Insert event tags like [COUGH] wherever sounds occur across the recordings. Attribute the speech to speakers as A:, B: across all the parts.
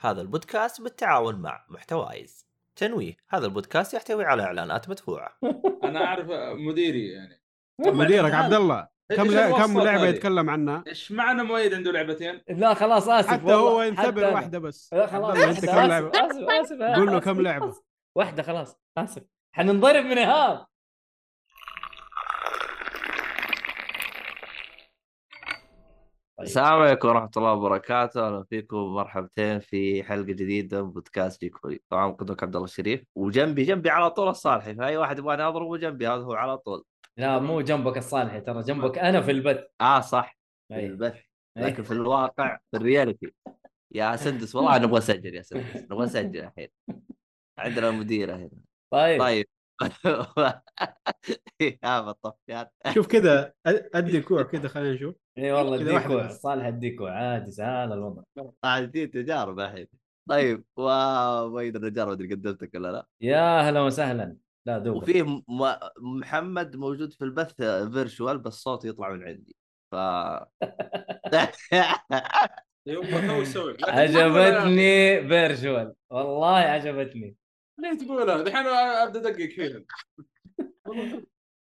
A: هذا البودكاست بالتعاون مع محتوايز تنويه هذا البودكاست يحتوي على اعلانات مدفوعه
B: انا اعرف مديري يعني
C: مديرك عبد الله كم
B: إيش
C: لا كم
B: الوسط
C: لعبه
B: هذه؟
C: يتكلم عنها
B: ايش معنى مؤيد عنده لعبتين؟
D: لا خلاص اسف
C: حتى
D: والله،
C: هو
D: حتى
C: ينتبه
D: أنا.
C: واحده بس
D: لا خلاص
C: عبد
D: آسف، [LAUGHS]
C: الله، أنت كم لعبة؟
D: آسف، اسف اسف
C: قول له
D: آسف،
C: كم لعبة.
D: خلاص. واحده خلاص اسف حننضرب من ايهاب طيب.
E: السلام عليكم ورحمة الله وبركاته، أهلا فيكم مرحبتين في حلقة جديدة من بودكاست جيكوري، طبعا مقدمك عبد الله الشريف وجنبي جنبي على طول الصالحي، فأي واحد يبغاني أضربه جنبي هذا هو على طول.
D: لا مو جنبك الصالحي ترى جنبك انا في البث إيه،
E: آه صح في
D: أي.
E: البث
D: أي.
E: لكن في الواقع في الرياليتي يا سندس والله نبغى نسجل يا سندس نبغى نسجل الحين. عندنا مديرة هنا.
D: طيب
E: طيب [LAUGHS] يا بالطفيات
C: شوف كذا
D: [LAUGHS]
C: ادي كوع كذا خلينا نشوف
D: اي إيه، والله
C: كذا واحدة
D: اديكوا
C: بس.
D: صالح اديكوا عادي سهل الوضع
E: طبعا في تجارب الحين. طيب ومؤيد النجار ما أدري قدمتك ولا لا.
D: يا اهلا وسهلا لا دوب
E: وفي م- محمد موجود في البث فيرشوال بس صوته يطلع من عندي ف [LAUGHS]
B: يبا تو سوي لكن تقول
D: عجبتني فيرجوال والله عجبتني
B: أنا- ليه تقولها؟ دحين ابدا ادقق فيها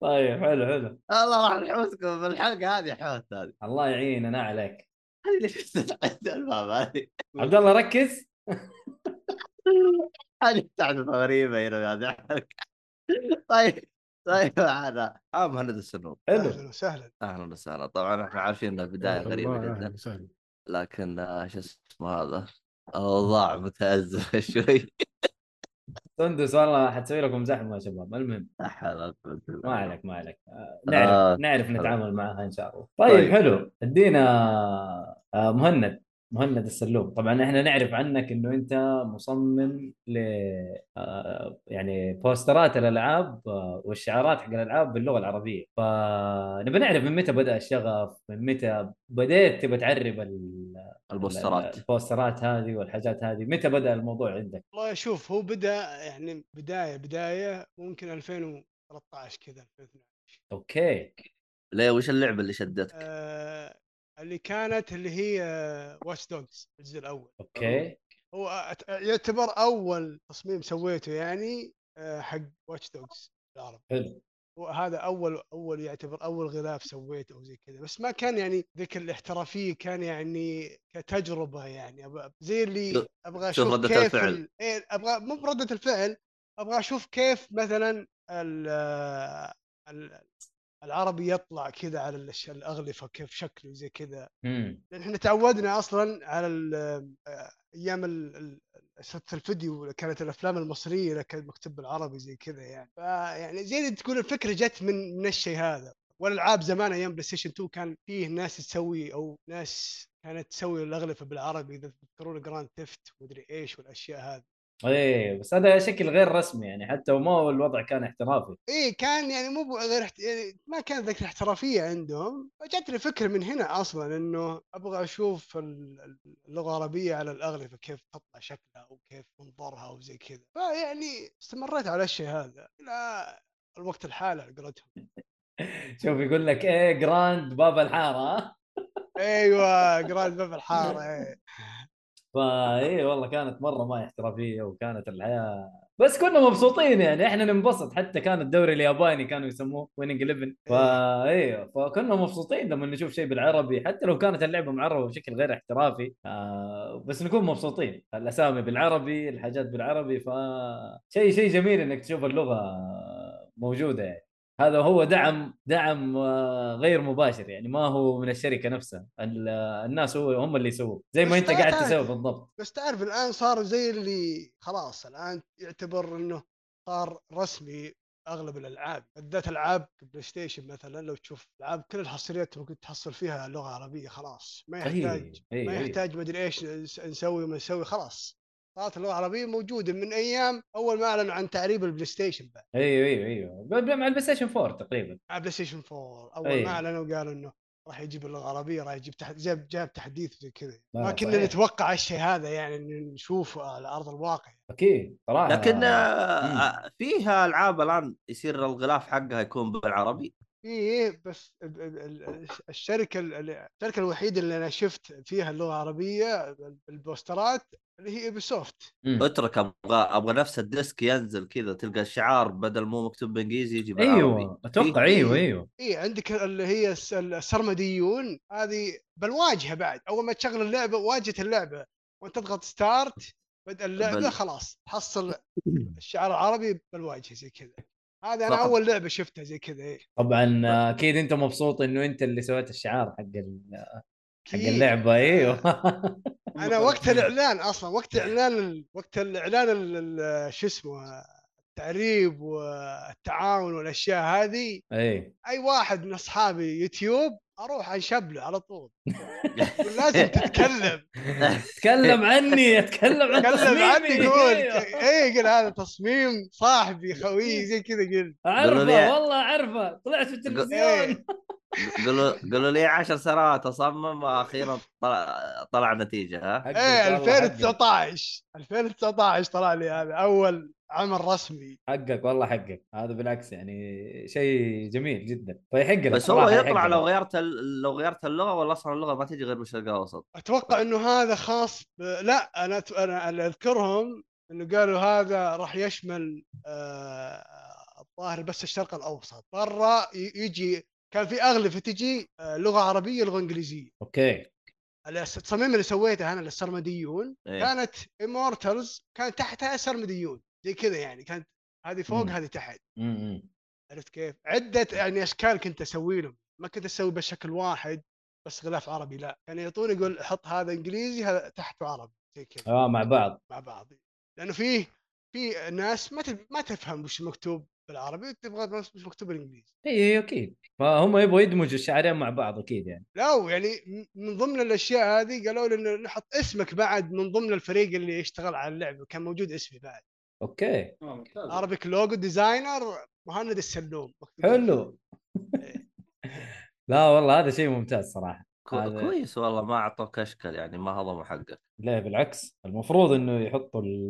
D: طيب حلو حلو
E: الله راح نحوسكم في الحلقه هذه حوس هذه
D: الله يعيننا عليك
E: هذه اللي فتحت الباب هذه
D: عبد الله ركز
E: هذه فتحت غريبه هنا في هذه الحلقه طيب طيب معنا آه، مهند السنوب
D: حلو
F: اهلا وسهلا
E: اهلا وسهلا طبعا احنا عارفين ان البدايه غريبه
C: الله
E: جدا
C: أهلا وسهلا.
E: لكن آه، شو اسمه هذا الاوضاع متازمه [LAUGHS] شوي
D: سندس والله حتسوي لكم زحمه يا شباب المهم
E: لا حول ولا قوة إلا
D: ما
E: بالله.
D: عليك ما عليك آه،
E: آه،
D: نعرف نعرف نتعامل معها ان شاء الله طيب,
E: طيب.
D: حلو ادينا آه، مهند مهند السلوم طبعا احنا نعرف عنك انه انت مصمم ل آه، يعني بوسترات الالعاب آه، والشعارات حق الالعاب باللغه العربيه فنبي نعرف من متى بدا الشغف من متى بديت تبى تعرب ال-
E: البوسترات
D: البوسترات هذه والحاجات هذه متى بدا الموضوع عندك
F: والله شوف هو بدا يعني بدايه بدايه ممكن 2013 كذا 2012
D: اوكي
E: ليه وش اللعبه اللي شدتك؟
F: آه اللي كانت اللي هي واتش دوجز الجزء الاول
D: اوكي
F: هو أت- يعتبر اول تصميم سويته يعني آه، حق واتش دوجز العرب
D: حلو
F: وهذا اول اول يعتبر اول غلاف سويته او زي كذا بس ما كان يعني ذيك الاحترافيه كان يعني كتجربه يعني أب- زي اللي
E: شوف-
F: ابغى
E: شوف
F: اشوف
E: ردة
F: كيف
E: الفعل.
F: ال- إيه، ابغى مو برده الفعل ابغى اشوف كيف مثلا ال- آه، ال- العربي يطلع كذا على الأش- الاغلفه كيف شكله زي كذا
D: امم
F: لان احنا تعودنا اصلا على ال- آه، ايام ال- ال- شريط الفيديو كانت الافلام المصريه لك المكتب العربي زي كذا يعني فيعني زي اللي تقول الفكره جت من من الشيء هذا والالعاب زمان ايام بلاي ستيشن 2 كان فيه ناس تسوي او ناس كانت تسوي الاغلفه بالعربي اذا تذكرون جراند تيفت ومدري ايش والاشياء هذه
D: ايه بس هذا شكل غير رسمي يعني حتى وما الوضع كان احترافي
F: ايه كان يعني مو ب- غير احت... يعني ما كان ذاك الاحترافيه عندهم فجتني فكره من هنا اصلا انه ابغى اشوف ال- اللغه العربيه على الاغلفه كيف تطلع شكلها وكيف منظرها وزي كذا فيعني استمريت على الشيء هذا الى الوقت الحالي على قولتهم
D: شوف يقول لك ايه جراند باب الحاره ها؟
F: ايوه جراند باب الحاره إيه.
D: فايه إيه، والله كانت مره ما احترافيه وكانت الحياه بس كنا مبسوطين يعني احنا ننبسط حتى كان الدوري الياباني كانوا يسموه ويننج 11 فايه إيه، فكنا مبسوطين لما نشوف شيء بالعربي حتى لو كانت اللعبه معربه بشكل غير احترافي آه بس نكون مبسوطين الاسامي بالعربي الحاجات بالعربي ف شيء شيء جميل انك تشوف اللغه موجوده يعني هذا هو دعم دعم آه، غير مباشر يعني ما هو من الشركه نفسها ال- آه، الناس هو هم اللي يسووه زي ما
F: بس
D: انت
F: ترى
D: قاعد
F: تعرف-
D: تسوي بالضبط
F: بس تعرف الان صار زي اللي خلاص الان يعتبر انه صار رسمي اغلب الالعاب بالذات العاب بلاي ستيشن مثلا لو تشوف العاب كل الحصريات ممكن تحصل فيها لغه عربيه خلاص ما يحتاج
D: أي
F: ما
D: أي
F: يحتاج ما ادري ايش نس- نسوي ما نسوي خلاص صارت اللغه العربيه موجوده من ايام اول ما اعلنوا عن تعريب البلاي ستيشن بعد
D: ايوه ايوه ايوه بل- مع البلاي ستيشن 4 تقريبا
F: مع بلاي ستيشن 4 اول
D: أيوه.
F: ما اعلنوا قالوا انه راح يجيب اللغه العربيه راح يجيب تح... جاب جاب تحديث زي كذا
D: لا،
F: ما كنا
D: آه، صحيح.
F: نتوقع الشيء هذا يعني إنه نشوفه على ارض الواقع
D: اكيد صراحه
E: لكن
D: مم.
E: آه، فيها العاب الان يصير الغلاف حقها يكون بالعربي
F: ايه بس ال- ال- ال- الشركه ال- ال- الشركه الوحيده اللي انا شفت فيها اللغه العربيه البوسترات اللي هي ايبسوفت
D: مم.
E: اترك ابغى ابغى نفس الديسك ينزل كذا تلقى الشعار بدل مو مكتوب بانجليزي يجي بالعربي
D: ايوه اتوقع ايوه ايوه
F: اي إيه، عندك اللي هي الس- السرمديون هذه بالواجهه بعد اول ما تشغل اللعبه واجهه اللعبه وانت تضغط ستارت بدء اللعبه
E: بل-
F: خلاص تحصل
D: أيوة.
F: الشعار العربي بالواجهه زي كذا هذا انا
E: فقط.
F: اول لعبه شفتها زي كذا إيه. اي
D: طبعا اكيد انت آه، مبسوط انه انت اللي سويت الشعار حق ال- حق
F: أكيد.
D: اللعبه ايوه
F: [LAUGHS] انا وقت الاعلان اصلا وقت اعلان ال- وقت الاعلان ال- ال- شو اسمه التعريب والتعاون والاشياء هذه
D: اي
F: اي واحد من اصحابي يوتيوب اروح انشبله على طول يقول
D: [LAUGHS]
F: لازم تتكلم
D: تكلم
F: [LAUGHS]
D: عني اتكلم عن
F: تكلم عني
D: تصميمي.
F: قول
D: أيوه.
F: اي قول هذا تصميم صاحبي
D: [LAUGHS]
F: خويي زي كذا قل
E: قالوا لي-
D: اعرفه والله اعرفه طلعت في التلفزيون
F: إيه.
E: قالوا قالوا لي 10 سنوات اصمم واخيرا طلع, طلع نتيجه ها
D: حقك
F: ايه
D: والله، حقك.
F: 2019 2019 طلع لي هذا اول عمل رسمي
D: حقك والله حقك هذا بالعكس يعني شيء جميل جدا فيحق لك
E: بس هو
D: صراحة
E: يطلع
D: يحق
E: لو
D: لك.
E: غيرت ال- لو غيرت اللغه ولا اصلا اللغه ما تجي غير بالشرق الاوسط
F: اتوقع انه هذا خاص ب... لا انا أت- انا اللي اذكرهم انه قالوا هذا راح يشمل آه، الظاهر بس الشرق الاوسط برا ي- يجي كان في اغلفه تجي آه، لغه عربيه لغه انجليزيه
D: اوكي
F: الأس- التصميم اللي سويته انا للسرمديون
E: إيه.
F: كانت امورتلز كان تحتها سرمديون زي كذا يعني كانت هذه فوق
D: مم.
F: هذه تحت
D: امم
F: عرفت كيف؟ عده يعني اشكال كنت اسوي لهم ما كنت اسوي بشكل واحد بس غلاف عربي لا كان يعطوني يقول حط هذا انجليزي هذا تحته عربي زي كذا
D: اه مع بعض
F: مع بعض لانه فيه في ناس ما تف- ما تفهم وش مكتوب بالعربي وتبغى بس وش مكتوب بالانجليزي
D: اي اكيد فهم يبغوا يدمجوا الشعرين مع بعض اكيد يعني
F: لا ويعني م- من ضمن الاشياء هذه قالوا لي انه نحط اسمك بعد من ضمن الفريق اللي يشتغل على اللعبه كان موجود اسمي بعد
D: اوكي
B: آه، ممتاز.
F: عربيك لوجو ديزاينر مهند السلوم
D: حلو [LAUGHS] لا والله هذا شيء ممتاز صراحه
E: كو-
D: هذا-
E: كويس والله ما اعطوك اشكال يعني ما هضموا حقك
D: لا بالعكس المفروض انه يحطوا ال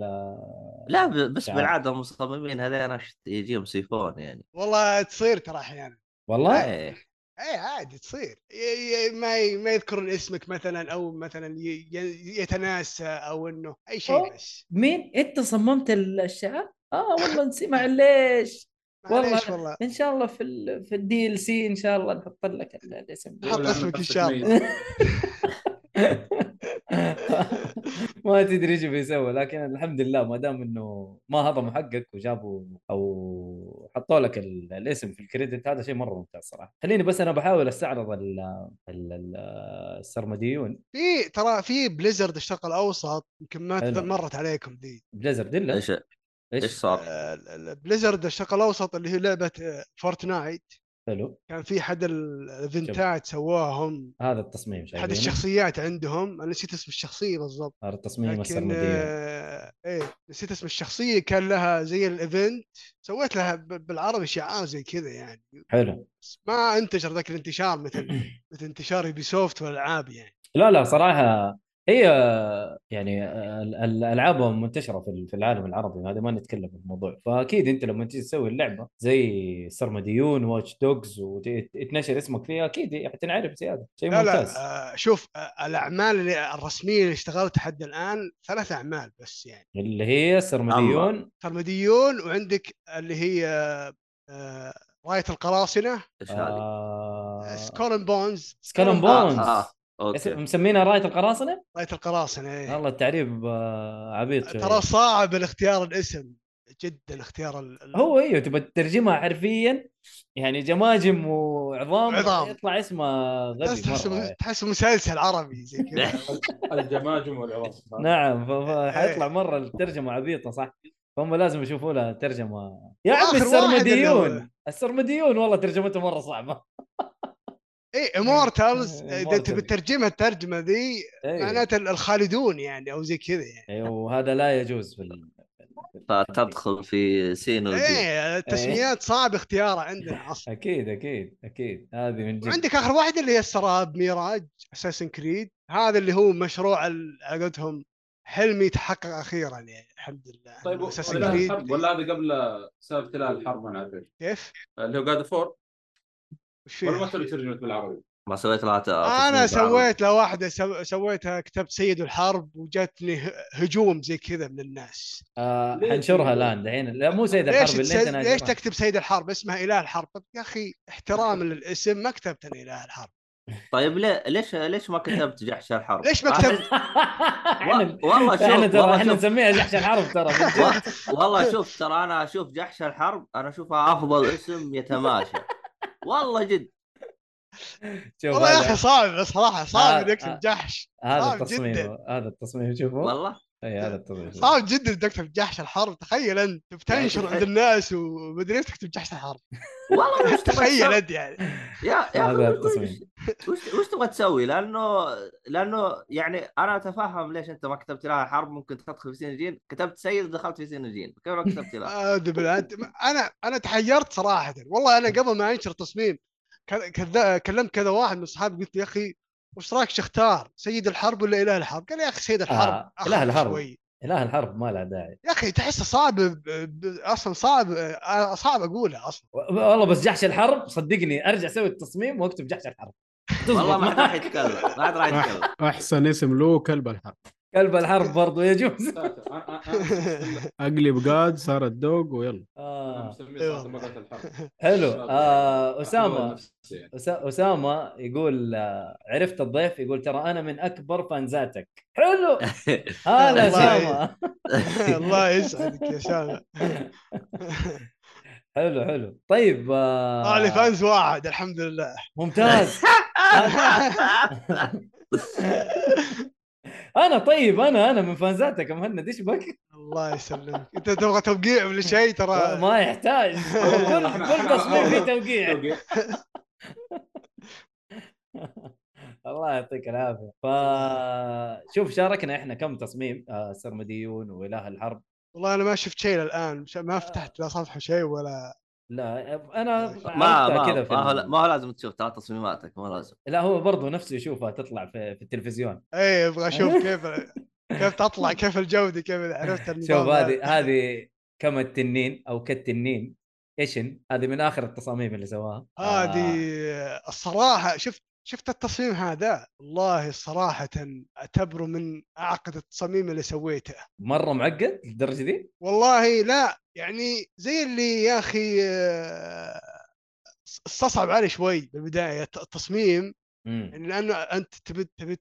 D: نعم،
E: لا ب- بس
D: شعار.
E: بالعاده المصممين هذين أش- يجيهم سيفون يعني
F: والله تصير ترى احيانا
D: والله
E: إيه.
F: اي عادي تصير ي- ي- ما ي- ما يذكرون اسمك مثلا او مثلا ي- ي- يتناسى او انه اي شيء
D: أوه.
F: بس
D: مين انت صممت ال- الشعار؟
E: آه،
D: اه والله نسي معليش والله
F: معليش والله
D: ان شاء الله في ال في الدي ال سي ان شاء الله نحط لك ال- الاسم
F: حط
B: ولا
F: اسمك إن
B: نفسك
F: شاء
B: ميت. [LAUGHS]
D: ما تدري ايش بيسوي لكن الحمد لله ما دام انه ما هضموا حقك وجابوا او حطوا لك ال- الاسم في الكريدت هذا شيء مره ممتاز صراحه خليني بس انا بحاول استعرض ال ال ال السرمديون
F: في ترى في بليزرد الشرق الاوسط يمكن ما
D: حلو.
F: مرت عليكم دي
D: بليزرد الا
E: ايش ايش صار؟
F: ال- ال- بليزرد الشرق الاوسط اللي هي لعبه آه، فورتنايت
D: حلو
F: كان في حد ال- الايفنتات سووهم
D: هذا التصميم
F: حد
D: شايفينه؟
F: الشخصيات عندهم انا نسيت اسم الشخصيه بالضبط
D: هذا التصميم
F: لكن
D: السرمديون
F: آه، ايه نسيت اسم الشخصيه كان لها زي الايفنت سويت لها ب- بالعربي شعار زي كذا يعني
D: حلو
F: بس ما انتشر ذاك الانتشار
D: [CLEARS THROAT]
F: مثل مثل انتشار يوبي سوفت والالعاب يعني
D: لا لا صراحه هي يعني ال- ال- العابهم منتشره في ال- في العالم العربي هذا ما نتكلم في الموضوع فاكيد انت لما تيجي تسوي اللعبه زي سرمديون واتش دوجز وتنشر اسمك فيها اكيد حتنعرف زياده شيء
F: لا
D: ممتاز
F: لا آه، شوف آه، الاعمال اللي الرسميه اللي اشتغلت حد الان ثلاث اعمال بس يعني
D: اللي هي سرمديون
F: ترمديون وعندك اللي هي آه، آه، راية القراصنة
E: ايش هذه؟
D: آه...
F: سكولن بونز
D: سكالون بونز
E: آه، آه،
D: اسم-
E: اوكي
D: مسمينها رايه القراصنه؟
F: راية القراصنة إيه.
D: والله التعريب آه، عبيط شوي.
F: ترى صعب الاختيار الاسم جدا اختيار ال- ال-
D: هو ايوه تبى تترجمها حرفيا يعني جماجم وعظام
F: عظام.
D: يطلع اسمها غبي آه.
F: تحس
D: مره
F: تحسه تحسه مسلسل عربي زي كذا
D: [LAUGHS]
B: الجماجم والعظام
D: نعم ف-
F: إيه.
D: ف- حيطلع مره الترجمه عبيطه صح فهم لازم يشوفوا لها ترجمه يا عمي
F: وآخر واحد اللي
D: السرمديون السرمديون والله ترجمته مره صعبه
F: اي
D: [LAUGHS]
F: امورتالز
D: إيه،
F: اذا انت
D: Immortals.
F: بترجمها الترجمه ذي
D: ايوه
F: معناته ال- الخالدون يعني او زي كذا يعني
D: أيوه، وهذا لا يجوز في ال...
E: فتدخل في سين وجيم
F: ايه التسميات صعب اختيارها عندنا اصلا
D: اكيد اكيد اكيد هذه من جد
F: وعندك اخر واحد اللي هي السراب ميراج اساسن كريد هذا اللي هو مشروع ال- على قولتهم حلمي تحقق اخيرا يعني الحمد لله
B: طيب
F: اساسن
B: ولا
F: كريد
B: الحرب- ولا هذا قبل سالفه لا الحرب انا عارف
F: كيف؟
B: اللي هو جاد فور
F: وش
B: ولا ما
F: فيه؟ [LAUGHS]
B: ترجمت بالعربي
E: ما سويت لها تصميم
F: انا
D: آه،
E: بعرض.
F: سويت لها واحده سو- سويتها كتبت سيد الحرب وجاتني ه- هجوم زي كذا من الناس
D: آه حنشرها الان دحين لا مو سيد
F: ليش
D: الحرب
F: تسد...
D: اللي انت ناشرها.
F: ليش
D: [LAUGHS]
F: تكتب سيد الحرب اسمها اله الحرب طب يا اخي احتراما للاسم ما كتبت انا اله الحرب
E: طيب ليه ليش ليش ما كتبت جحش الحرب؟
F: ليش ما
E: أحس-
F: كتبت؟
D: احنا
E: و- والله شوف
D: احنا ترى
E: والله
D: احنا
E: شوف
D: نسميها جحش الحرب ترى من
F: [LAUGHS]
D: جد.
E: و- والله شوف ترى انا اشوف جحش الحرب انا اشوفها افضل اسم يتماشى والله جد
D: شوف
F: والله يا اخي
D: هذا
F: صعب صراحه صعب
D: هذا-
F: انك تكتب جحش
D: هذا
F: صعب
D: التصميم
F: جداً.
D: هذا التصميم شوفوا
E: والله
D: اي هذا التصميم
F: صعب جدا انك تكتب جحش الحرب تخيل انت بتنشر عند الناس ومدري ايش تكتب جحش الحرب
E: والله وش تبغى
F: تخيل
E: تسوي؟
F: انت يعني
E: يا يا
D: هذا
E: أخي وش-
D: التصميم.
E: وش وش تبغى تسوي؟ لانه لانه يعني انا اتفهم ليش انت ما كتبت لها حرب ممكن تدخل في سينجين كتبت سيد دخلت في سينجين كيف ما كتبت
F: [LAUGHS]
E: لها؟
F: أعوذ بالله، انت انا انا تحيرت صراحه والله انا قبل ما انشر تصميم كذا- كذا- كلمت كذا واحد من اصحابي قلت يا اخي وش رايك اختار سيد الحرب ولا اله الحرب؟ قال يا اخي سيد الحرب
D: آه،
F: أخف
D: إله الحرب.
F: شوي.
D: اله الحرب ما لها داعي
F: يا اخي تحسه صعب ب- ب- اصلا صعب آه، صعب اقوله اصلا
D: و- والله بس جحش الحرب صدقني ارجع اسوي التصميم واكتب جحش الحرب تزبط
E: والله ما حد
D: [LAUGHS]
E: راح
D: معك.
E: يتكلم ما حد راح يتكلم
C: أح- احسن اسم له كلب الحرب
D: كلب الحرب برضو يجوز [LAUGHS]
B: ساتر. أنا- أنا-
C: اقلب قاد صار الدوق ويلا
B: أنا
E: نعم.
D: آه.
B: مسميه
F: أيوه.
B: صراحة مرة الحرب.
D: حلو
B: شاب.
D: آه
B: أحلوها
D: اسامه
B: نفسي يعني.
D: أس- اسامه يقول آه، عرفت الضيف يقول ترى انا من اكبر فانزاتك
E: [LAUGHS]
D: حلو هلا
F: والله.
D: اسامه
F: [LAUGHS] الله يسعدك يا سامع
D: [LAUGHS] حلو حلو طيب آه،
F: طلع لي فانز واحد الحمد لله
D: ممتاز [LAUGHS] انا طيب انا انا من فانزاتك يا مهند ايش بك؟
F: [LAUGHS] الله يسلمك [LAUGHS] انت تبغى توقيع ولا شيء ترى
D: ما يحتاج كل كل تصميم فيه توقيع
B: أوكي.
D: الله يعطيك العافيه ف شوف شاركنا احنا كم تصميم آه، سرمديون واله الحرب
F: والله انا ما شفت شيء الان
D: آه.
F: ما فتحت لا صفحه شيء ولا
D: لا انا
E: ما
D: عرفتها
E: ما
D: كذا في
E: ما هو,
D: ال-
E: ما هو لازم تشوف ترى تصميماتك ما هو لازم
D: لا هو برضه نفسه يشوفها تطلع في, في التلفزيون
F: اي
D: [LAUGHS]
F: ابغى اشوف إيه، كيف كيف تطلع كيف الجوده كيف عرفت النظام
D: شوف هذه هذه كم التنين او كالتنين ايشن هذه من اخر التصاميم اللي سواها
F: هذه
D: آه،
F: الصراحه شفت شفت التصميم هذا والله صراحة أعتبره من أعقد التصاميم اللي سويته
D: مره معقد للدرجه دي
F: والله لا يعني زي اللي يا أخي آه، استصعب علي شوي بالبداية التصميم
D: مم.
F: يعني لانه انت تبي تبي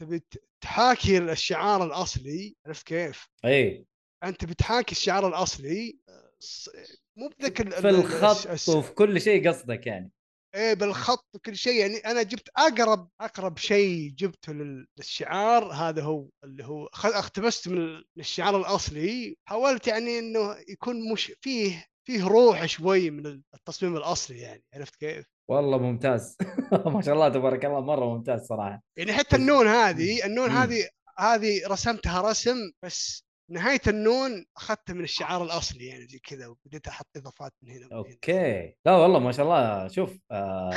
F: تبي تحاكي الشعار الاصلي عرفت كيف؟
D: اي
F: انت بتحاكي الشعار الاصلي ص- مو بذاك ال- ال-
D: في الخط
F: الس- الس-
D: وفي كل شيء قصدك يعني
F: ايه بالخط وكل شيء يعني انا جبت اقرب اقرب شيء جبته لل- للشعار هذا هو اللي هو خ- اقتبست من ال- من الشعار الاصلي حاولت يعني انه يكون مش فيه فيه روح شوي من التصميم الاصلي يعني عرفت كيف؟
D: والله ممتاز [LAUGHS] ما شاء الله تبارك الله مره ممتاز صراحه
F: يعني حتى النون هذه النون
D: مم.
F: هذه هذه رسمتها رسم بس نهايه النون اخذتها من الشعار الاصلي يعني زي كذا وبديت احط اضافات من هنا ومن هنا.
D: اوكي لا والله ما شاء الله شوف آه،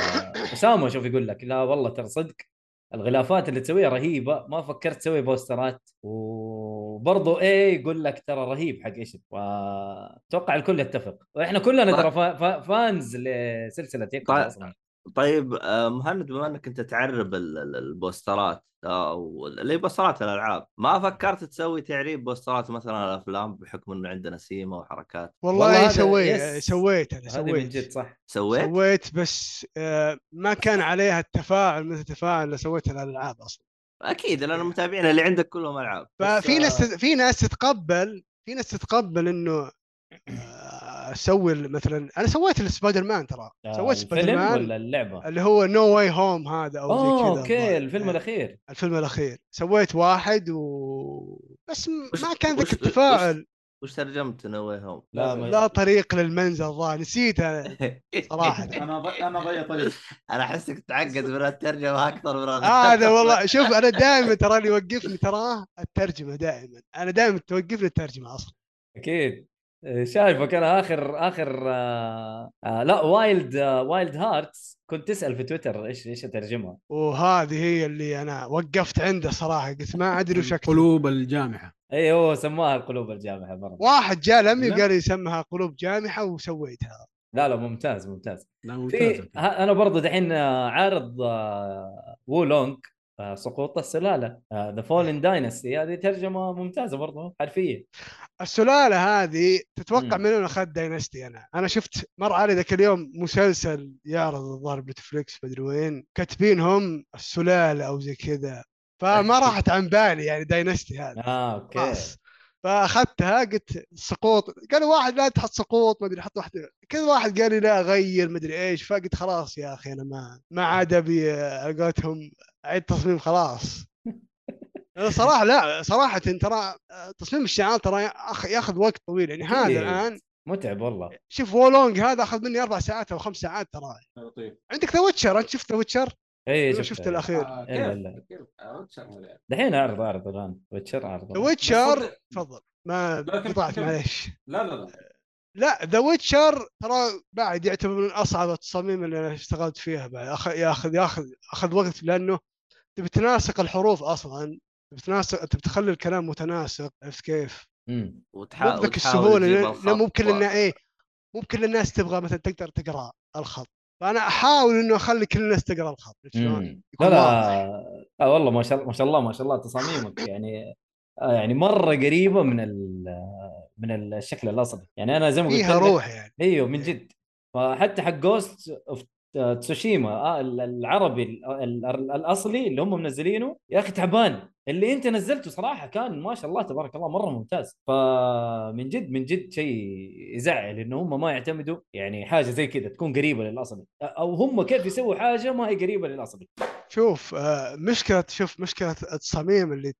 D: اسامه شوف يقول لك لا والله ترى صدق الغلافات اللي تسويها رهيبه ما فكرت تسوي بوسترات وبرضه ايه يقول لك ترى رهيب حق ايش اتوقع الكل يتفق واحنا كلنا ترى فا- فا- فانز لسلسله يكتب
E: طيب.
D: اصلا
E: طيب آه، مهند بما انك انت تعرب ال- ال- البوسترات آه، او ال- اللي بوسترات الالعاب ما فكرت تسوي تعريب بوسترات مثلا الافلام بحكم انه عندنا سيما وحركات
F: والله,
D: والله هذا-
F: سويت يعني
D: يس.
F: سويت انا
D: هذه من جد
F: سويت
D: صح
E: سويت؟
F: سويت بس آه، ما كان عليها التفاعل مثل التفاعل اللي سويته الالعاب اصلا
E: اكيد لان المتابعين اللي عندك كلهم آه، العاب
F: ففي ناس
D: آه.
F: في ناس تتقبل في ناس تتقبل انه آه، اسوي مثلا انا سويت السبايدر مان ترى
D: آه،
F: سويت سبايدر
D: الفيلم
F: مان
D: ولا اللعبه
F: اللي هو نو واي هوم هذا او زي كذا
D: اوه اوكي
F: الظاهر.
D: الفيلم
F: آه.
D: الاخير
F: الفيلم الاخير سويت واحد و بس م-
E: وش-
F: ما كان ذاك
E: وش-
F: التفاعل
E: وش ترجمت نوي هوم؟
D: لا ما
F: لا طريق للمنزل الظاهر نسيت انا
E: [LAUGHS]
F: صراحة.
B: انا ض- انا ضيع طريق
E: انا احسك تعقد من الترجمه اكثر من الغ-
F: آه، هذا والله شوف انا دائما ترى اللي يوقفني تراه الترجمه دائما انا دائما توقفني الترجمه اصلا
D: اكيد شايفك انا اخر اخر آه آه لا وايلد آه وايلد هارتس كنت تسال في تويتر ايش ايش اترجمها
F: وهذه هي اللي انا وقفت عنده صراحه قلت ما ادري وش اكتب
C: قلوب الجامحه
D: اي هو سماها إيه، القلوب الجامحه مره
F: واحد جاء لمي
C: لا.
F: وقال لي سمها قلوب جامحه وسويتها
D: لا لا ممتاز ممتاز
C: لا
D: في
C: ممتاز
D: ها- انا برضه دحين آه، عارض آه، وولونج آه، سقوط آه، السلاله ذا فولن داينستي هذه ترجمه ممتازه برضه حرفيه
F: السلاله هذه تتوقع
D: مم.
F: من وين اخذت داينستي انا؟ انا شفت مر علي ذاك اليوم مسلسل يعرض الظاهر نتفلكس مدري وين كاتبينهم السلاله او زي كذا فما راحت عن بالي يعني داينستي هذا
C: آه.
D: اه اوكي
F: خلاص فاخذتها قلت سقوط قالوا واحد لا تحط سقوط ما ادري حط واحد كل واحد قال لي لا غير ما ادري ايش فقلت خلاص يا اخي انا ما ما عاد ابي على قولتهم اعيد تصميم
B: [LAUGHS]
F: خلاص أنا صراحه لا صراحه ترى تصميم الشعار ترى يأخ- ياخذ وقت طويل يعني هذا
B: إيه.
D: أكيد.
F: الان
D: متعب والله
F: شوف وولونج هذا اخذ مني اربع ساعات او خمس ساعات ترى
B: لطيف
F: عندك ذا ويتشر انت شفت ذا ويتشر؟
D: اي إيه، شفت,
F: شفت الاخير
B: إيه،
D: إلا-
B: آه، كيف؟
D: إلا.
B: كيف؟ آه، وش هذا؟
D: دحين اعرض اعرض الان ويتشر اعرض
F: ذا ويتشر
B: صدق-
F: تفضل ما
B: لكن-
F: قطعت معليش
B: لا لا لا
F: لا ذا ويتشر ترى بعد يعتبر من اصعب التصاميم اللي انا اشتغلت فيها بعد أخ- ياخذ ياخذ اخذ وقت لانه تبي تناسق الحروف اصلا تبي تناسق تبي تخلي الكلام متناسق عرفت كيف؟
D: مم.
E: وتحا-
F: مو بذاك
E: [LAUGHS] وتحاول
F: السهوله
E: تجيب
F: لأن-
E: الخط
F: لأن ممكن
E: و-
F: لنا ايه ممكن الناس تبغى مثلا تقدر تقرا الخط فانا احاول انه اخلي كل الناس تقرا الخط عرفت شلون؟
D: مم.
F: يكون
D: لا
F: واضح.
D: لا آه والله ما شاء الله ما شاء الله ما شاء الله تصاميمك يعني آه يعني مره قريبه من ال- آه، من الشكل الاصلي يعني انا زي ما قلت
F: فيها
D: لك-
F: روح يعني
D: ايوه من جد فحتى حق جوست اوف تسوشيما آه، ال- العربي ال- ال- ال- الاصلي اللي هم منزلينه يا اخي تعبان اللي انت نزلته صراحه كان ما شاء الله تبارك الله مره ممتاز فمن جد من جد شيء يزعل انه هم ما يعتمدوا يعني حاجه زي كذا تكون قريبه للاصلي او هم كيف يسووا حاجه ما هي قريبه للاصلي
F: شوف آه، مشكله شوف مشكله التصاميم اللي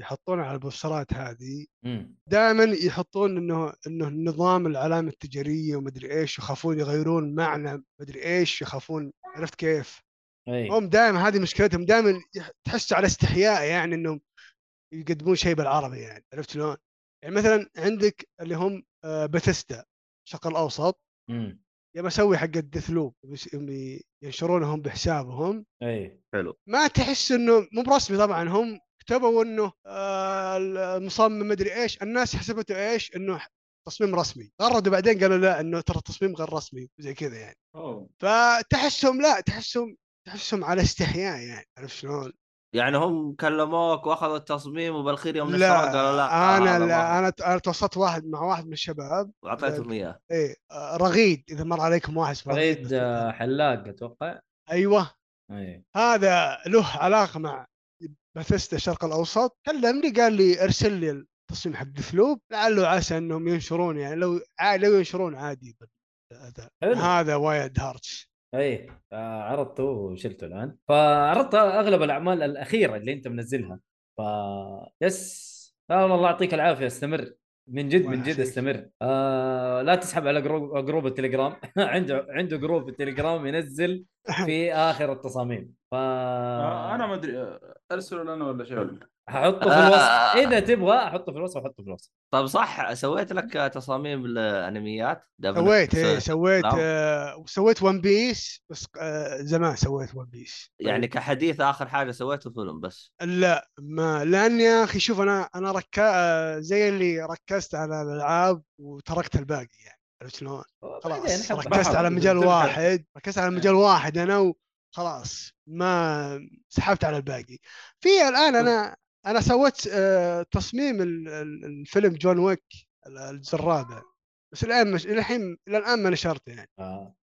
F: يحطونها على البوسترات هذه
D: امم
F: دائما يحطون انه انه النظام العلامه التجاريه ومدري ايش يخافون يغيرون معنى مدري ايش يخافون عرفت كيف؟
D: اي
F: هم دائما هذه مشكلتهم دائما يح- تحس على استحياء يعني انهم يقدمون شيء بالعربي يعني عرفت شلون؟ يعني مثلا عندك اللي هم بثستا الشرق الاوسط
D: امم
F: يبى اسوي حق الدثلوب ينشرونهم بحسابهم
D: اي
E: حلو
F: ما تحس انه مو برسمي طبعا هم كتبوا انه آه، المصمم مدري ايش الناس حسبته ايش انه تصميم رسمي غردوا بعدين قالوا لا انه ترى التصميم غير رسمي زي كذا يعني
B: أوه.
F: فتحسهم لا تحسهم تحسهم على استحياء يعني عرفت شلون؟
E: يعني هم كلموك واخذوا التصميم وبالاخير يوم نشروه قالوا لا آه،
F: لا
E: هذا
F: انا
E: ما-
F: آه، لا انا انا توسطت واحد مع واحد من الشباب
E: واعطيتهم اياه
F: ايه آه، رغيد اذا مر عليكم واحد اسمه
D: رغيد
F: بس-
D: آه، حلاق إيه. اتوقع
F: ايوه
D: اي
F: هذا له علاقه مع بثيستا الشرق الاوسط كلمني قال لي ارسل لي التصميم حق ثلوب لعله عسى انهم ينشرون يعني لو ع- لو ينشرون عادي هذا
D: حلو.
F: هذا وايد هارتس
D: اي آه، عرضته وشلته الان فعرضت اغلب الاعمال الاخيره اللي انت منزلها ف يس لا والله يعطيك العافيه استمر من جد
F: الله
D: من جد
F: يعافيك.
D: استمر آه لا تسحب على جروب, جروب التليجرام [LAUGHS] عنده عنده جروب في التليجرام ينزل في اخر التصاميم ف
B: آه، انا ما ادري آه، ارسلوا لنا ولا شيء
D: حطه في الوصف
E: آه.
D: اذا تبغى احطه في الوصف احطه في الوصف
E: طيب صح سويت لك تصاميم الانميات
F: سويت ايه سويت
E: نعم.
F: آه سويت ون بيس بس آه زمان سويت ون بيس
E: يعني كحديث اخر حاجه سويته فيلم بس
F: لا ما لان يا اخي شوف انا انا ركا آه، زي اللي ركزت على الالعاب وتركت الباقي يعني عرفت شلون؟
D: بعدين
F: خلاص
D: حطه.
F: ركزت على
B: بحر.
F: مجال
B: تلك-
F: واحد ركزت على مجال واحد انا وخلاص ما سحبت على الباقي في الان انا انا سويت آه، تصميم ال- ال- الفيلم جون ويك ال- الجزء الرابع بس الان مش الحين الى الان ما نشرته يعني
D: آه.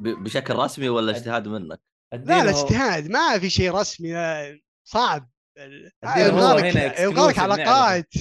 E: ب- بشكل رسمي ولا اجتهاد منك؟
F: لا لا
D: أديله-
F: اجتهاد ما في شيء رسمي لا، صعب
D: الدين هو
F: يبغالك
D: هنا
F: يبغالك
D: exclusive نعرضه.
F: علاقات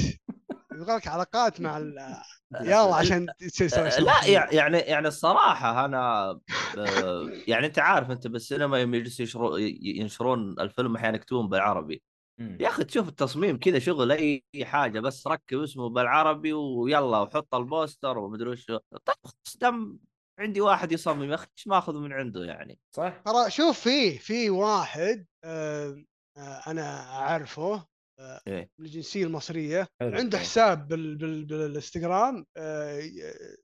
F: يبغالك علاقات مع ال- يلا عشان
D: [LAUGHS]
F: تسوي
E: لا يع- يعني يعني الصراحه انا آه، [LAUGHS] يعني انت عارف انت بالسينما يوم يجلسوا يشرو- ي- ينشرون الفيلم احيانا يكتبون بالعربي
D: مم.
E: يا اخي تشوف التصميم كذا شغل اي حاجه بس ركب اسمه بالعربي ويلا وحط البوستر ومدري وش طيب خلاص دم عندي واحد يصمم يا اخي ايش ماخذ من عنده يعني
D: صح
F: ترى شوف في في واحد آه، آه، انا اعرفه آه،
E: إيه.
F: من الجنسيه المصريه
D: حلو.
F: عنده حساب بال بال بالانستغرام آه، ي-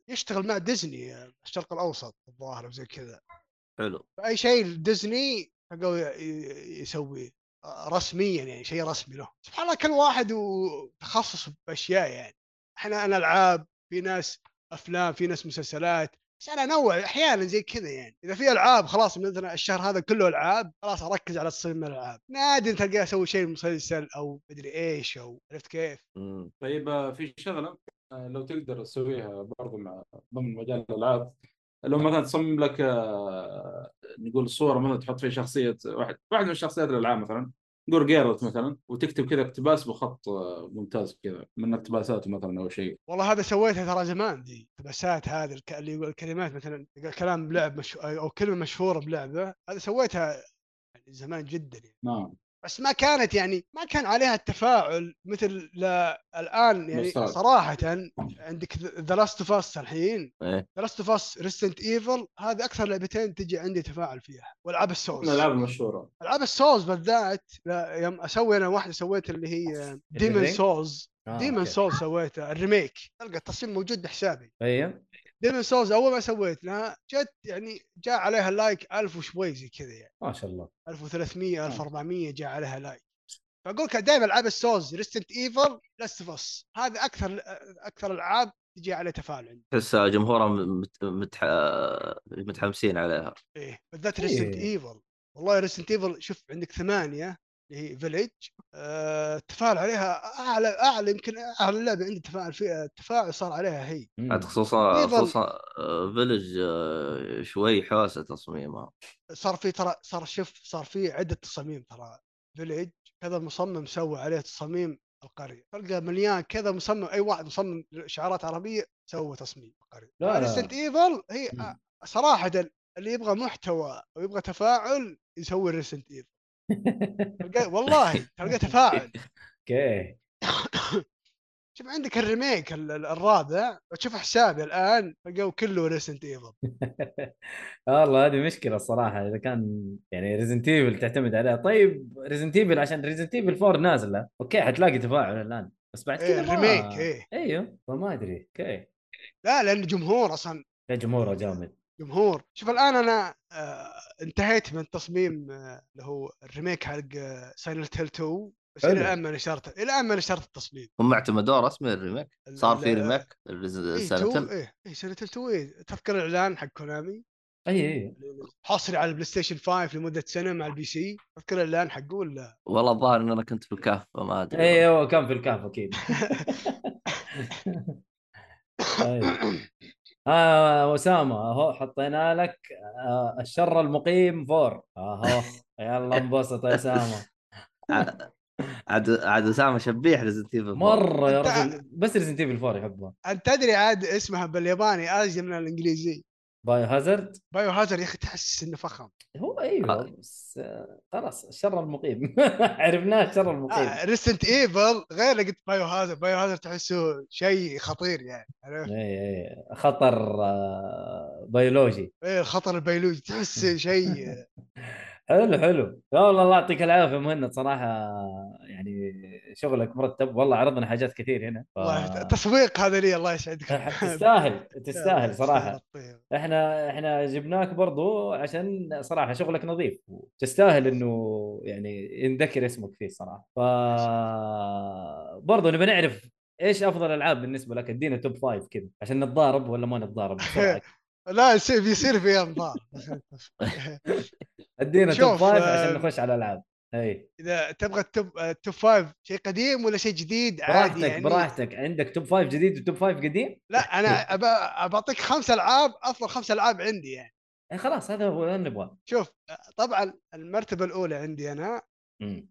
F: يشتغل مع ديزني آه، الشرق الاوسط الظاهر وزي كذا
E: حلو
F: فاي شيء ديزني حقه ي- ي- يسويه آه، رسميا يعني شيء رسمي له سبحان الله كل واحد وتخصص باشياء يعني احنا انا العاب في ناس افلام في ناس مسلسلات عشان انوع احيانا زي كذا يعني اذا في العاب خلاص مثلا الشهر هذا كله العاب خلاص اركز على تصميم الالعاب نادر تلقاه اسوي شيء مسلسل او مدري ايش او عرفت كيف
E: مم.
B: طيب آه، في شغله آه، لو تقدر تسويها برضو مع ضمن مجال الالعاب لو مثلا تصمم لك آه، نقول صوره مثلا تحط فيها شخصيه واحد واحد من شخصيات الالعاب مثلا نقول جيرلت مثلا وتكتب كذا اقتباس بخط آه، ممتاز كذا من اقتباساته مثلا او شيء
F: والله هذا سويتها ترى زمان دي اقتباسات هذه الك... اللي يقول الكلمات مثلا يقول كلام بلعب مش... او كلمه مشهوره بلعبه هذا سويتها يعني زمان جدا يعني.
B: نعم
F: بس ما كانت يعني ما كان عليها التفاعل مثل لا الان يعني
B: مستوى.
F: صراحه عندك ذا لاست اوف اس الحين
E: إيه.
F: ذا لاست اوف اس ريسنت ايفل هذا اكثر لعبتين تجي عندي تفاعل فيها والعاب
B: من
F: السولز
B: الالعاب المشهوره
F: العاب السولز بالذات لا يوم اسوي انا واحده سويت اللي هي ديمون
D: Ring؟
F: سولز
D: آه،
F: ديمون
D: أوكي.
F: سولز سويتها الريميك تلقى التصميم موجود بحسابي
D: ايوه
F: ديمون سولز اول ما سويت لها جت يعني جاء عليها لايك 1000 وشوي زي كذا يعني
D: ما شاء الله آه.
F: 1300 1400 جاء عليها لايك فاقول لك دائما العاب السولز ريستنت ايفل لاست اوف اس هذا اكثر اكثر العاب تجي على تفاعل عندي
E: تحس جمهورها مت... متح... متحمسين عليها
F: ايه بالذات
D: إيه.
F: ريستنت ايفل والله ريستنت ايفل شوف عندك ثمانيه اللي هي فيليج آه، التفاعل عليها اعلى اعلى يمكن اعلى لعبه عندي تفاعل فيها التفاعل صار عليها هي
D: مم.
E: عاد خصوصا
F: يظل.
E: خصوصا آه، فيلج آه، شوي حوسه تصميمها
F: صار في ترى صار شوف صار في عده تصاميم ترى فيليج كذا مصمم سوى عليه تصاميم القريه تلقى مليان كذا مصمم اي واحد مصمم شعارات عربيه سوى تصميم القريه
D: لا، لا.
F: ريستنت ايفل هي
D: مم.
F: آه، صراحه اللي يبغى محتوى ويبغى تفاعل يسوي ريسنت ايفل تلقى- والله
D: [LAUGHS]
F: تلقى تفاعل
D: اوكي
F: شوف عندك الريميك ال- ال- الرابع تشوف حسابي الان تلقاه كله ريسنت ايفل
D: آه، والله هذه مشكله الصراحه اذا كان يعني ريزنت ايفل تعتمد عليها طيب ريزنت ايفل عشان ريزنت ايفل 4 نازله اوكي حتلاقي تفاعل الان بس بعد
F: ايه
D: كذا ما-
F: الريميك ايه
D: ايوه فما ادري اوكي
F: لا لان جمهور اصلا
D: يا جمهوره جامد
F: جمهور شوف الان انا آه انتهيت من تصميم آه، اللي هو الريميك حق آه، سايلنت هيل 2 بس الى
D: حلو.
F: الان ما نشرته الى الان ما نشرت التصميم
E: هم اعتمدوه رسمي الريميك
F: ال-
E: صار
F: ال-
E: في ريميك
F: ايه 2
E: السنه
F: ايه ايه سايلنت هيل 2 ايه تذكر الاعلان حق كونامي
D: اي اي
F: حصري على البلاي ستيشن 5 لمده سنه مع البي سي تذكر الاعلان حقه
E: [COUGHS]
F: ولا
E: والله الظاهر ان انا كنت في الكهف فما ادري
D: اي هو أيوه، كان في الكهف اكيد طيب. آه اسامه اهو حطينا لك آه الشر المقيم فور اهو يلا انبسط يا اسامه
E: عاد- عاد عاد اسامه شبيح ريزنت ايفل
D: مره يا
F: أنت-
D: رجل بس ريزنت ايفل 4 يحبها
F: انت تدري عاد اسمها بالياباني ازيد من الانجليزي
D: بايو هازارد
F: بايو هازارد يا اخي تحس انه فخم
D: هو ايوه
E: آه.
D: بس آه، خلاص الشر المقيم [LAUGHS] عرفناه الشر
E: إيه.
D: المقيم
F: ريسنت ايفل آه، غير لقيت بايو هازارد بايو هازارد تحسه شيء خطير يعني عرفت؟
D: اي اي خطر آه، بيولوجي
F: ايه الخطر البيولوجي تحس
D: [LAUGHS]
F: شيء
D: حلو حلو يا والله الله يعطيك العافيه مهند صراحه يعني شغلك مرتب والله عرضنا حاجات كثير هنا ف...
F: والله
D: [LAUGHS]
F: تسويق هذا لي الله يسعدك
D: تستاهل [LAUGHS] تستاهل صراحه
F: تستاهل.
D: احنا احنا جبناك برضو عشان صراحه شغلك نظيف وتستاهل انه يعني ينذكر اسمك فيه صراحه ف برضو نبي نعرف ايش افضل العاب بالنسبه لك ادينا توب فايف كذا عشان نتضارب ولا ما نتضارب
F: [LAUGHS]
D: بسرعة.
F: لا يصير بيصير في انظار
D: ادينا توب
F: شوف،
D: فايف
F: آه،
D: عشان نخش على إيه، الالعاب اي
F: اذا تبغى التوب التوب فايف شيء قديم ولا شيء جديد عادي
D: براحتك
F: يعني
D: براحتك إيه. عندك توب فايف جديد وتوب فايف قديم
F: لا انا أبا- بعطيك خمس العاب افضل خمس العاب عندي يعني
D: إيه خلاص هذا هو اللي نبغاه
F: شوف طبعا المرتبه الاولى عندي انا
D: مم.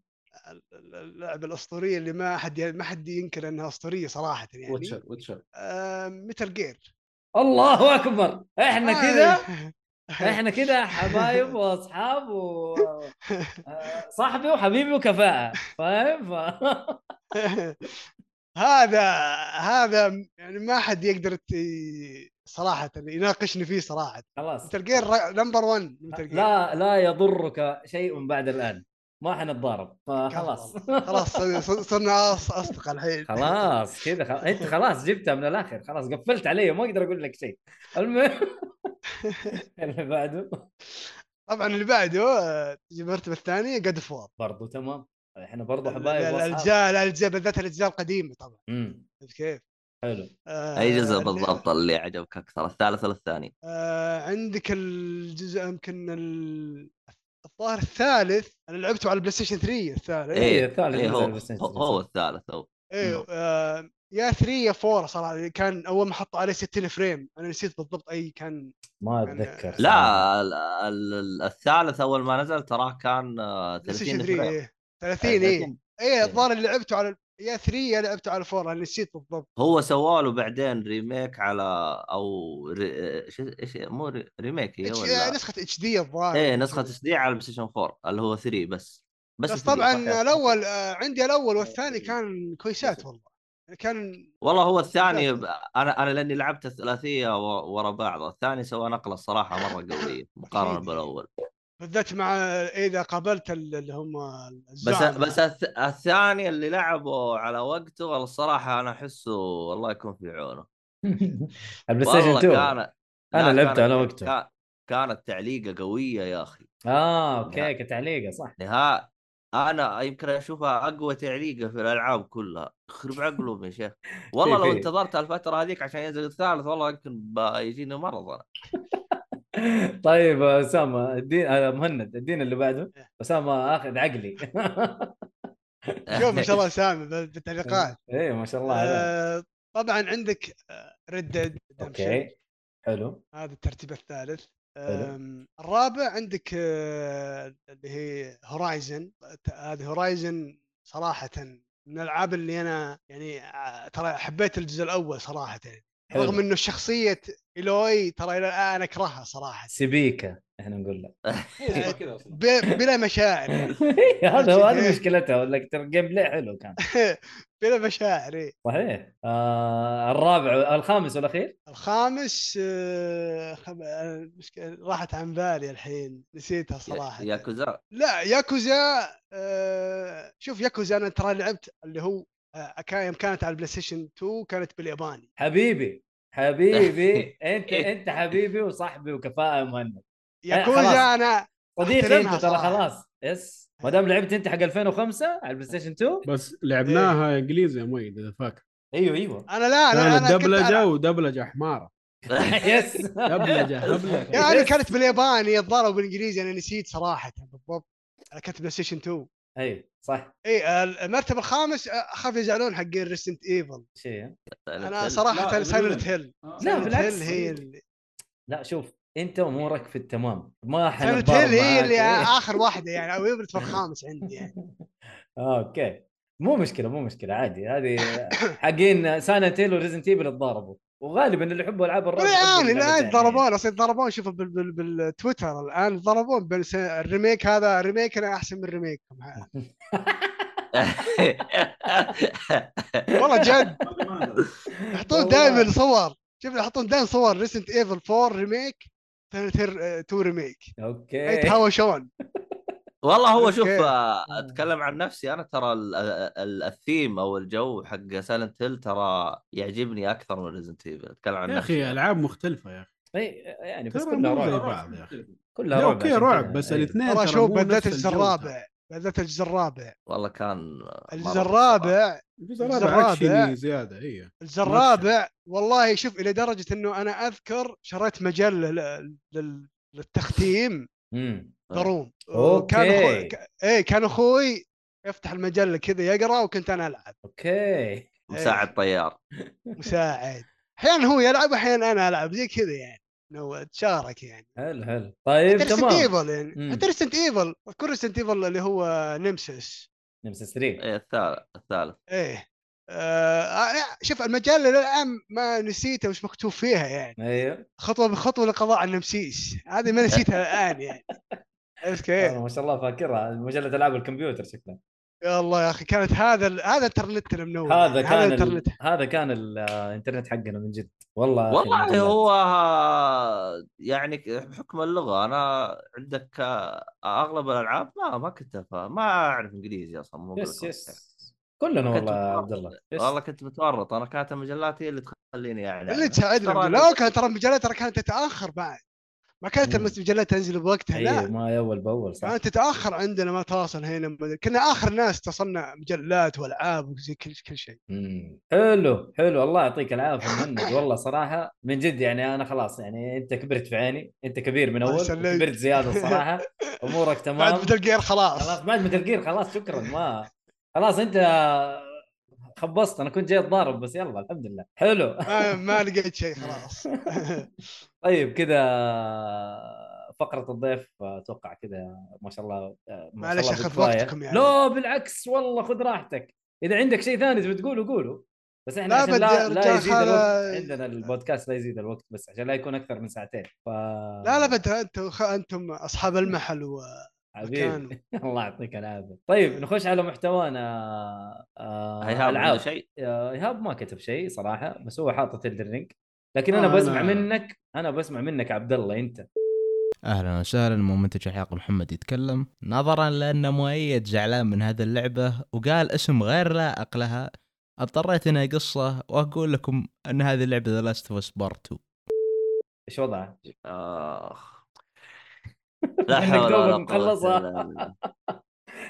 F: اللعبه الاسطوريه اللي ما حد ما حد ينكر انها اسطوريه صراحه يعني آه،
B: ويتشر ويتشر
F: متل جير
D: الله اكبر احنا
F: آه،
D: كذا
F: إيه.
D: احنا كده حبايب واصحاب و آه، صاحبي وحبيبي وكفاءه فاهم ف... [LAUGHS]
F: [LAUGHS] هذا هذا يعني ما حد يقدر ت- صراحه يناقشني فيه صراحه
D: خلاص
F: متل جير نمبر 1 متل جير
D: [LAUGHS] لا لا يضرك شيء بعد الان ما حنتضارب فخلاص
F: [LAUGHS] خلاص ص- صرنا أص- اصدقاء الحين
D: خلاص كذا خلاص. انت خلاص جبتها من الاخر خلاص قفلت علي ما اقدر اقول لك شيء المهم [LAUGHS] اللي بعده
F: طبعا اللي بعده آه، المرتبه الثانيه قد فور
D: برضو تمام احنا برضو حبايب واصحاب
F: الاجزاء الاجزاء بالذات الاجزاء القديمه طبعا
D: مم.
F: عرفت كيف؟
D: حلو
F: آه،
E: اي جزء
F: ال-
E: بالضبط اللي عجبك اكثر الثالث ولا الثاني؟
F: آه، عندك الجزء يمكن ال- الظاهر الثالث انا لعبته على البلاي ستيشن 3 الثالث
D: إيه. الثالث
E: إيه
D: جزء
E: هو,
D: بس
E: هو, هو الثالث هو نعم.
F: ايوه آه، يا 3 يا 4 صراحه كان اول ما حطوا عليه 60 فريم انا نسيت بالضبط اي كان
D: ما اتذكر صراحة.
F: آه.
E: لا ال- ال- ال- الثالث اول ما نزل تراه كان آه،
F: بلاي ستيشن
E: 30
F: 3
E: فريم إيه.
F: إيه. 30 اي اي الظاهر اللي لعبته على يا 3 يا لعبته على 4 انا نسيت بالضبط
E: هو سوى له بعدين ريميك على او ري... شو ايش مو ري... ريميك هي
F: إتش-
E: ولا
F: نسخه اتش دي الظاهر
E: ايه نسخه تشديع على البلاي ستيشن 4 اللي هو 3 بس بس,
F: بس,
E: 3
F: طبعا
E: صحيح.
F: الاول آه، عندي الاول
E: إيه،
F: والثاني كان كويسات والله يعني كان
E: والله هو الثاني ب- انا انا لاني لعبت الثلاثيه و- ورا بعض الثاني سوى نقله الصراحه مره قويه مقارنه
F: أكيد.
E: بالاول
F: بالذات مع اذا قابلت ال- اللي هم
E: بس
F: الزعماء.
E: بس الث- الثاني اللي لعبه على وقته والله الصراحه انا احسه الله يكون في عونه
D: البلاي ستيشن
E: والله
D: 2
E: كان
D: انا
E: لا،
D: لعبته
E: كانت-
D: على وقته
E: كا- كانت تعليقه قويه يا اخي
D: اه اوكي
E: لا.
D: كتعليقه صح
E: نها انا يمكن اشوفها اقوى تعليقه في الالعاب كلها يخرب عقلهم يا شيخ والله لو
D: في-
E: انتظرت الفتره هذيك عشان ينزل الثالث والله يمكن بيجيني مرض انا
D: [LAUGHS] طيب آه، اسامه الدين آه، مهند الدين اللي بعده اسامه اخذ عقلي
F: [LAUGHS]
D: [LAUGHS]
F: شوف
E: [LAUGHS]
F: ما شاء الله سامي بال- بالتعليقات
D: ايه ما شاء الله عليك
F: آه، طبعا عندك آه، ريد ديد
D: اوكي حلو
F: هذا الترتيب الثالث
D: حلو.
F: أم، الرابع عندك آه، اللي هي هورايزن هذه هورايزن صراحة من الالعاب اللي انا يعني آه، ترى حبيت الجزء الاول صراحة
D: حلو.
F: رغم انه شخصية ايلوي ترى الى الان اكرهها صراحة
D: سبيكه احنا نقول [LAUGHS] له
B: هي اسمها كذا اصلا
F: ب- بلا مشاعر
D: هذا هو- هذه مشكلتها ولا ترى الجيم بلاي حلو كان
F: بلا مشاعر إيه.
D: صحيح آه الرابع الخامس والاخير
F: الخامس آه، خم- آه، مشكلة- راحت عن بالي الحين نسيتها صراحة
E: يا كوزا
F: لا ياكوزا آه شوف ياكوزا انا ترى لعبت اللي هو آه كان- يوم كانت على البلاي ستيشن 2 كانت بالياباني
D: حبيبي حبيبي انت انت حبيبي وصاحبي وكفاءه يا مهند خلاص.
F: ياكوزا انا
D: صديقي
F: أحترمها
D: انت ترى
F: صراحة.
D: خلاص يس ما دام لعبت انت حق 2005 على البلاي ستيشن 2
C: بس
D: إيه.
C: لعبناها انجليزي يا مؤيد اذا فاكر
D: ايوه [LAUGHS] ايوه
F: انا لا انا
C: كانت
F: انا كنت
C: دبلجه
F: أنا
C: ودبلجه حماره
D: يس [LAUGHS]
C: دبلجه هبله
F: يعني كانت بالياباني الظاهر بالانجليزي انا نسيت صراحه بالضبط انا كنت بلاي ستيشن 2
D: اي أيوة، صح
F: اي آه، المرتبه الخامس آه، اخاف يزعلون حقين ريسنت ايفل
D: شيء
F: انا صراحه
B: لا،
F: سايلنت
B: Silent
F: هيل
D: لا،
F: سايلنت
D: بالعكس.
F: هيل هي اللي
D: لا شوف انت امورك في التمام ما
F: سايلنت
D: حنبار
F: هيل هي
D: معاك.
F: اللي
D: إيه.
F: اخر واحده يعني او المرتبه الخامس عندي يعني
D: آه، اوكي مو مشكله مو مشكله عادي هذه حقين سانتيل وريزنت ايفل اتضاربوا وغالبا اللي يحبوا العاب الرعب
F: الان
D: يحبوا
F: الان
D: اللعبتين.
F: ضربون اصلا ضربون شوف بال- بال- بالتويتر الان ضربون بين س- الريميك هذا ريميكنا احسن من ريميككم ها. والله جد
B: هذه ما أدري.
F: يحطون
D: والله.
F: دائما صور شوف يحطون دائما صور ريسنت ايفل 4 ريميك تو ريميك
D: اوكي
F: يتهاوشون
E: [LAUGHS] والله هو شوف
F: أوكي.
E: آه، اتكلم عن نفسي انا ترى ال- ال- ال- الثيم او الجو حق سايلنت هيل ترى يعجبني اكثر من ريزنت ايفل اتكلم عن
C: يا
E: نفسي
C: اخي العاب مختلفه يا اخي
D: إي، يعني بس
C: ترى
D: كلها
C: مو زي
D: رعب
C: بعض. بعض يا أخي.
D: كلها
C: لا
D: رعب
C: اوكي
D: عشان
C: رعب
D: كذا. إيه.
C: بس
D: إي.
C: الاثنين
F: ترى
C: ترى
F: شوف
C: مو
F: بدات
C: نفس
F: الجزء
C: الجو ترى.
F: الرابع بدات الجزء الرابع
E: والله كان
F: الجزء الرابع
C: الجزء
F: الجزء
C: الرابع
F: الرابع.
C: اكشن زياده اي
F: الجزء الرابع والله شوف الى درجه انه انا اذكر شريت مجله ل- لل- للتختيم
D: أمم.
F: دروم
D: أوكي.
F: كان اخوي ك- ايه كان اخوي يفتح المجله كذا يقرا وكنت انا العب
D: اوكي
E: مساعد طيار
F: مساعد احيانا هو يلعب واحيانا انا العب زي كذا يعني إنه تشارك يعني
D: حلو حلو طيب
F: حتى ريسنت
D: تمام
F: ايفل
D: مم.
F: يعني حتى ريسنت ايفل كل ريسنت ايفل اللي هو نمسس
D: نمسس 3
E: إيه، الثالث الثالث
F: ايه آه آه، شوف المجله للان ما نسيتها وش مكتوب فيها يعني
D: ايوه
F: خطوه بخطوه لقضاء على النمسيس هذه ما نسيتها الان
D: [LAUGHS]
F: يعني عرفت كيف؟
D: أنا ما شاء الله فاكرها مجله العاب الكمبيوتر شكلها
F: يا الله يا اخي كانت هذا ال- هذا انترنتنا منور
D: هذا
F: يعني
D: كان ال...
F: انترنت
D: هذا كان الانترنت حقنا من جد والله يا أخي
E: والله
D: المجلات.
E: هو يعني بحكم اللغه انا عندك اغلب الالعاب ما ما كنت أفهم- ما اعرف انجليزي اصلا مو
D: يس
E: بالكل.
D: يس كلنا
E: كنت
D: والله يا عبد
E: متورط.
D: الله يس.
E: والله كنت متورط انا كانت المجلات هي اللي تخليني يعني
F: اللي "آه، تساعدنا
E: ترى-
F: لا كان ترى المجلات ترى كانت تتاخر بعد ما
D: مم.
F: كانت المجلات تنزل بوقتها
D: اي
F: لا
D: إيه، ما اول باول صح
F: كانت تتاخر عندنا ما تواصل هنا ما أدري. كنا اخر ناس تصنع مجلات والعاب وزي كل كل شيء
D: مم. حلو حلو الله يعطيك العافيه مهند
F: [COUGHS]
D: والله صراحه من جد يعني انا خلاص يعني انت كبرت في عيني انت كبير من
F: الله
D: اول
F: يسلمك.
D: كبرت زياده
F: [LAUGHS]
D: صراحه امورك
F: بعد
D: تمام
F: متل جير
D: خلاص
F: خلاص
D: بعد متل جير خلاص شكرا ما خلاص انت خبصت انا كنت جاي اتضارب بس يلا الحمد لله حلو
F: ما, ما لقيت شيء
D: [LAUGHS]
F: خلاص
D: طيب كذا فقرة الضيف اتوقع كذا ما شاء الله آه، ما شاء
F: معلش
D: الله
F: أخذ
D: بالكفاية.
F: وقتكم يعني.
D: لا بالعكس والله خذ راحتك اذا عندك شيء ثاني تبي تقوله قوله بس احنا
F: [LAUGHS] لا
D: عشان
F: بدي
D: لا,
F: أرجع
D: لا يزيد
F: خلا-
D: الوقت عندنا البودكاست لا يزيد الوقت بس عشان لا يكون اكثر من ساعتين ف...
F: لا لا بد انتم انتم اصحاب المحل ومكان
D: حبيبي [LAUGHS] الله يعطيك العافيه طيب نخش على محتوانا آه،
E: هيهاب عنده
D: العاب
E: شيء
D: آه، ايهاب ما كتب شيء صراحه بس هو حاطط الدرينج لكن
C: آه،
D: انا
C: أنا-
D: بسمع منك انا بسمع منك عبد الله انت
G: اهلا وسهلا مو منتج الحلقه محمد يتكلم نظرا لان مؤيد زعلان من هذه اللعبه وقال اسم غير لائق لها اضطريت اني قصه واقول لكم ان هذه اللعبه ذا لاست اوف اس بارت 2
D: ايش وضعك؟ [LAUGHS]
E: اخ لا
D: إنك
E: حول ولا
D: دوبك
E: قوة
D: مخلصها.
E: إلا بالله.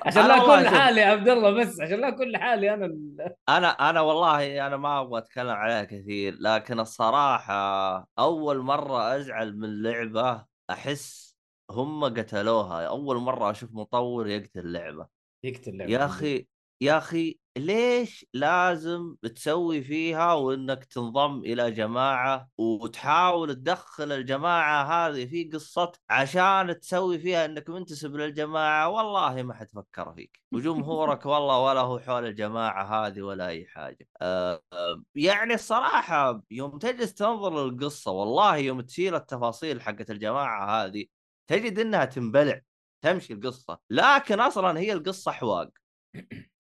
D: عشان
E: أنا
D: لا
E: والله
D: اكون
E: شوف.
D: لحالي يا عبد الله بس عشان لا اكون لحالي انا ال-
E: انا انا والله انا ما ابغى اتكلم عليها كثير لكن الصراحة اول مرة ازعل من لعبة احس هم قتلوها اول مرة اشوف مطور يقتل لعبة
D: يقتل لعبة.
E: يا اخي يا اخي ليش لازم تسوي فيها وانك تنضم الى جماعه وتحاول تدخل الجماعه هذه في قصه عشان تسوي فيها انك منتسب للجماعه والله ما حتفكر فيك وجمهورك والله ولا هو حول الجماعه هذه ولا اي حاجه أه أه، يعني الصراحه يوم تجلس تنظر للقصه والله يوم تشيل التفاصيل حقت الجماعه هذه تجد انها تنبلع تمشي القصه لكن اصلا هي القصه
D: [CLEARS THROAT]
E: حواق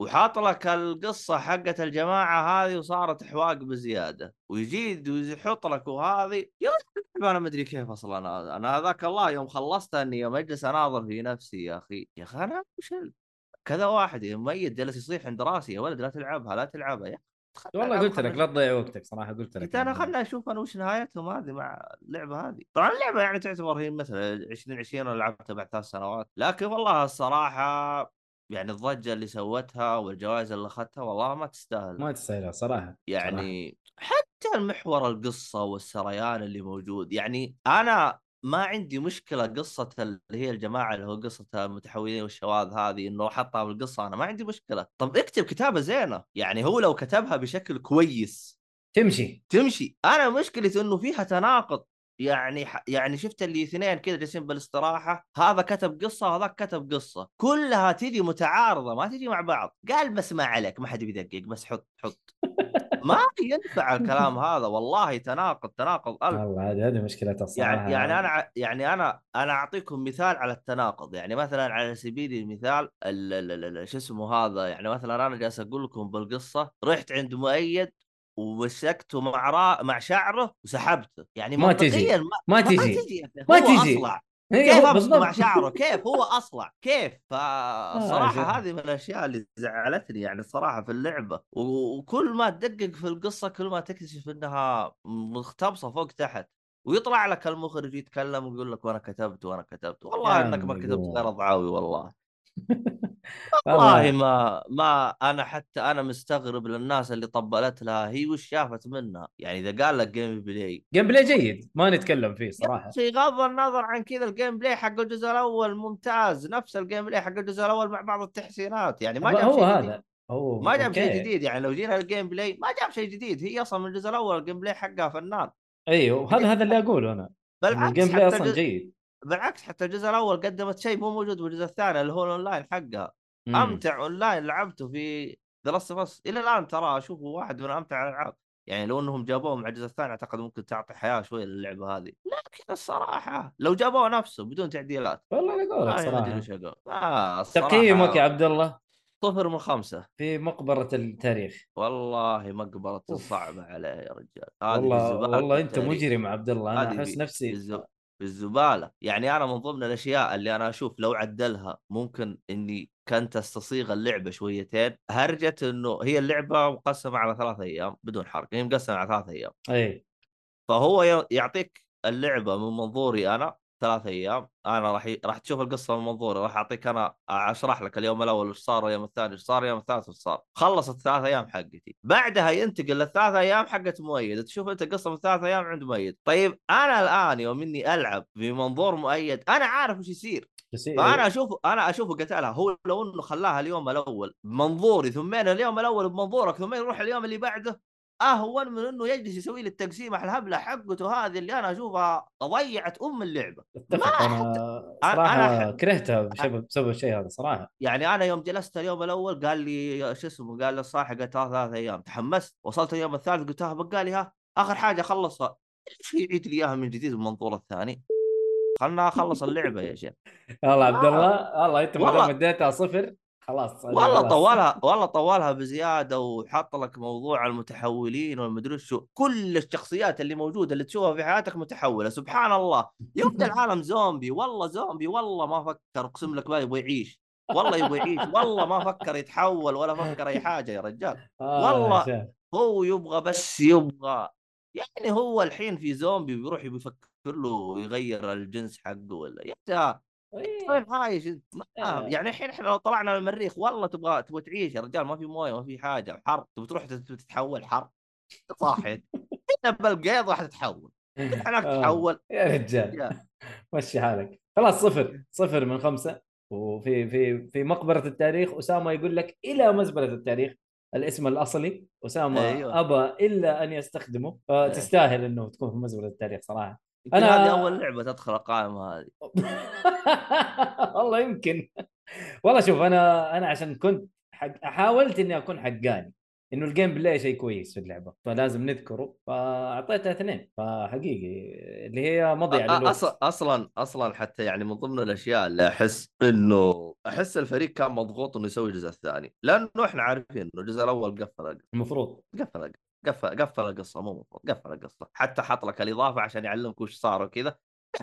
E: وحاط لك القصه حقت الجماعه هذه وصارت حواق بزياده ويجيد ويحط لك وهذه يا أخي انا ما ادري كيف اصلا أنا- انا هذاك الله يوم خلصت اني يوم اجلس اناظر في نفسي يا اخي يا اخي انا وشل كذا واحد ميت جالس يصيح عند راسي يا ولد لا تلعبها لا تلعبها يا أخي خلنا
D: والله
E: ألعب،
D: قلت لك
E: خلنا
D: لا تضيع وقتك صراحه قلت لك يعني.
E: قلت
D: يا
E: انا
D: عبد الله.
E: خلنا اشوف انا وش نهايتهم هذه مع اللعبه هذه، طبعا اللعبه يعني تعتبر هي مثلا 2020 انا لعبتها بعد ثلاث سنوات، لكن والله الصراحه يعني الضجه اللي سوتها والجوائز اللي اخذتها والله ما تستاهل
D: ما تستاهلها صراحه
E: يعني حتى المحور القصه والسريان اللي موجود يعني انا ما عندي مشكله قصه اللي هي الجماعه اللي هو قصه المتحولين والشواذ هذه انه حطها بالقصه انا ما عندي مشكله، طب اكتب كتابه زينه، يعني هو لو كتبها بشكل كويس
D: تمشي
E: تمشي انا مشكلتي انه فيها تناقض يعني ح... يعني شفت اللي اثنين كذا جالسين بالاستراحه هذا كتب قصه وهذاك كتب قصه كلها تجي متعارضه ما تجي مع بعض قال بس ما عليك ما حد بيدقق بس حط حط ما ينفع الكلام هذا والله تناقض تناقض ألف
D: والله هذه هذه مشكلتها الصراحه
E: يعني يعني انا ع- يعني انا انا اعطيكم مثال على التناقض يعني مثلا على سبيل المثال ال- ال- ال- شو اسمه هذا يعني مثلا انا جالس اقول لكم بالقصه رحت عند مؤيد ومسكته مع را... مع شعره وسحبته يعني
D: ما تجي.
E: منطقياً ما,
D: ما
E: ما
D: [LAUGHS] تجي
E: تجي يعني
D: ما
E: هو
D: تجي.
E: اصلع
D: هي
E: كيف
D: إيه، هو
E: امسكه مع
D: بالضبط. [LAUGHS]
E: شعره كيف هو اصلع كيف
D: آه،
E: فالصراحه
D: عجب.
E: هذه من الاشياء اللي زعلتني يعني الصراحه في اللعبه و- وكل ما تدقق في القصه كل ما تكتشف انها مختبصه فوق تحت ويطلع لك المخرج يتكلم ويقول لك وانا كتبت وانا كتبت والله
D: يا
E: انك ما
D: عمي
E: كتبت
D: قول.
E: غير ضعاوي
D: [LAUGHS]
E: والله والله
D: والله
E: ما ما انا حتى انا مستغرب للناس اللي طبلت لها هي وش شافت منها يعني اذا قال لك جيم بلاي
D: جيم بلاي جيد ما نتكلم فيه صراحه
E: في غض النظر عن كذا الجيم بلاي حق الجزء الاول ممتاز نفس الجيم بلاي حق الجزء الاول مع بعض التحسينات يعني ما جاب
D: هو
E: شيء جديد.
D: هذا هو
E: ما جاب شيء
D: أوكي.
E: جديد يعني لو جينا الجيم بلاي ما جاب شيء جديد هي اصلا من الجزء الاول الجيم بلاي حقها فنان
D: ايوه هذا هذا اللي اقوله انا إن
E: بالعكس
D: الجيم بلاي
E: حتى
D: اصلا
E: الجزء
D: جيد
E: بالعكس حتى الجزء الاول قدمت شيء مو موجود بالجزء الثاني اللي هو الاونلاين حقها
D: مم.
E: امتع اونلاين لعبته في ذا لاست بس الى الان ترى اشوفه واحد من امتع الالعاب يعني لو انهم جابوه مع الجزء الثاني اعتقد ممكن تعطي حياه شويه للعبه هذه لكن الصراحه لو جابوه نفسه بدون تعديلات
D: والله انا اقول لك
E: والله ما ادري وش
D: صراحه
E: اقول يعني آه الصراحه
D: تقييمك يا عبد الله
E: صفر من خمسه
D: في مقبره التاريخ
E: والله مقبره
D: أوف.
E: صعبه عليه يا رجال هذه
D: والله
E: بالزبالة
D: والله انت
E: التاريخ.
D: مجرم عبد الله انا
E: هذه
D: احس
E: في-
D: نفسي
E: بالز- بالزباله يعني انا من ضمن الاشياء اللي انا اشوف لو عدلها ممكن اني كانت استصيغ اللعبه شويتين هرجه انه هي اللعبه مقسمه على ثلاث ايام بدون حرق هي مقسمه على ثلاث ايام
D: اي
E: فهو ي- يعطيك اللعبه من منظوري انا ثلاثة ايام انا راح ي... راح تشوف القصه من منظوري راح اعطيك انا اشرح لك اليوم الاول ايش صار اليوم الثاني ايش صار اليوم الثالث ايش صار خلصت الثلاث ايام حقتي بعدها ينتقل للثلاث ايام حقت مؤيد تشوف انت قصه من ثلاث ايام عند مؤيد طيب انا الان يوم اني العب بمنظور مؤيد انا عارف ايش يصير
D: يصير
E: فانا اشوف انا اشوفه قتلها هو لو انه خلاها اليوم الاول بمنظوري ثمين اليوم الاول بمنظورك ثمين يروح اليوم اللي بعده اهون من انه يجلس يسوي لي التقسيمه الهبله حقته هذه اللي انا اشوفها ضيعت ام اللعبه
D: اتفق
E: ما
D: انا
E: أنا-
D: صراحه
E: أنا-
D: كرهتها بسبب بسبب الشيء هذا صراحه
E: يعني انا يوم جلست اليوم الاول قال لي شو اسمه قال لي صاحي قلت له ثلاث ايام تحمست وصلت اليوم الثالث قلت له بقى لي ها اخر حاجه اخلصها ليش يعيد لي اياها من جديد بالمنظور الثاني خلنا اخلص اللعبه يا شيخ
D: يلا عبد الله الله انت ما
E: آه، والله.
D: دام اديتها صفر خلاص
E: والله
D: خلاص.
E: طولها والله طولها بزياده وحط لك موضوع المتحولين والمدري شو كل الشخصيات اللي موجوده اللي تشوفها في حياتك متحوله سبحان الله يبدا العالم زومبي والله زومبي والله ما فكر اقسم لك ما يبغى يعيش والله يبغى يعيش والله ما فكر يتحول ولا فكر اي حاجه يا رجال
D: آه
E: والله.
D: يا شيخ.
E: هو يبغى بس يبغى يعني هو الحين في زومبي بيروح بيفكر له يغير الجنس حقه ولا يا أنت
D: إيه.
E: وين عايش أنت؟ طيب، ما-
D: آه.
E: يعني الحين احنا لو طلعنا للمريخ والله تبغى تبغى تعيش يا رجال ما في مويه ما في حاجه حر تبغى تروح تت- تتحول حر صاحي هنا بالقيض راح تتحول
D: [LAUGHS]
E: هناك
D: آه.
E: تتحول
D: يا رجال
E: يا.
D: مشي حالك خلاص صفر صفر من خمسه وفي في في مقبره التاريخ اسامه يقول لك الى مزبله التاريخ الاسم الاصلي اسامه
E: أيوة.
D: أيوة. ابى الا ان يستخدمه
E: إيه.
D: فتستاهل انه تكون في مزبله التاريخ صراحه
E: يمكن
D: أنا-
E: هذه اول لعبه تدخل القائمه هذه
D: [LAUGHS] والله يمكن والله شوف انا انا عشان كنت حق حاولت اني اكون حقاني انه الجيم بلاي شيء كويس في اللعبه فلازم نذكره فاعطيتها اثنين فحقيقي اللي هي مضيعه
E: أ- أص-
D: للوقت
E: اصلا اصلا حتى يعني من ضمن الاشياء اللي احس انه احس الفريق كان مضغوط انه يسوي الجزء الثاني لانه احنا عارفين انه الجزء الاول قفل
D: المفروض
E: قفل قفل قفل القصه مو مفروض قفل القصه حتى حط لك الاضافه عشان يعلمك وش صار وكذا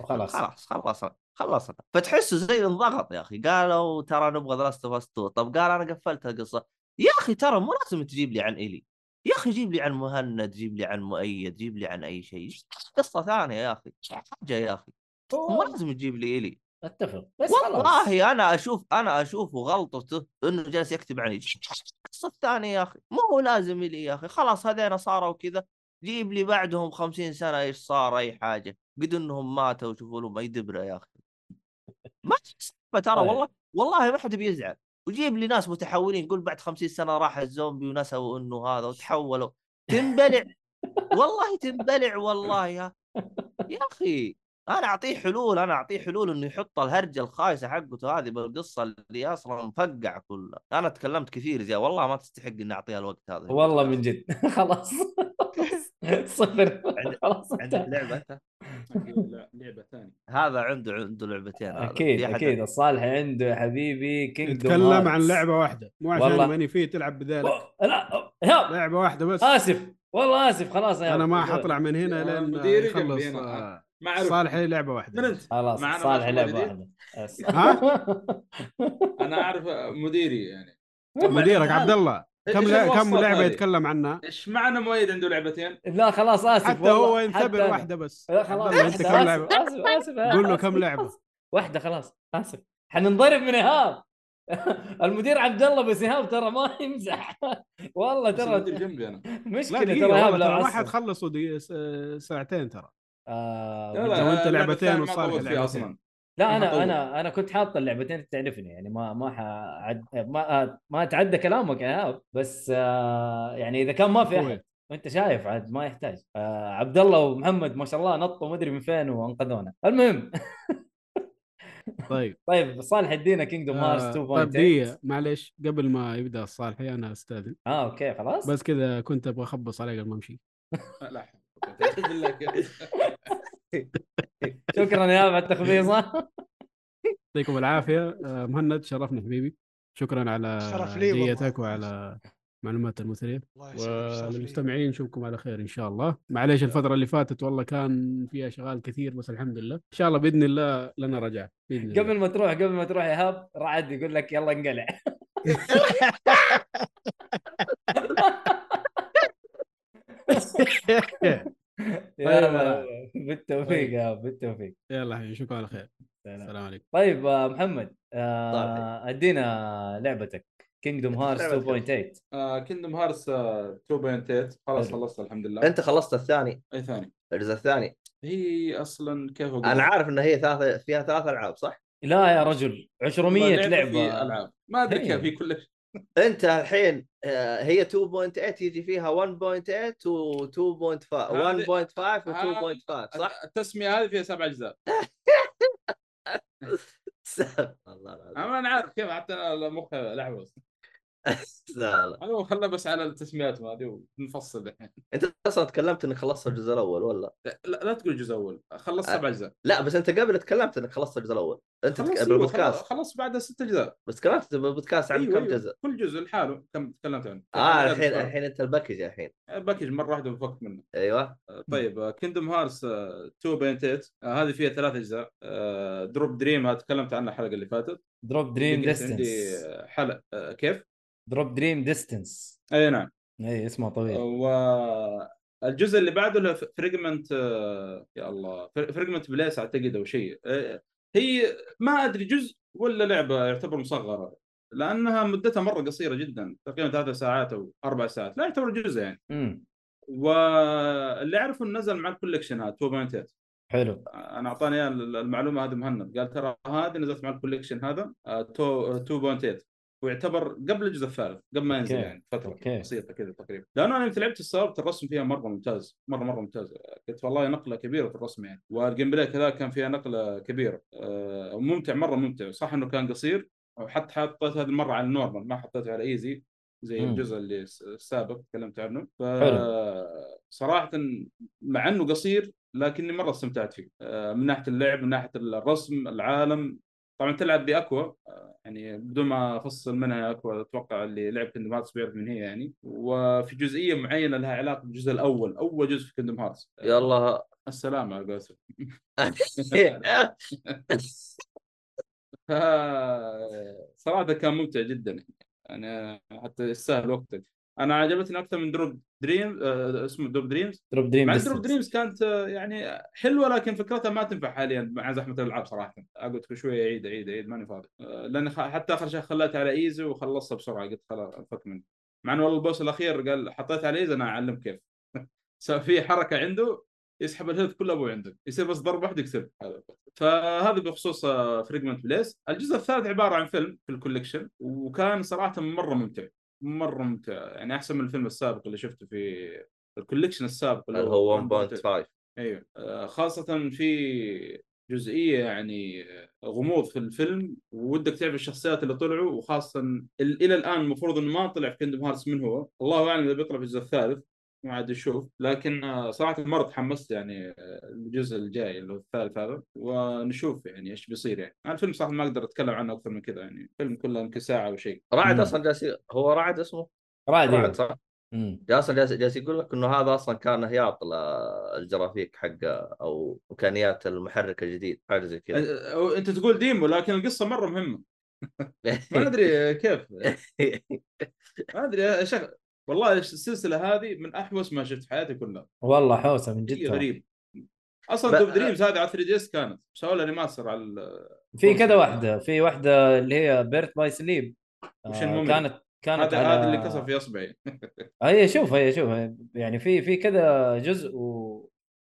D: خلاص
E: خلاص خلصنا خلصنا فتحسه زي انضغط يا اخي قالوا ترى نبغى ذا لاست اوف اس 2 طب قال انا قفلت القصه يا اخي ترى مو لازم تجيب لي عن الي يا اخي جيب لي عن مهند جيب لي عن مؤيد جيب لي عن اي شيء قصه ثانيه يا اخي حاجه يا اخي مو
D: هو-
E: لازم تجيب لي الي
D: اتفق بس خلاص
E: والله انا اشوف انا اشوفه غلطته انه جالس يكتب عن القصه الثانيه يا اخي مو هو لازم لي يا اخي خلاص هذين صاروا كذا جيب لي بعدهم خمسين سنه ايش صار اي حاجه قد انهم ماتوا وشوفوا لهم اي دبره يا اخي ما تحسبها ترى
D: طيب.
E: والله والله ما حد بيزعل وجيب لي ناس متحولين قول بعد خمسين سنه راح الزومبي ونسوا انه هذا وتحولوا تنبلع والله تنبلع والله يا يا اخي انا اعطيه حلول انا اعطيه حلول انه يحط الهرجه الخايسه حقته هذه بالقصه اللي اصلا مفقع كلها انا تكلمت كثير زي والله ما تستحق اني اعطيها الوقت هذا
D: والله من جد [LAUGHS]
E: [LAUGHS]
D: خلاص صفر
E: عند-
D: خلاص انت.
E: عندك لعبه انت
B: لعبه ثانيه
E: هذا عنده عنده لعبتين هذا.
D: اكيد
E: في أحد-
D: اكيد الصالح عنده يا حبيبي كينجدوم
C: نتكلم عن لعبه واحده مو عشان
D: إيه، والله.
C: ماني فيه تلعب بذلك
D: لا أوه، ايهاب
C: لعبه واحده بس
D: اسف والله اسف خلاص يا
C: انا ما
D: إيهاب.
C: حطلع من هنا
B: يا
C: لين
B: مديري
C: يخلص
B: قلبي هنا.
C: آه،
B: ما اعرف
C: صالح لي لعبه
B: من
C: واحده
B: انت؟
D: خلاص
B: معنا
D: صالح
B: ماشي
D: لعبه
B: جديد؟
D: واحده
C: [LAUGHS]
D: بس.
B: انا اعرف مديري يعني
C: مديرك عبد الله كم
B: إيش
C: لا- كم
B: الوسط
C: لعبه
B: هذه؟
C: يتكلم عنها
B: ايش معنى مؤيد عنده لعبتين؟
D: [LAUGHS] لا خلاص اسف
C: حتى
D: والله،
C: هو
D: حتى
C: ينتبه
D: أنا.
C: واحده بس
D: لا خلاص
C: عبد الله، انت
D: آسف،
C: كم لعبه
D: اسف اسف اسف يا
C: قول له
D: آسف،
C: كم لعبه
D: واحده خلاص اسف حننضرب من ايهاب [LAUGHS] المدير عبد الله بس ايهاب ترى ما يمزح [LAUGHS] والله
B: بس المدير
D: ترى [LAUGHS]
B: جنبي انا
C: لا
D: مشكله ترى
C: دقيقه والله
D: ايهاب
C: ترى
D: لو
C: ما
D: عصب.
C: حتخلصوا دقيقة- س- ساعتين ترى
D: آه،
B: لا،
D: بالضبط.
B: لا،
C: وأنت
B: اللعبة
C: لعبتين
B: الثانية ما
C: وصالح
B: طولت فيها
C: لعبتين.
B: اصلا
D: لا
B: مطول.
D: انا انا انا كنت حاط اللعبتين تعرفني يعني ما ما حعد ما ما اتعدى كلامك يا ايهاب بس آه، يعني اذا كان ما في احد
C: كويس.
D: انت شايف عاد ما يحتاج آه، عبد الله ومحمد ما شاء الله نطوا ما ادري من فين وانقذونا المهم [LAUGHS]
C: طيب
D: طيب صالح ادينا كينجدوم
C: آه،
D: هارت
C: طيب
D: 2.8
C: دقيقه معليش قبل ما يبدا الصالحي انا استاذن
D: اه اوكي خلاص [LAUGHS]
C: بس كذا كنت ابغى اخبص عليه قبل ما امشي
B: لا [LAUGHS] أعوذ بالله كيف.
D: شكرا يا أيهاب على
C: [LAUGHS]
D: التخبيص [LAUGHS]
C: يعطيكم العافيه آه، مهند شرفنا حبيبي شكرا على
F: شرف لي والله.
C: جيتك وعلى معلومات المثريه [LAUGHS]
F: الله يسلمك، شرف لي.
C: وللمستمعين نشوفكم على خير ان شاء الله معليش الفتره اللي فاتت والله كان فيها شغال كثير بس الحمد لله ان شاء الله باذن الله لنا رجع باذن الله
D: قبل ما تروح قبل ما تروح يا ايهاب رعد يقول لك يلا انقلع [LAUGHS] يلا
C: طيب. طيب.
D: بت- بالتوفيق يا أب، بالتوفيق
C: يلا حبيبي شكرا على خير
D: سلام.
C: السلام عليكم
D: طيب آه، محمد
C: طيب.
D: آه، ادينا لعبتك كينجدوم هارت 2.8
B: كندم هارس 2.8 آه، خلاص
D: حلو.
B: خلصت الحمد لله
E: انت خلصت الثاني
B: اي ثاني
E: الجزء الثاني
B: هي اصلا كيف اقول
E: انا عارف ان هي ثلاث فيها ثلاث العاب صح؟
D: لا يا رجل 200
B: لعبة في
D: لعبه
B: العاب ما ادري
D: إيه.
B: كيف هي كل شيء
E: انت الحين آه، هي 2.8 يجي فيها 1.8 و 2.5
B: هذه-
E: 1.5 و 2.5 صح؟
B: التسميه هذه فيها سبع اجزاء
E: والله العظيم
B: انا ما عارف كيف حتى أنا مخي لحوس أه؟
E: [LAUGHS] لا لا
B: انا خلنا بس على التسميات ما هذه ونفصل الحين
E: انت اصلا تكلمت انك خلصت
B: أه.
E: الجزء الاول ولا
B: لا, لا تقول جزء اول خلصت
E: آه.
B: سبع اجزاء
E: لا بس انت قبل تكلمت انك خلصت الجزء الاول انت
B: خلصت
E: تك...
B: أيوة، خلص-
E: بالبودكاست
B: خلص بعدها ست اجزاء
E: بس تكلمت بالبودكاست عن
B: أيوة،
E: كم
B: أيوة.
E: جزء
B: كل جزء لحاله كم تكلمت عنه آه،
E: اه الحين الحين انت الباكج الحين
B: باكج مره واحده انفكت منه
E: ايوه
B: طيب كيندوم هارس 2.8 آه، هذه فيها ثلاث آه، اجزاء دروب دريم تكلمت عنها الحلقه اللي فاتت
D: دروب دريم
B: كانت عندي
D: ديستنس
B: حلقه آه، كيف؟
D: دروب دريم ديستنس
B: اي نعم
D: اي إيه، اسمه طويل
B: والجزء اللي بعده له فريجمنت يا الله فريجمنت بليس اعتقد او شيء آه، هي ما ادري جزء ولا لعبه يعتبر مصغره لانها مدتها مره قصيره جدا تقريبا ثلاث ساعات او اربع ساعات لا يعتبر جزء يعني
D: امم
B: واللي اعرفه إنه نزل مع الكوليكشن هذا 2.8
D: حلو
B: انا اعطاني إياه المعلومه هذه مهند قال ترى هذه نزلت مع الكوليكشن هذا آه، تو- آه، 2.8 ويعتبر قبل الجزء الثالث قبل ما ينزل
D: أوكي.
B: يعني فتره
D: أوكي.
B: بسيطه كذا تقريبا لانه انا يوم لعبت السابق الرسم فيها مره ممتاز مره مره ممتاز قلت والله نقله كبيره في الرسم يعني والجيم بلاي كذا كان فيها نقله كبيره آه، ممتع مره ممتع صح انه كان قصير حتى حطيت هذه المره على النورمال ما حطيته على ايزي زي
D: مم.
B: الجزء اللي الس- السابق تكلمت عنه ف
D: حلو.
B: صراحه مع انه قصير لكني مره استمتعت فيه آه، من ناحيه اللعب من ناحيه الرسم العالم طبعا تلعب باكوا آه، يعني بدون ما افصل منها اكوا اتوقع اللي لعب كندم هارتس بيعرف من هي يعني وفي جزئيه معينه لها علاقه بالجزء الاول اول جزء في كندم هارتس [LAUGHS]
E: يلا
B: السلام على قولتهم
E: [LAUGHS]
B: [LAUGHS] ف- صراحه كان ممتع جدا انا حتى يستاهل وقتك انا عجبتني اكثر من دروب دريم آه، اسمه دروب دريمز
D: دروب دريم
B: مع دروب
D: ديستنس
B: دريمز كانت آه، يعني حلوه لكن فكرتها ما تنفع حاليا مع زحمه الالعاب صراحه اقعد كل شويه اعيد اعيد اعيد ماني فاضي آه، لان خ- حتى اخر شيء خليت على ايزي وخلصتها بسرعه قلت خلاص انفك منه مع انه والله البوس الاخير قال حطيت على ايزي انا اعلم كيف [LAUGHS] سوى في حركه عنده يسحب الهيلث كله ابو عندك يصير بس ضربه واحده يكسب فهذا بخصوص فريجمنت بليس الجزء الثالث عباره عن فيلم في الكوليكشن وكان صراحه مره ممتع مره ممتع يعني احسن من الفيلم السابق اللي شفته في الكوليكشن السابق
E: اللي هو
B: 1.5
E: 1.5
B: ايوه آه، خاصة في جزئية يعني آه، غموض في الفيلم ودك تعرف الشخصيات اللي طلعوا وخاصة ال- إلى الآن المفروض إنه ما طلع في كندم هارتس من هو الله أعلم إذا بيطلع في الجزء الثالث ما عاد نشوف لكن آه، صراحة مرة تحمست يعني آه، الجزء الجاي اللي هو الثالث هذا ونشوف يعني إيش بيصير يعني أنا الفيلم صراحة ما أقدر أتكلم عنه أكثر من كذا يعني الفيلم كله يمكن ساعة أو شيء
E: رعد
D: مم.
E: اصلا جالس هو رعد اسمه
D: رعد
E: رعد
D: أيوة.
E: صح
D: أمم.
E: جالس جالس جالس يقول لك انه هذا اصلا كان هياط ل- الجرافيك حقه او امكانيات المحرك الجديد حاجه زي
B: آه،
E: كذا
B: آه، أنت تقول ديمو لكن القصة مرة مهمة
E: إيه.
B: ما أدري كيف ما ادري يا شيخ والله السلسله هذه من احوس ما شفت في حياتي كلها
D: والله حوسه من
B: شيء
D: جد ترى.
B: غريب اصلا
E: ب-
B: دوب دريمز هذه على 3 دي اس كانت سووا لها ريماستر على ال-
D: في كذا واحده في واحده اللي هي بيرت باي سليب
B: وش المهم؟
D: آه، كانت كانت
B: هذا
D: على
B: هذا اللي كسر في اصبعي
D: هي شوف هي شوف هي يعني في في كذا جزء و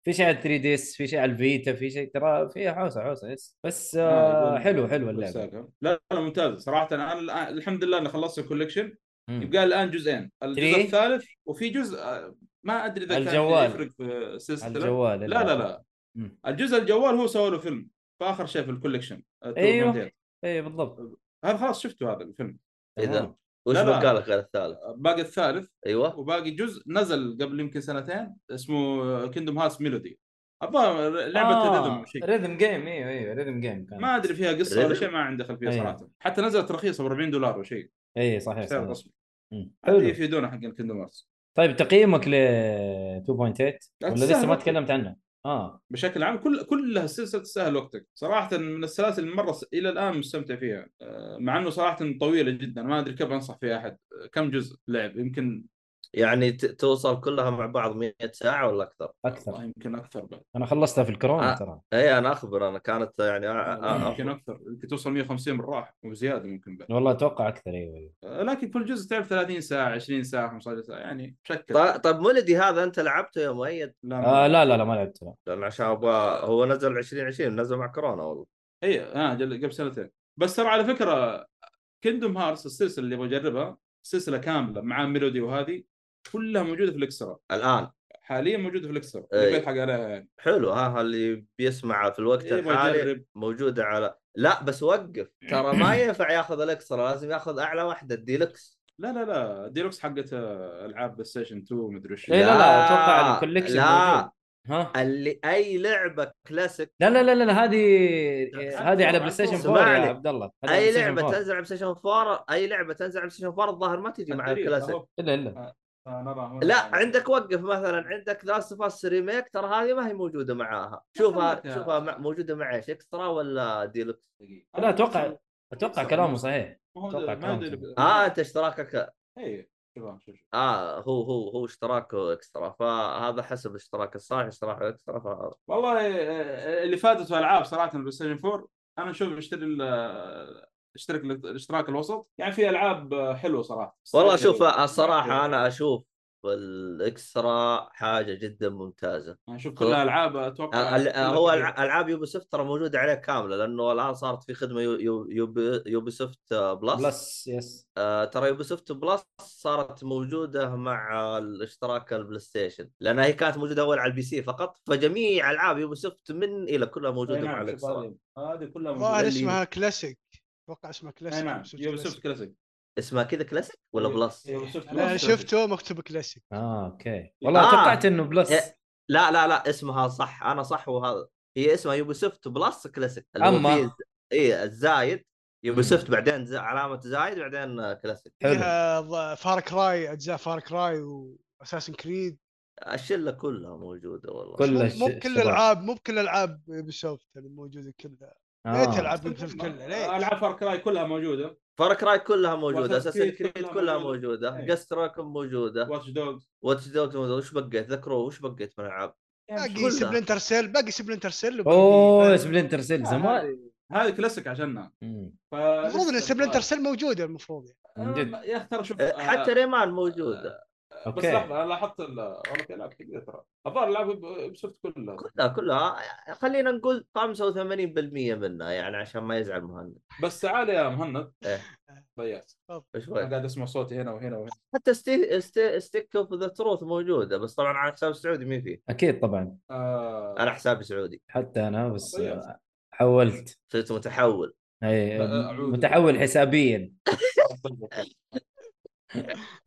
D: في شيء على 3 دي اس في شيء على الفيتا في شيء ترى فيها حوسه حوسه يس بس آه
B: يقول-
D: حلو حلو
B: يقول
D: اللعبه
B: ساقها. لا لا ممتاز صراحه انا الآن- الحمد لله اني خلصت الكوليكشن
D: أمم.
B: يبقى لي الان جزئين الجزء
D: Three.
B: الثالث وفي جزء آه، ما ادري اذا كان
D: الجوال.
B: يفرق في
D: على
B: السلسله
D: الجوال
B: لا لا لا
D: مم.
B: الجزء الجوال هو سوى له فيلم فاخر شيء في الكوليكشن آه،
D: أيوه.
B: 2.8.
D: اي بالضبط
B: هذا خلاص شفته هذا الفيلم
E: إذا.
D: تمام.
E: [LAUGHS] وش
B: لا، لا.
E: بقى لك غير الثالث؟
B: آه، باقي الثالث
E: ايوه
B: وباقي جزء نزل قبل يمكن سنتين اسمه كيندوم هاس ميلودي الظاهر لعبه آه. ريذم شيء
D: ريذم جيم ايوه ايوه ريذم جيم كان
B: ما ادري فيها قصه ولا
E: Rhythm؟
B: شيء ما عندي خلفيه
D: أيه.
B: صراحه حتى نزلت رخيصه ب 40 دولار او شيء
D: اي إيه، صحيح
B: سعر
D: صحيح
B: رسمي
D: مم.
B: حلو
D: حلو
B: يفيدونا حق الكيندوم هارتس
D: طيب تقييمك ل 2.8 ولا لسه ما
B: تستاهل.
D: تكلمت عنه؟ اه
B: بشكل عام كل كلها السلسله تستاهل وقتك صراحه من السلاسل اللي مره س... الى الان مستمتع فيها آه، مع انه صراحه طويله جدا ما ادري كيف انصح فيها احد آه، كم جزء لعب يمكن
E: يعني ت- توصل كلها مع بعض 100 ساعه ولا اكثر
D: اكثر
B: يمكن اكثر بعد
D: انا خلصتها في الكورونا
E: آه.
D: ترى
E: اي انا اخبر انا كانت يعني آ- آ-
B: يمكن اكثر يمكن توصل 150 بالراحه وزياده يمكن بعد
D: والله اتوقع اكثر ايوه
B: لكن كل جزء تعرف 30 ساعه 20 ساعه 15 ساعه يعني شكل
E: طيب- طيب مولدي هذا انت لعبته يا مؤيد
D: آه لا لا لا ما لعبت لا
E: لان عشان ابغى هو نزل 2020 نزل مع كورونا والله
B: اي اه جل- قبل سنتين بس ترى على فكره كيندوم هارتس السلسله اللي بجربها سلسله كامله مع ميلودي وهذه كلها موجوده في الاكسترا
E: الان
B: حاليا موجوده في الاكسترا
E: إيه.
B: اللي بيلحق عليها إيه، يعني
E: حلو ها ها اللي بيسمع في الوقت
D: إيه،
B: يبغى
E: الحالي
B: يجرب
E: موجوده على لا بس وقف ترى
D: [CLEARS THROAT]
E: ما ينفع ياخذ الاكسترا لازم ياخذ اعلى واحده الديلكس
B: لا لا لا ديلوكس حقت آه، العاب بلاي ستيشن 2 مدري ايش
D: إيه، لا، لا، أتوقع الكوليكشن موجود.
E: لا آه.
D: ها
E: اللي اي لعبه كلاسيك
D: لا لا لا لا لا، هذه هذه على
B: عفوا،
D: بلاي ستيشن
E: عفوا.
D: 4 يا
E: اسمعني.
D: عبد الله هذه على
E: اي
D: بلاي ستيشن
E: لعبه
D: 4.
E: تنزل على بلايستيشن 4 اي لعبه تنزل على بلايستيشن 4 الظاهر ما تجي مع الكلاسيك
D: الا الا
B: آه،
E: لا عندك وقف مثلا عندك لاست اوف اس ريميك ترى هذه ما هي موجوده معاها شوفها
B: خلك يا-
E: شوفها مع- موجوده مع ايش اكسترا ولا ديلكس
D: لا
B: آه،
D: اتوقع اتوقع كلامه صحيح أتوقع كلامه
E: اه
D: آه.
E: انت اشتراكك
B: اي إيه، شوف شوف
E: اه هو هو هو اشتراكه اكسترا فهذا حسب اشتراك الصالح اشتراك اكسترا فهذا
B: والله آه، اللي فاتت العاب صراحه البلاي ستيشن 4 انا اشوف اشتري ال- اشترك ال- الاشتراك الوسط يعني في العاب آه، حلوه صراحه
E: والله شوف آه، الصراحه انا اشوف الاكسترا حاجه جدا ممتازه
B: انا اشوف كلها العاب اتوقع
E: آه، ال- هو الع- العاب يوبي سوفت ترى موجوده عليه كامله لانه الان صارت في خدمه يو- يو- يوبي يوبي سوفت آه، بلس
D: بلس يس
E: آه، ترى يوبي سوفت بلس صارت موجوده مع آه، الاشتراك البلاي ستيشن لانها هي كانت موجوده اول على البي سي فقط فجميع العاب يوبي سوفت من الى كلها موجوده مع الاكسترا
B: نعم، هذه هذه كلها موجودة.
F: ظاهر
B: اللي-
F: اسمها كلاسيك اتوقع اسمها
B: اي
F: كلاسيك
B: نعم يوبي سوفت كلاسيك
E: اسمها كذا كلاسيك ولا
B: إيه،
E: بلس؟
B: يوبي سوفت
F: انا
B: بلس.
F: شفته مكتوب كلاسيك
D: اه اوكي والله
E: آه.
D: توقعت انه بلس
E: إيه. لا لا لا اسمها صح انا صح وهذا هي اسمها يوبي سوفت بلس كلاسيك
D: أما.
E: اي إيه، الزايد يوبي
D: مم.
E: سوفت بعدين ز- علامه زايد بعدين آه، كلاسيك
D: حلو
F: فيها ظ- فار كراي اجزاء فار كراي واساسن كريد
E: الشله كلها موجوده والله
D: كل-
F: مو
D: الش-
F: مو بكل
D: الشباب.
F: الالعاب مو بكل الالعاب بسوفت يعني موجوده كلها ليه
D: آه.
F: تلعب مثل الكل ليه؟
B: العاب فار كراي كلها موجوده
E: فرق راي كلها موجوده
B: وأساس
E: اساسن
B: كريد
E: كريد
B: كلها
E: كلها
B: موجودة.
E: موجوده
B: إيه.
E: جاست راكم موجوده
B: واتش دوجز
E: واتش دوجز وش بقيت ذكروا وش بقيت من العاب
F: باقي
B: يعني
E: كلها.
F: سبلنتر سيل باقي سبلنتر سيل وباقي- آه،
D: اوه سبلنتر سيل زمان
B: هذه كلاسيك عشاننا
D: مم.
F: المفروض ان سبلنتر سيل موجوده المفروض يعني
D: من جد
B: آه،
D: آه،
B: يا اخي ترى شوف
E: أه، حتى ريمان
B: آه،
E: موجوده
B: بس
D: أوكي.
B: لحظه انا لاحظت ال- والله في العاب كثير ترى الظاهر العاب يوبي سوفت كلها
E: كلها كلها آه، خلينا نقول 85% منها يعني عشان ما يزعل مهند
B: بس تعال يا مهند
E: إيه. طيب.
B: ضيعت
E: شوي
B: انا قاعد اسمع صوتي هنا وهنا وهنا
E: حتى ستي... ستي... ستيك اوف ذا تروث موجوده بس طبعا على حساب السعودي ما فيه
D: اكيد طبعا
B: آه،
E: على حساب سعودي
D: حتى انا بس
B: طيب.
D: آه، حولت
E: صرت متحول
D: اي
B: لا، أعوذ.
D: متحول حسابيا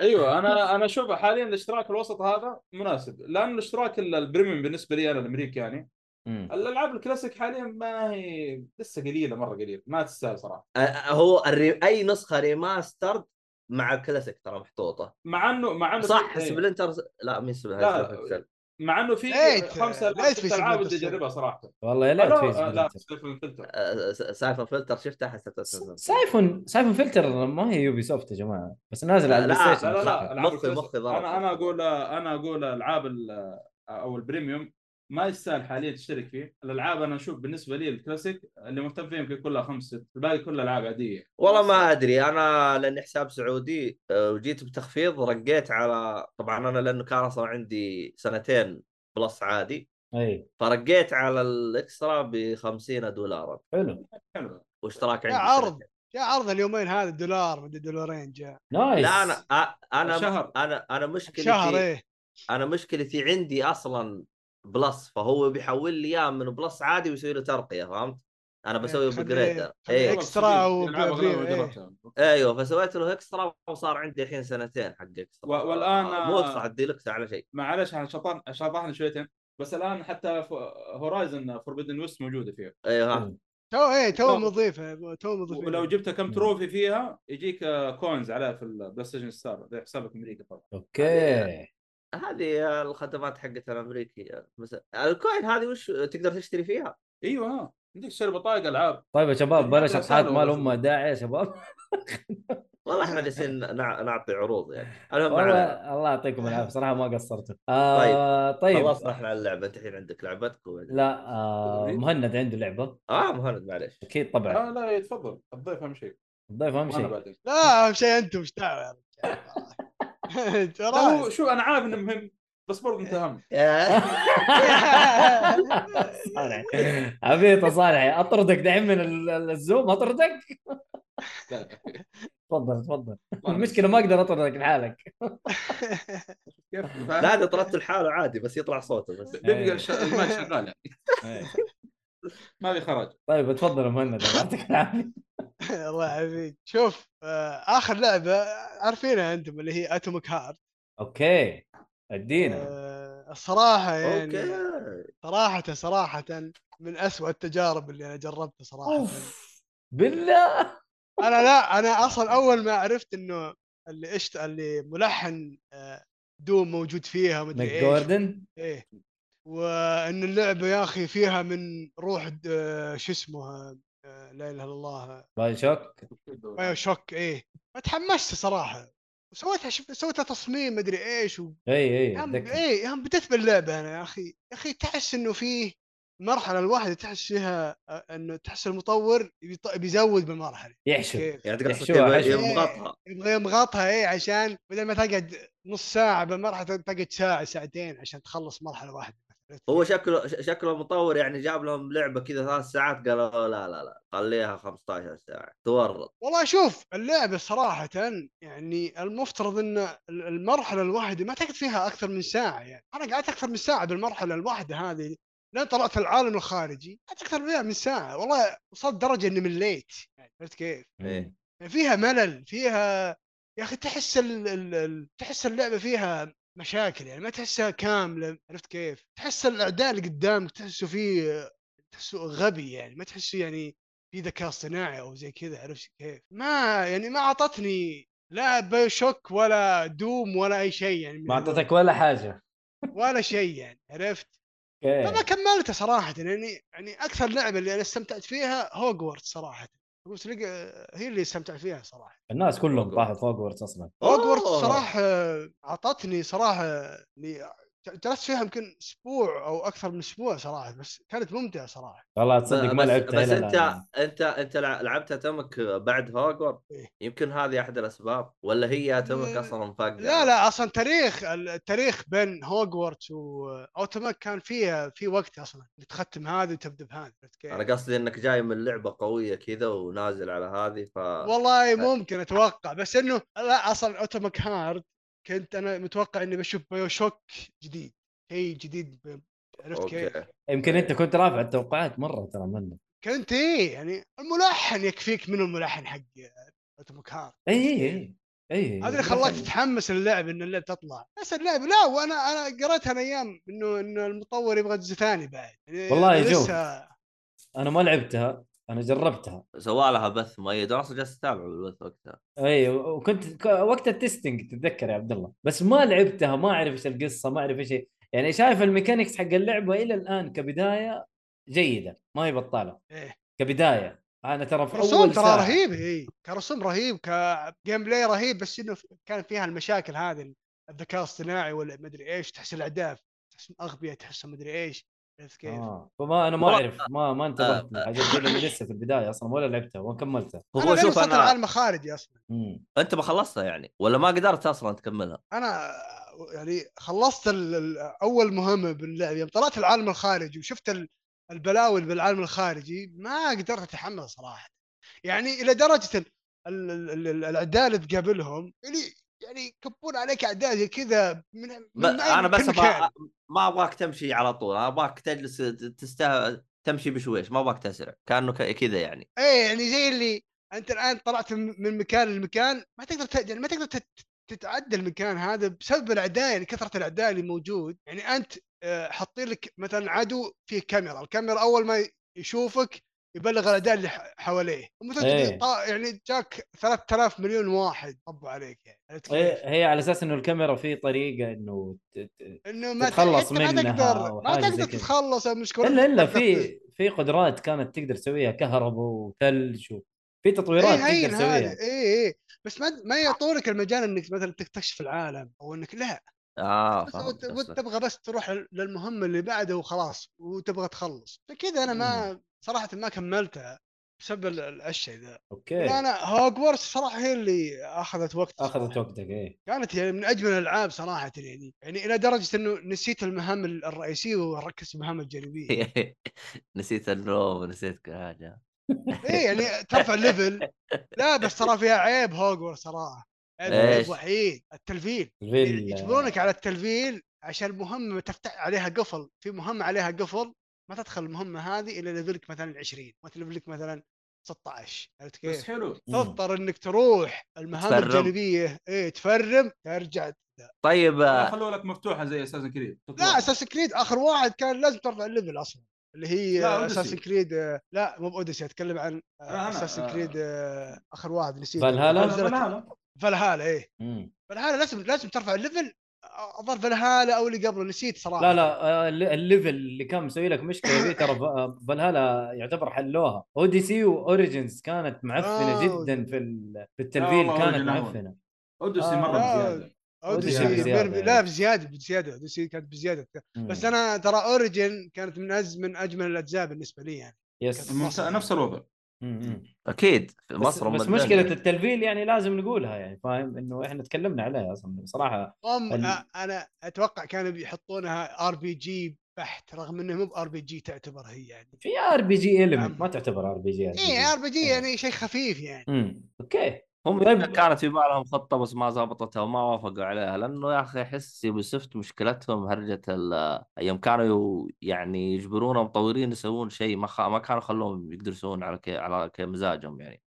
B: ايوه انا انا اشوف حاليا الاشتراك الوسط هذا مناسب لان الاشتراك ال- البريميوم بالنسبه لي انا الامريكي يعني
D: مم.
B: الالعاب الكلاسيك حاليا ما هي لسه قليله مره قليله ما تستاهل صراحه
E: أه، هو الري... اي نسخه ريماسترد مع الكلاسيك ترى محطوطه
B: مع انه مع انه
E: صح
B: إيه.
E: سبلنتر لا مين
B: لا،
E: سبلنتر
B: مع انه في
F: ليت-
B: خمسه
F: ليت في
B: ست العاب
F: سبلنتر
B: بدي
F: سيل.
B: اجربها صراحه
D: والله يا
B: لا
D: ليت في
B: لا آه، لا
D: سبلنتر
B: سيفن فلتر
E: سايفر فلتر شفتها حسبتها
D: س-
E: سايفر
D: سايفون سايفون فلتر ما هي يوبي سوفت يا جماعه بس نازل على
E: لا،
D: البلاي
E: لا،
D: ستيشن
B: لا لا
E: صح.
B: لا ألعاب
E: مخي-
B: الكلاسيك.
E: مخي ضرب.
B: انا انا اقول انا اقول العاب ال- او البريميوم ما يستاهل حاليا تشترك فيه الالعاب انا اشوف بالنسبه لي الكلاسيك اللي مهتم فيها يمكن كلها خمس ست الباقي كلها العاب عاديه
E: والله ما ادري انا لاني حساب سعودي آه، وجيت بتخفيض رقيت على طبعا انا لانه كان اصلا عندي سنتين بلس عادي
D: اي
E: فرقيت على الاكسترا ب 50 دولارا
D: حلو
B: حلوه
E: واشتراك
F: يا
E: عندي
F: عرض.
E: سنتين.
F: جاء عرض اليومين هذا دولار مدري دولارين جاء
D: نايس
E: لا انا أ- انا
B: شهر
E: انا انا
F: شهر
E: مشكلتي
F: ايه
E: انا مشكلتي عندي اصلا بلس فهو بيحول لي اياه من بلس عادي ويسوي له ترقيه فهمت؟ انا بسوي
F: إيه، خليه-
E: بجريدر
F: خليه
E: ايه
F: إكسترا و-
B: الألعاب أغلبها
F: إيه.
B: جربتها.
E: ايوه فسويت له اكسترا وصار عندي الحين سنتين حق اكسترا
B: و- والآن-
F: آه،
E: مو اكسترا الديلكس على شيء
B: معلش انا شطان شطحنا شويتين بس الان حتى هورايزن فوربيدن ويست موجوده فيها
E: ايوه ها.
D: مم.
F: تو ايه تو
B: لا.
F: مضيفه تو مضيفه
B: ولو جبت كم
D: مم.
B: تروفي فيها يجيك آه، كوينز عليها في البلاي ستيشن ستار زي حسابك امريكي طبعا
D: اوكي
E: هذه الخدمات حقت الامريكيه مثلا الكوين هذه وش تقدر تشتري فيها؟
B: ايوه ها عندك تشتري بطايق العاب
D: طيب يا شباب
B: ما
D: بلاش
B: تبغى
D: ابحاث
B: سهلة [LAUGHS]
D: ما
B: ولا
D: لهم داعي يا شباب
E: والله احنا جالسين نع- نعطي عروض يعني المهم معنا-
D: آه. والله الله يعطيكم
B: [LAUGHS]
D: العافيه صراحه ما قصرتوا آه طيب,
E: خلصنا احنا على اللعبه انت الحين عندك لعبتك و...
D: لا آه مهند عنده لعبه
E: اه مهند
D: [LAUGHS]
E: معليش
D: اكيد طبعا
B: آه لا تفضل الضيف اهم شيء
D: الضيف اهم
B: وانا
D: شيء
B: بعدين
F: لا اهم شيء انتم ايش دعوه يا رجال [LAUGHS]
B: لا، هو شو انا عارف انه مهم بس برضه انت اهم
D: [LAUGHS] [LAUGHS] صالح عبيط يا صالح اطردك دحين من ال- ال- الزوم اطردك
B: لا،
D: تفضل تفضل
B: والله.
D: المشكله ما اقدر اطردك لحالك
F: [LAUGHS]
B: كيف؟
E: لا اذا طردت لحاله عادي بس يطلع صوته بس
B: بيبقى الش- المايك شغال يعني ما في خرج
D: طيب تفضل يا مهند الله يعطيك العافيه
F: [LAUGHS] الله يعافيك شوف آه، اخر لعبه عارفينها انتم اللي هي اتوميك هارت
D: اوكي ادينا
F: آه، الصراحه يعني
E: اوكي
F: صراحه صراحه من أسوأ التجارب اللي انا جربتها صراحه
D: اوف بالله
F: انا لا انا اصلا اول ما عرفت انه اللي اشت اللي ملحن آه، دوم موجود فيها مدري
D: ماك
F: ايش
D: جوردن
F: ايه وان اللعبه يا اخي فيها من روح د- آه، شو اسمه آه، لا اله الا الله
D: باي شوك
F: بايو شوك ايه فتحمست صراحه وسويتها شف... سويتها تصميم مدري ايش و...
D: اي اي
F: هم...
D: أتذكر.
F: ايه هم بديت باللعبه انا يا اخي يا اخي تحس انه فيه مرحله الواحد تحس فيها آه، انه تحس المطور بيط... بيزود بالمرحله
D: يحشو
F: كيف
E: يعني تقصد
D: يحشوها
E: يبغى-
D: حشو.
E: يبغى مغطها
F: يبغى يضغطها ايه عشان بدل ما تقعد نص ساعه بالمرحله تقعد ساعه ساعتين عشان تخلص مرحله واحده
E: هو شكله ش- شكله المطور يعني جاب لهم لعبه كذا ثلاث ساعات قالوا لا لا لا خليها 15 ساعه تورط
F: والله شوف اللعبة صراحة يعني المفترض ان ال- المرحلة الواحدة ما تقعد فيها اكثر من ساعة يعني انا قعدت اكثر من ساعة بالمرحلة الواحدة هذه لين طلعت العالم الخارجي قعدت اكثر فيها من ساعة والله وصلت درجة اني مليت يعني عرفت كيف؟
E: إيه.
F: يعني فيها ملل فيها يا اخي تحس ال... ال... ال... تحس اللعبة فيها مشاكل يعني ما تحسها كاملة عرفت كيف؟ تحس الاعداء اللي قدامك تحسه فيه تحسه غبي يعني ما تحسه يعني في ذكاء صناعي او زي كذا عرفت كيف؟ ما يعني ما اعطتني لا بايو شوك ولا دوم ولا اي شيء يعني من
D: ما
F: هذول.
D: اعطتك ولا حاجه
F: ولا شيء يعني عرفت؟ فما
D: اوكي
F: كملته صراحه يعني يعني اكثر لعبه اللي انا استمتعت فيها هوجورت صراحه قلت لك هي اللي استمتعت فيها صراحه
D: الناس كلهم طاحوا فوق ورتس اصلا
F: هوجورت
E: أوه.
F: صراحه اعطتني صراحه يعني جلست فيها يمكن اسبوع او اكثر من اسبوع صراحه بس كانت ممتعه صراحه
D: والله
E: ب-
D: تصدق ما
E: بس-
D: لعبتها
E: بس
D: إلى الآن.
E: انت انت انت لع- لعبتها تمك بعد هوجورد
F: إيه.
E: يمكن هذه احد الاسباب ولا هي تمك يعني؟
F: لا-
E: اصلا مفقعه
F: لا لا اصلا تاريخ التاريخ بين هوجورتس واوتوماك كان فيها في وقت اصلا اللي تختم هذه وتبدا بهذه عرفت كيف؟
E: انا قصدي انك جاي من لعبه قويه كذا ونازل على هذه ف
F: والله ممكن اتوقع بس انه لا اصلا اوتوماك هارد كنت انا متوقع اني بشوف بايو شوك جديد شيء جديد ب- عرفت كيف؟
E: اوكي
D: يمكن انت كنت رافع التوقعات مره ترى منه
F: كنت ايه يعني الملحن يكفيك من الملحن حق اوتوماك هارد
D: اي اي اي اي
F: هذا اللي خلاك تتحمس للعب ان اللعب تطلع بس اللعب لا وانا انا قريتها انا ايام انه انه المطور يبغى جزء ثاني بعد يعني
D: والله
F: أنا
D: شوف.
F: لسه-
D: انا ما لعبتها انا جربتها
E: سوى لها بث مؤيد انا اصلا جالس اتابع البث وقتها
D: اي وكنت ك- وقت التستنج تتذكر يا عبد الله بس ما لعبتها ما اعرف ايش القصه ما اعرف ايش يعني شايف الميكانكس حق اللعبه الى الان كبدايه جيده ما هي بطاله
F: إيه.
D: كبدايه انا ترى في
F: رسوم
D: اول
F: ترى
D: ساعه
F: رهيب اي كرسوم رهيب كجيم بلاي رهيب بس انه كان فيها المشاكل هذه الذكاء الاصطناعي ولا مدري ايش تحس الاعداء تحسهم اغبياء تحسهم مدري ايش عرفت كيف؟
D: آه. فما انا ما
E: والله-
D: اعرف ما ما انتبهت الحاجات دي لأني لسه في البدايه اصلا ولا لعبتها وما كملتها
E: هو
F: انا شوف
E: شوف
F: وصلت
E: انا
F: العالم الخارجي اصلا
D: مم.
E: انت ما خلصتها يعني ولا ما قدرت اصلا تكملها
F: انا يعني خلصت ال- ال- اول مهمه باللعب يوم طلعت العالم الخارجي وشفت ال- البلاوي اللي بالعالم الخارجي ما قدرت اتحمل صراحه يعني الى درجه ال- ال- ال- ال- الاعداء اللي تقابلهم يعني يعني يكبون عليك اعداء زي كذا من,
E: ب...
F: من أي-
E: انا بس
F: كل
E: أبغى...
F: مكان.
E: ما ابغاك تمشي على طول انا ابغاك تجلس تسته... تمشي بشويش ما ابغاك تسرع كانه ك... كذا يعني
F: ايه يعني زي اللي انت الان طلعت من من مكان لمكان ما تقدر ت... يعني ما تقدر تت... تتعدى المكان هذا بسبب الاعداء يعني كثره الاعداء اللي موجود يعني انت آه، حاطين لك مثلا عدو فيه كاميرا الكاميرا اول ما يشوفك يبلغ الاعداء اللي ح- حواليه مثلا
D: إيه.
F: طا... يعني جاك 3000 مليون واحد طبوا عليك يعني عرفت كيف؟
D: هي هي على اساس انه الكاميرا في طريقه انه ت- ت-
F: انه ما ت-
D: تتخلص
F: حتى ما
D: منها
F: تقدر
D: أو
F: ما
D: حاجة زي
F: تقدر
D: كذا.
F: تتخلص المشكله
D: الا الا
F: تقدر [LAUGHS]
D: في في قدرات كانت تقدر تسويها كهرباء وثلج و... في تطويرات
F: اي هين
D: تقدر تسويها
F: هذا اي اي إيه، بس ما ما يعطونك المجال انك مثلا تكتشف العالم او انك لا
E: اه
F: بس
E: فهمت
F: وت- وت-
E: قصدك.
F: تبغى بس تروح لل- للمهمه اللي بعده وخلاص وتبغى تخلص فكذا انا ما صراحه ما كملتها بسبب ال- ال- الشيء ذا
D: اوكي
F: لا انا هوجورتس صراحه هي اللي اخذت وقت
D: اخذت وقتك ايه
F: كانت يعني من اجمل الالعاب صراحه يعني يعني الى درجه انه نسيت المهام ال- الرئيسيه وركزت المهام الجانبيه
E: [LAUGHS] نسيت النوم ونسيت كل حاجه
F: ايه يعني ترفع الليفل لا بس ترى فيها عيب هوجورتس صراحه عيب-
E: إيش؟
F: عيب وحيد التلفيل
D: فيل-
F: يجبرونك على التلفيل عشان مهمة تفتح عليها قفل في مهمة عليها قفل ما تدخل المهمة هذه إلا ليفلك مثلا 20 وانت ليفلك مثلا 16 عرفت
B: بس
F: كيف؟
B: حلو
F: تضطر انك تروح المهام
E: تفرم.
F: الجانبية ايه تفرم ترجع
E: طيب
B: لا،
E: آه،
B: خلوها لك مفتوحه زي اساسن كريد
F: لا اساس كريد اخر واحد كان لازم ترفع الليفل اصلا اللي هي
B: لا، أوديسي.
F: اساس كريد لا مو باوديسي اتكلم عن
B: أنا-
F: اساس
B: آه.
F: كريد اخر واحد نسيت
D: فالهالا؟
F: نزلت- فالهالا ايه
D: مم.
F: فالهالا لازم لازم ترفع الليفل اظن فالهالا او اللي قبله نسيت صراحة
D: لا لا آه، الل- الليفل اللي كان مسوي لك
F: [LAUGHS]
D: مشكله دي ترى ف- فالهالا يعتبر حلوها اوديسي واوريجنز كانت معفنه
F: آه،
D: جدا في ال- في التلفيل
B: والله
D: كانت
B: Origin أول.
D: معفنه
B: اوديسي
D: آه.
B: مره
F: آه.
B: بزياده أوديسي
F: اوديسي بزيادة
D: بزيادة،
F: لا
D: إيه.
F: بزياده بزياده اوديسي كانت بزياده
D: مم.
F: بس انا ترى اوريجن كانت من أز من اجمل الاجزاء بالنسبه لي يعني
D: يس
B: ممس- نفس الوضع
D: مم، مم.
E: اكيد في
D: بس,
E: مصر أم
D: بس
E: الدنيا.
D: مشكله التلفيل يعني لازم نقولها يعني فاهم انه احنا تكلمنا عليها اصلا صراحه
F: هم
D: ال-
F: أ- انا اتوقع كانوا بيحطونها ار بي جي بحت رغم انه مو ار بي جي تعتبر هي يعني
D: في ار بي جي
F: نعم.
D: ايلمنت ما تعتبر ار بي جي
F: اي ار بي جي يعني شيء خفيف يعني
D: اوكي
E: هم
D: طيب.
E: يمكن كانت في بالهم خطه بس ما زبطتها وما وافقوا عليها لانه يا اخي احس يوبيسوفت مشكلتهم هرجه ال- آه، يوم كانوا يو- يعني يجبرون المطورين يسوون شيء ما خ... ما كانوا خلوهم يقدروا يسوون على ك... على كمزاجهم يعني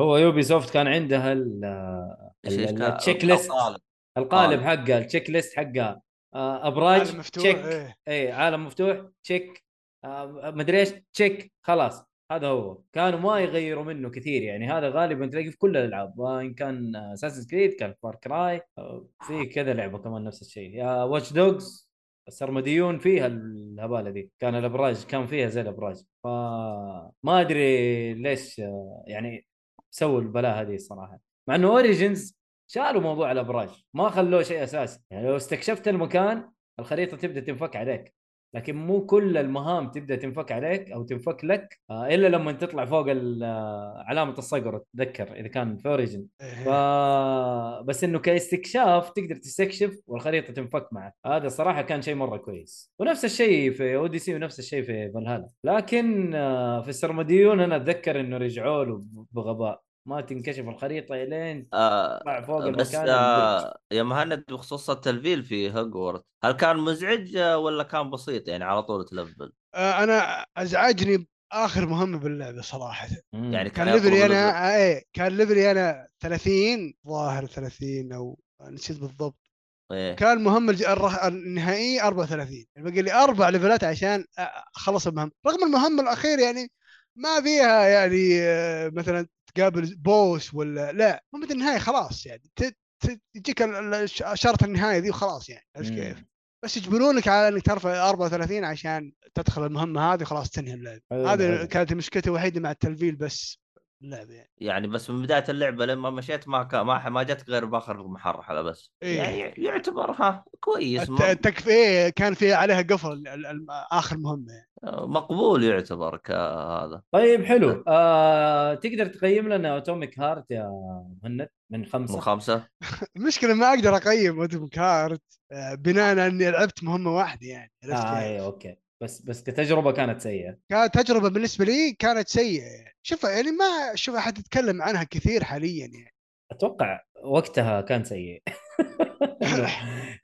D: هو يوبي سوفت كان عندها ال-
E: إيش- إيش
D: ال-
E: كان-
D: التشيك ليست.
E: الطالب.
D: القالب حقها التشيك ليست حقها آه، ابراج
F: عالم مفتوح
D: تشيك
F: إيه.
D: اي عالم مفتوح تشيك آه، مدري ايش تشيك خلاص هذا هو كانوا ما يغيروا منه كثير يعني هذا غالبا تلاقيه في كل الالعاب آه، ان كان اساسن كريد كان فار كراي في كذا لعبه كمان نفس الشيء واتش دوجز السرمديون فيها الهباله دي كان الابراج كان فيها زي الابراج فما ادري ليش آه، يعني سووا البلاء هذه الصراحه مع انه اوريجنز شالوا موضوع الابراج ما خلوه شيء اساسي يعني لو استكشفت المكان الخريطه تبدا تنفك عليك لكن مو كل المهام تبدا تنفك عليك او تنفك لك آه، الا لما تطلع فوق ال- آه، علامه الصقر تتذكر اذا كان في اوريجن ف...
F: إيه.
D: بس انه كاستكشاف تقدر تستكشف والخريطه تنفك معك هذا صراحه كان شيء مره كويس ونفس الشيء في اوديسي ونفس الشيء في فالهالا لكن آه، في السرمديون انا اتذكر انه رجعوا له بغباء ما تنكشف الخريطه الين
E: آه
D: تطلع فوق
E: بس
D: المكان البرج.
E: آه يا مهند بخصوص التلفيل في هوجورت هل كان مزعج آه، ولا كان بسيط يعني على طول تلفل
F: آه، انا ازعجني اخر مهمه باللعبه صراحه
D: مم.
E: يعني
F: كان
E: كان يطلب
F: ليفلي
E: ليفل.
F: انا ايه كان ليفلي انا 30 ظاهر 30 او نسيت بالضبط
E: إيه.
F: كان مهمة الج- الره- النهائية 34 يعني باقي لي اربع ليفلات عشان أ- اخلص المهمة رغم المهمة الاخير يعني ما فيها يعني آه، مثلا تقابل بوس ولا لا مهمة النهاية خلاص يعني ت- ت- تجيك ال- ال- الش- اشارة النهاية دي وخلاص يعني عرفت كيف؟
D: مم.
F: بس يجبرونك على انك ترفع 34 عشان تدخل المهمة هذه خلاص تنهي اللعبة
D: حلو،
F: هذه
D: حلو.
F: كانت مشكلتي الوحيدة مع التلفيل بس اللعبة يعني
E: يعني بس من بدايه اللعبه لما مشيت ما كان ما, ما جتك غير باخر محرحله بس
F: إيه.
E: يعني يعتبر ها كويس
F: الت-
E: ما-
F: التكفية إيه، كان فيها عليها قفل ال- ال- اخر مهمة يعني.
E: مقبول يعتبر كهذا
D: طيب حلو آه، تقدر تقيم لنا اتوميك هارت يا مهند من خمسه
E: من خمسه
F: المشكله ما اقدر اقيم ادم كارت آه، بناء على اني لعبت مهمه واحده يعني عرفت
D: آه
F: كيف؟
D: ايوه اوكي بس بس كتجربه كانت سيئه
F: كانت تجربه بالنسبه لي كانت سيئه يعني. شوف يعني ما اشوف احد يتكلم عنها كثير حاليا يعني
D: اتوقع وقتها كان
E: [LAUGHS]
D: سيء [LAUGHS]
F: [LAUGHS]
D: لأنه-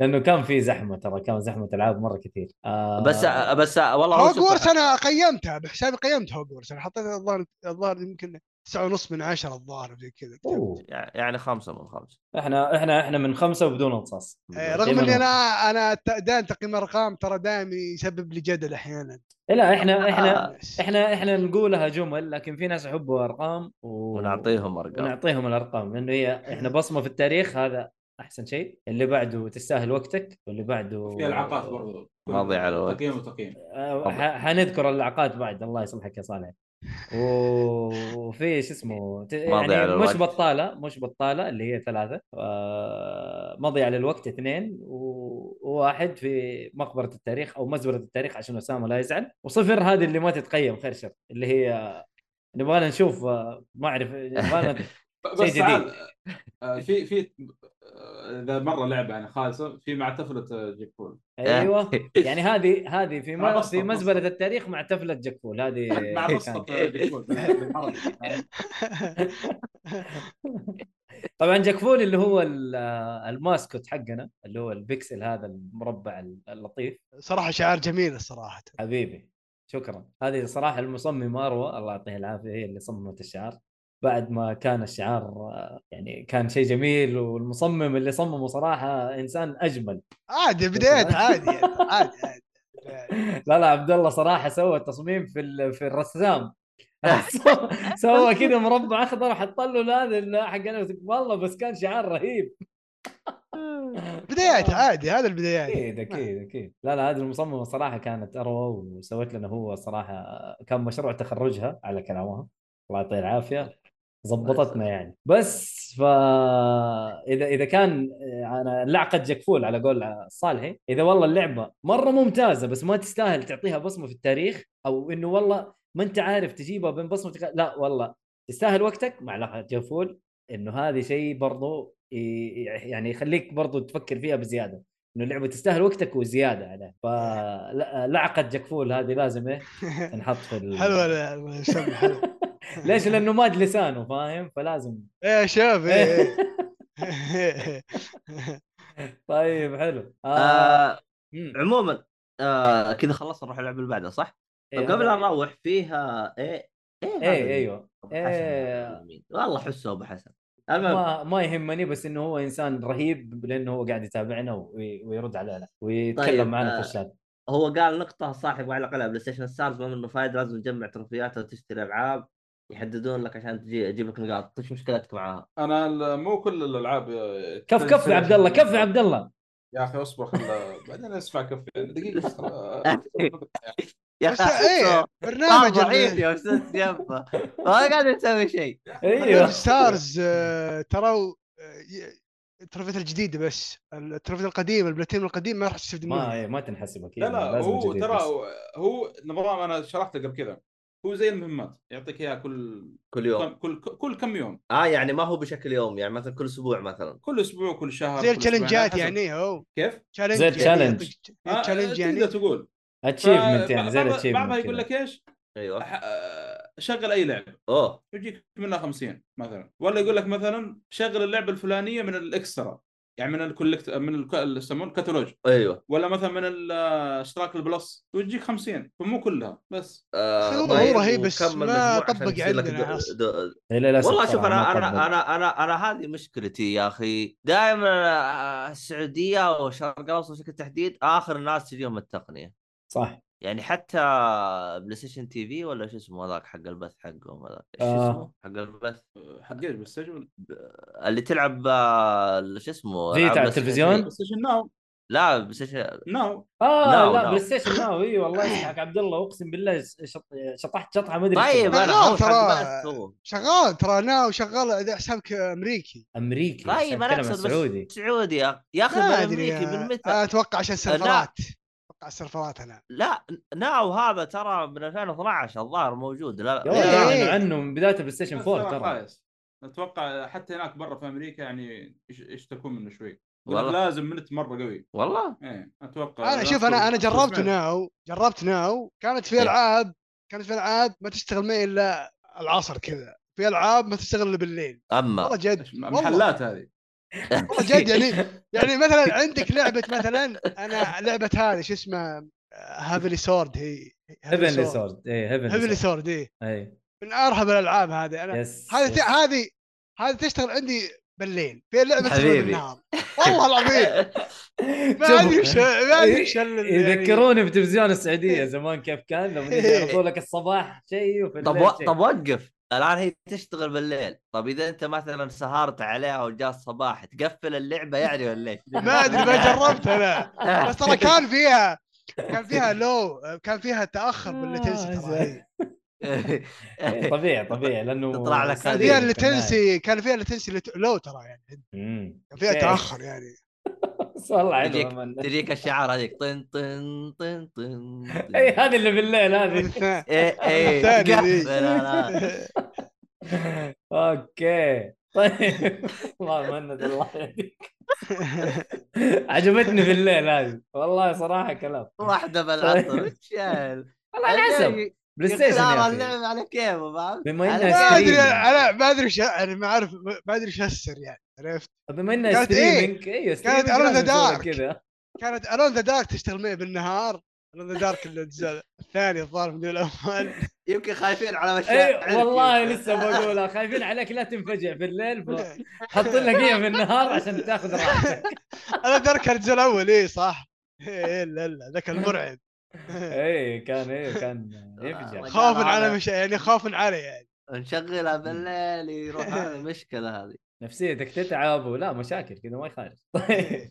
D: لانه كان في زحمه ترى كان زحمه العاب مره كثير آه
E: بس بس والله هو شوف-
F: هوجورتس انا قيمتها بحسابي قيمت هوجورتس انا حطيتها الظاهر الظاهر يمكن تسعة ونص من عشرة الظاهر زي كذا
D: أوه.
E: يعني خمسه من خمسه
D: احنا احنا احنا من خمسه وبدون رصاص
F: آه، رغم
D: دايماً
F: اني
D: هو.
F: انا انا ت- دائما تقييم ارقام ترى دائما يسبب لي جدل آه، احيانا
D: لا احنا
E: [LAUGHS]
D: احنا
F: الناس. [LAUGHS]
D: احنا احنا نقولها جمل لكن في ناس يحبوا ارقام و...
E: ونعطيهم ارقام
D: نعم. ونعطيهم الارقام لانه هي احنا بصمه في التاريخ هذا احسن شيء اللي بعده تستاهل وقتك واللي بعده
B: في العاقات برضو
E: ما ضيع الوقت.
B: تقييم وتقييم
D: آه، ح- حنذكر اللعقات بعد الله يصلحك يا صالح و- وفي شو اسمه ت-
E: مضيع
D: يعني مش
E: للوقت.
D: بطاله مش بطاله اللي هي ثلاثه آه، مضيع للوقت اثنين و- وواحد في مقبره التاريخ او مزبره التاريخ عشان اسامه لا يزعل وصفر هذه اللي ما تتقيم خير شر اللي هي نبغى نشوف آه، ما اعرف نبغى
B: بس
D: شيء جديد.
B: تعال آه، في في آه، اذا مره لعبه يعني خالصه في مع آه، طفله جيكول
E: إيه.
D: ايوه يعني هذه هذه في
B: مع
D: م-
B: بسطة-
D: في مزبله التاريخ مع تفله جكفول هذه
B: مع آه، قصه جيكول بالعربي.
D: [LAUGHS] طبعا جاكفول اللي هو ال- الماسكوت حقنا اللي هو البكسل هذا المربع اللطيف
F: صراحه شعار جميل الصراحه
D: حبيبي شكرا هذه صراحه المصممه اروى الله يعطيها العافيه هي اللي صممت الشعار بعد ما كان الشعار آه، يعني كان شيء جميل والمصمم اللي صممه صراحه انسان اجمل
F: عادي بدايات عادي يعني عادي عادي
D: [LAUGHS] لا لا عبد الله صراحه سوى التصميم في ال- في الرسام [LAUGHS] سوى كذا مربع اخضر وحط له هذا ال- حق أنا- والله بس كان شعار رهيب آه.
F: بدايات عادي هذا البدايات [LAUGHS]
D: اكيد اكيد اكيد لا لا هذه المصممه صراحه كانت اروى وسوت لنا هو صراحه كان مشروع تخرجها على كلامها الله يعطيها العافيه ظبطتنا يعني بس فا اذا اذا كان آه، انا لعقه جكفول على قول صالحي اذا والله اللعبه مره ممتازه بس ما تستاهل تعطيها بصمه في التاريخ او انه والله ما انت عارف تجيبها بين بصمتك لا والله تستاهل وقتك مع لعقه جكفول انه هذه شيء برضو ي- يعني يخليك برضو تفكر فيها بزياده انه اللعبه تستاهل وقتك وزياده عليه فلعقه جكفول هذه لازم ايه تنحط في ال...
F: حلوه ال- المسمى حلو
D: [LAUGHS] ليش؟ لانه ماد لسانه فاهم فلازم
F: ايه شوف إيه. ايه
D: [LAUGHS] طيب حلو
E: [LAUGHS] آه
D: مم.
E: عموما آه كذا خلصنا نروح اللعبه اللي بعدها صح؟
D: إيه،
E: طب قبل
D: هذا-
E: لا نروح فيها ايه ايه هذا
D: ايه ايوه
E: أبو
D: إيه.
E: حسن مين؟ والله حسه ابو حسن المهم
D: ما ما يهمني بس انه هو انسان رهيب لانه هو قاعد يتابعنا وي- ويرد علينا ويتكلم
E: طيب،
D: معنا
E: آه،
D: في الشات
E: هو قال نقطة صاحب على على بلاي ستيشن ستارز ما منه فايدة لازم تجمع تروفيات وتشتري العاب يحددون لك عشان تجي تجيب لك نقاط، ايش مشكلتك معاها؟
B: انا ال- مو كل آه، الالعاب
D: كف
E: طيب،
D: كف يا عبد الله كف يا عبد الله
B: يا اخي اصبر خل [LAUGHS] بعدين اسمع كف
D: [LAUGHS]
B: دقيقه خل-
E: يا
F: بس
E: اخي
F: ايه
E: أحسه
F: برنامج
E: ضعيف
F: ال-
E: يا استاذ جنبه
F: [LAUGHS]
E: ما قاعد يسوي شيء
D: ايوه
F: برنامج ستارز آه، ترى التروفيات الجديدة بس التروفيات القديم البلاتين القديم ما راح تستفيد
D: ما
F: منه
D: إيه، ما تنحسب اكيد
B: لا لا
D: لازم
B: هو
D: جديد
B: ترى
D: بس.
B: هو نظام انا شرحته قبل كذا هو زي المهمات يعطيك اياها كل
E: كل يوم
B: كم- كل كل كم يوم
E: اه يعني ما هو بشكل يوم يعني مثلا كل اسبوع مثلا
B: كل اسبوع كل شهر
F: زي
B: كل أسبوعين،
F: التشالنجات
B: حسب.
F: يعني هو
B: كيف؟
F: تشالنج
D: زي
F: يعني
D: التشالنج.
F: يعطيك
B: آه،
F: تشالنج يعني
B: تقدر تقول
D: اتشيفمنت يعني زي
B: بعض- بعضها
D: الاتشيفمنت
B: يقول لك ايش؟
E: ايوه
B: أح- آه، شغل اي لعبه
E: اوه
B: يجيك منها 50 مثلا ولا يقول لك مثلا شغل اللعبه الفلانيه من الاكسترا يعني من الكولكت من الك- اللي يسمونه الكتالوج
E: ايوه
B: ولا مثلا من الاشتراك البلس ويجيك 50 فمو كلها بس
E: آه،
F: هو- هو
E: طيب،
F: رهيب بس
E: وكمل
F: ما
E: مجموعة عشان
F: طبق
E: يصير لك
F: عندنا
E: دو-
F: أصلاً.
E: دو-
D: للاسف
E: والله شوف
D: صراحة
E: انا
D: ما
E: انا
D: طبق.
E: انا انا انا هذه مشكلتي يا آه، اخي دائما السعوديه والشرق الاوسط بشكل تحديد اخر الناس تجيهم التقنيه
D: صح
E: يعني حتى بلاي ستيشن تي في ولا شو اسمه هذاك حق البث حقهم هذاك ايش
D: آه.
E: اسمه حق البث
B: حق ايش بس ايش
E: اللي تلعب آه، شو اسمه
D: زي
E: ألعاب
D: تاع
E: بلاي ستيشن
D: التلفزيون؟
E: 3.
B: ناو
E: لا بلاي
D: [LAUGHS]
E: ستيشن
B: ناو
D: اه
E: ناو،
D: لا
E: ناو.
D: بلاي
E: [LAUGHS]
D: ستيشن ناو اي والله يسحق عبد الله اقسم بالله شط- شطحت شطحه ما ادري
E: طيب
D: شو.
E: انا
F: لا،
E: هو حق
F: ترى-
E: بث هو.
F: شغال ترى انا وشغال اذا حسابك امريكي
D: امريكي
E: طيب انا اقصد
D: سعودي
E: بس سعودي يا يا اخي
F: ما
E: من
F: ادري
E: امريكي من
F: آه،
E: متى
F: آه، اتوقع عشان السيرفرات اتوقع السيرفرات انا
E: لا ناو هذا ترى من 2012 الظاهر موجود لا
D: يا ولد
F: إيه،
D: اعلنوا
F: إيه.
D: عنه من بدايه البلاي
E: آه،
D: ستيشن 4 ترى
B: ترى خايس اتوقع حتى هناك برا في امريكا يعني يش- يشتكون منه شوي يقول لك
E: والله
B: لازم منت مره قوي
E: والله
B: ايه اتوقع
F: انا
B: لا
F: شوف انا انا
B: تكون-
F: جربت
B: سمعت.
F: ناو جربت ناو كانت في
E: إيه.
F: العاب كانت في العاب ما تشتغل معي الا العصر كذا في العاب ما تشتغل الا بالليل
E: اما
F: والله جد والله
B: محلات هذه
F: والله
E: [LAUGHS]
F: جد يعني يعني مثلا عندك لعبه مثلا انا لعبه هذه شو اسمها هافلي سورد هي
D: هيفنلي سورد اي
F: هافلي
D: هيفنلي سورد
F: سورد اي
D: اي
F: إيه. من ارهب الالعاب هذه انا
D: يس
F: هذه
D: يس.
F: هذه هذه تشتغل عندي بالليل في لعبه تشتغل
E: حبيبي.
F: بالنهار
E: [LAUGHS]
F: والله العظيم ما
D: شوفوا. [LAUGHS]
F: ادري وش ما ادري وش ال-
D: إيه، يذكروني
E: إيه.
D: بتلفزيون السعوديه زمان كيف كان لما يجي يعرضوا لك الصباح شيء وفي
E: طب
D: الليل
E: و...
D: شيء.
E: طب وقف الان هي تشتغل بالليل طب اذا انت مثلا سهرت عليها وجاء الصباح تقفل اللعبه يعني ولا ايش؟
F: [LAUGHS] ما ادري ما جربت انا بس ترى كان فيها كان فيها لو كان فيها تاخر باللاتنسي ترى يعني هي.
D: إيه، طبيعي طبيعي لانه
E: تطلع لك
F: كان
D: سادة
E: هذه
F: فيها
E: هذه
F: اللاتنسي كان فيها اللاتنسي لو ترى يعني
D: [LAUGHS] أمم.
F: كان فيها
D: إيه.
F: تاخر يعني
D: بس والله
E: يجيك-
D: حلو
E: [LAUGHS]
D: أمانة.
E: تجيك الشعار هذيك طن طن طن طن
D: [LAUGHS] اي إيه، هذه اللي بالليل [LAUGHS] هذه
F: الثاني-
E: ايه ايه
F: [LAUGHS] الثانية ذي.
E: قفل الآن.
D: اوكي طيب الله مهند الله يهديك عجبتني بالليل هذه والله صراحه كلام
E: واحده
D: [LAUGHS]
E: بالعصر ايش شايل؟
D: والله على حسب
E: الجاي
D: بلاي
E: يختار
D: ستيشن يا أخي.
E: اللعبه على كيفه فاهم؟
D: بما
E: على-
F: ما
D: انها
F: ادري
E: إيه.
D: ستريمينج
F: انا ما ادري ايش يعني ما اعرف ما ادري ايش هالسر يعني عرفت
D: بما انها
F: كانت إيه؟
D: ستريمينج ايوه
F: كانت
D: ستريمينج
F: Around
D: لازم
F: the
D: يسوي لك
F: Dark.
D: كذا
F: كانت الون ذا دارك تشتغل معي بالنهار الون ذا دارك الجزء الثاني الظاهر من الاول
E: يمكن خايفين على مشاعرك
D: اي أيوة، والله لسه بقولها خايفين عليك لا تنفجع بالليل
F: [LAUGHS]
D: حاطين لك اياها في النهار عشان تاخذ راحتك
F: انا ذكر الجزء الاول اي صح إيه، لا لا ذاك المرعب
D: اي إيه، كان اي كان يفجع
F: خوفا على مش يعني خوفا علي يعني
E: نشغلها بالليل يروح على المشكله هذه
D: نفسيتك تتعب ولا مشاكل كذا ما يخالف
F: إيه.
D: طيب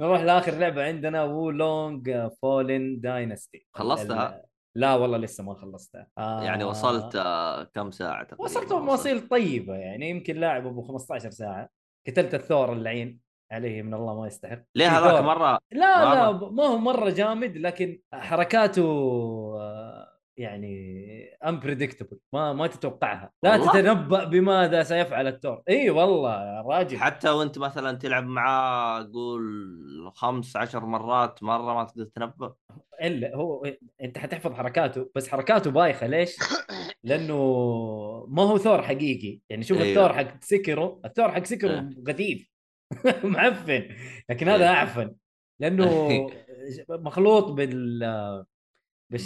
D: نروح لاخر لعبه عندنا وو لونج فولن داينستي
E: خلصتها؟
D: لا والله لسه ما خلصتها آه،
E: يعني وصلت يعني آه، كم ساعه تقريبا
D: وصلت مواصيل طيبه يعني يمكن لاعب ابو 15 ساعه قتلت الثور اللعين عليه من الله ما يستحق
E: ليه
D: في
E: هذاك
D: ثور.
E: مره
D: لا لا
E: مرة.
D: ما هو مره جامد لكن حركاته آه، يعني امبريدكتبل ما ما تتوقعها لا
E: والله؟
D: تتنبا بماذا سيفعل الثور اي والله يا راجل
E: حتى وانت مثلا تلعب معاه قول خمس عشر مرات مره ما تقدر تنبأ
D: الا هو انت حتحفظ حركاته بس حركاته
E: [COUGHS]
D: بايخه ليش؟ لانه ما هو ثور حقيقي يعني شوف
E: أيوه.
D: أيوه. الثور حق سكرو الثور حق سكرو
E: أه. أيوه.
D: غثيث [LAUGHS] معفن لكن هذا اعفن لانه
E: [LAUGHS]
D: مخلوط بال بال-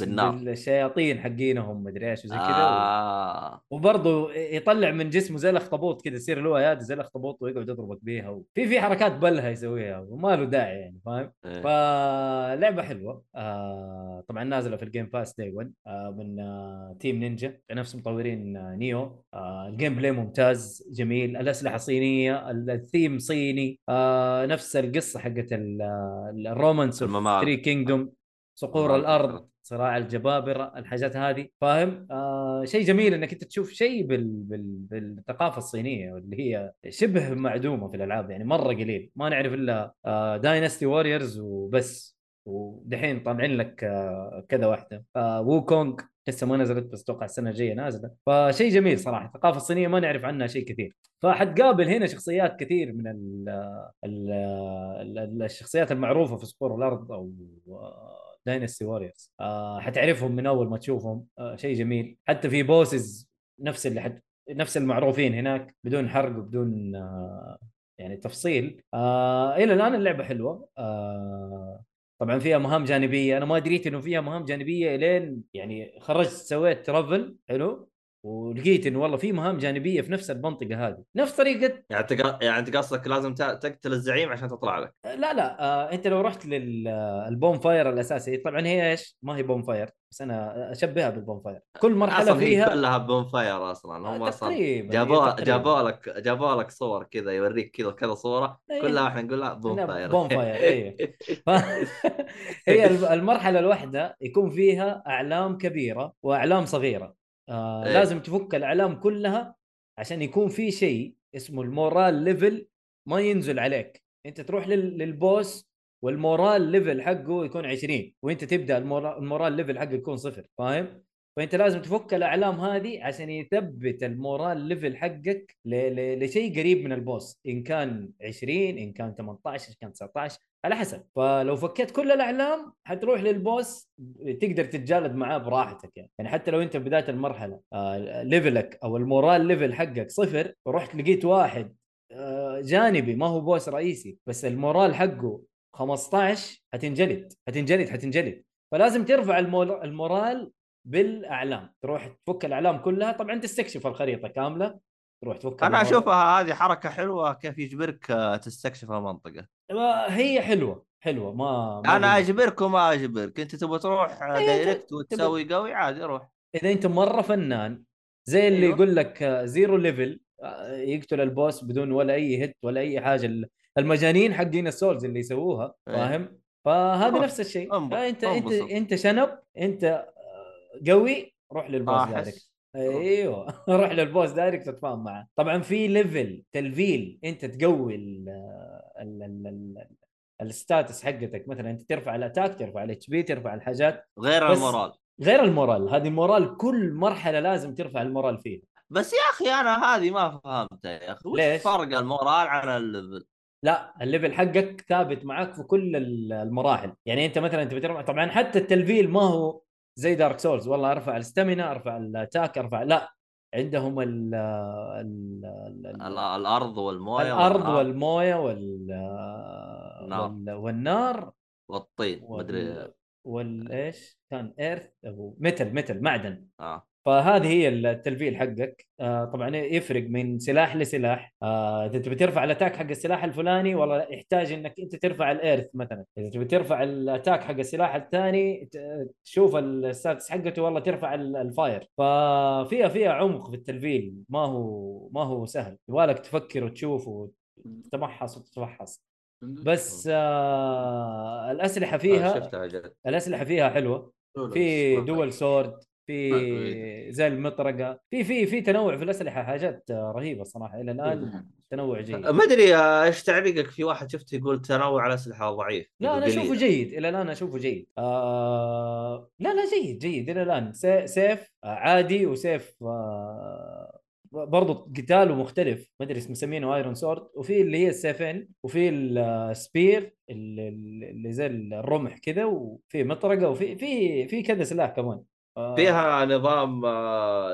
E: بالنار.
D: بالشياطين حقينهم مدري ايش وزي كذا آه.
E: آه.
D: وبرضه يطلع من جسمه زي الاخطبوط كذا يصير له ايادي زي الاخطبوط ويقعد يضربك بيها وفي في حركات بلها يسويها وما له داعي يعني فاهم؟
E: إيه.
D: فلعبه حلوه آه طبعا نازله في الجيم باس داي 1 آه من آه تيم نينجا نفس مطورين آه نيو آه الجيم بلاي ممتاز جميل الاسلحه صينيه ال- الثيم صيني آه نفس القصه حقت ال- آه، ال- الرومانس
E: الممالك.
D: ثري كينجدوم صقور
E: الممالك.
D: الارض صراع الجبابره الحاجات هذه فاهم آه شيء جميل انك انت تشوف شيء بال... بال... بالثقافه الصينيه واللي هي شبه معدومه في الالعاب يعني مره قليل ما نعرف الا داينستي ووريرز وبس ودحين طالعين لك آه، كذا واحده آه، وو كونغ لسه ما نزلت بس اتوقع السنه الجايه نازله فشيء جميل صراحه الثقافه الصينيه ما نعرف عنها شيء كثير فحتقابل هنا شخصيات كثير من ال ال ال الشخصيات المعروفه في صقور الارض او آه، داينستي ووريرز آه، حتعرفهم من اول ما تشوفهم آه، شيء جميل حتى في بوسز نفس اللي حت نفس المعروفين هناك بدون حرق وبدون آه، يعني تفصيل آه الى الان اللعبه حلوه آه طبعا فيها مهام جانبيه انا ما دريت انه فيها مهام جانبيه الين يعني خرجت سويت ترافل حلو ولقيت انه والله في مهام جانبيه في نفس المنطقه هذه نفس طريقه
E: يعني انت قا- يعني انت قصدك لازم ت- تقتل الزعيم عشان تطلع لك
D: لا لا آه انت لو رحت للبوم فاير الاساسي طبعا هي ايش ما هي بوم فاير بس انا اشبهها بالبوم فاير كل مرحله
E: اصلا هي
D: فيها
E: كلها بون فاير اصلا هم اصلا
D: تقريبا هي
E: جابوها
D: تقريباً.
E: جابوا لك جابوا لك صور كذا يوريك كذا كذا صوره
D: إيه.
E: كلها احنا نقولها بون
D: لا،
E: فاير
D: بون فاير،
E: [LAUGHS]
D: إيه. ف- [LAUGHS] هي الم- المرحله الواحده يكون فيها اعلام كبيره واعلام صغيره آه
E: إيه.
D: لازم تفك الاعلام كلها عشان يكون في شيء اسمه المورال ليفل ما ينزل عليك انت تروح لل- للبوس والمورال ليفل حقه يكون 20 وانت تبدا المورا- المورال ليفل حقه يكون صفر فاهم فانت لازم تفك الاعلام هذه عشان يثبت المورال ليفل حقك ل... ل... لشيء قريب من البوس ان كان 20 ان كان 18 ان كان 19 على حسب فلو فكيت كل الاعلام حتروح للبوس تقدر تتجالد معاه براحتك يعني, يعني حتى لو انت بدايه المرحله آه ليفلك او المورال ليفل حقك صفر ورحت لقيت واحد آه جانبي ما هو بوس رئيسي بس المورال حقه 15 حتنجلد حتنجلد حتنجلد فلازم ترفع المول- المورال بالاعلام تروح تفك الاعلام كلها طبعا تستكشف الخريطه كامله تروح تفك
E: انا
D: المورال.
E: اشوفها هذه حركه حلوه كيف يجبرك آه، تستكشف المنطقه
D: ما- آه، هي حلوه حلوه ما, ما
E: انا
D: قلنا.
E: اجبرك وما اجبرك انت تبغى تروح آه،
D: إيه،
E: دايركت وتسوي قوي عادي روح
D: اذا انت مره فنان زي اللي
B: أيوة.
D: يقول لك آه، زيرو ليفل آه، يقتل البوس بدون ولا اي هيت ولا اي حاجه ال- المجانين حقين السولز اللي يسووها
E: أيه.
D: فاهم فهذا
E: خلاص،
D: نفس الشيء
E: انبسط،
D: آه، انت انت
E: انبسط.
D: انت شنب انت آه، قوي روح للبوس دايركت
E: احس
D: ايوه [LAUGHS] روح للبوس دايركت تتفاهم معه طبعا في ليفل تلفيل انت تقوي ال آه، ال ال ال الستاتس حقتك مثلا انت ترفع الاتاك ترفع الاتش بي ترفع الحاجات
E: غير
D: بس-
E: المورال
D: غير المورال هذه المورال كل مرحله لازم ترفع المورال فيها
E: بس يا اخي انا هذه ما فهمتها يا اخي
D: ليش؟
E: وش فرق المورال عن الليفل؟
D: لا الليفل حقك ثابت معاك في كل ال- المراحل يعني انت مثلا انت بترفع طبعا حتى التلفيل ما هو زي دارك سولز والله ارفع الستامينا ارفع الاتاك ارفع لا عندهم ال ال
E: ال-
D: ال
E: الارض والمويه
D: الارض
E: والنار
D: والمويه وال
E: نار.
D: وال- والنار
E: والطين
D: وال-
E: مدري
D: وال ايش كان ايرث او ميتل ميتل معدن
E: اه
D: فهذه هي التلفيل حقك آه طبعا يفرق من سلاح لسلاح آه اذا تبي ترفع الاتاك حق السلاح الفلاني والله يحتاج انك انت ترفع الايرث مثلا اذا تبي ترفع الاتاك حق السلاح الثاني ت- تشوف الستاتس حقته والله ترفع ال- الفاير ففيها فيها عمق في التلفيل ما هو ما هو سهل يبغالك تفكر وتشوف وتتمحص وتتفحص بس آه الاسلحه
E: آه،
D: فيها
E: شفتها جد
D: الاسلحه فيها حلوه في دول سورد في
B: طيب.
D: زي المطرقه في في في تنوع في الاسلحه حاجات رهيبه صراحه الى
B: إيه.
D: الان تنوع جيد
E: ما ادري آه، ايش تعليقك في واحد شفته يقول تنوع الاسلحه ضعيف
D: لا انا
E: قليل.
D: اشوفه جيد الى الان اشوفه جيد آه لا لا جيد جيد الى الان سي- سيف آه، عادي وسيف آه برضه قتاله مختلف ما ادري اسمه مسمينه ايرون سورد وفي اللي هي السيفين وفي آه، السبير اللي, اللي زي الرمح كذا وفي مطرقه وفي في في كذا سلاح كمان آه،
E: فيها نظام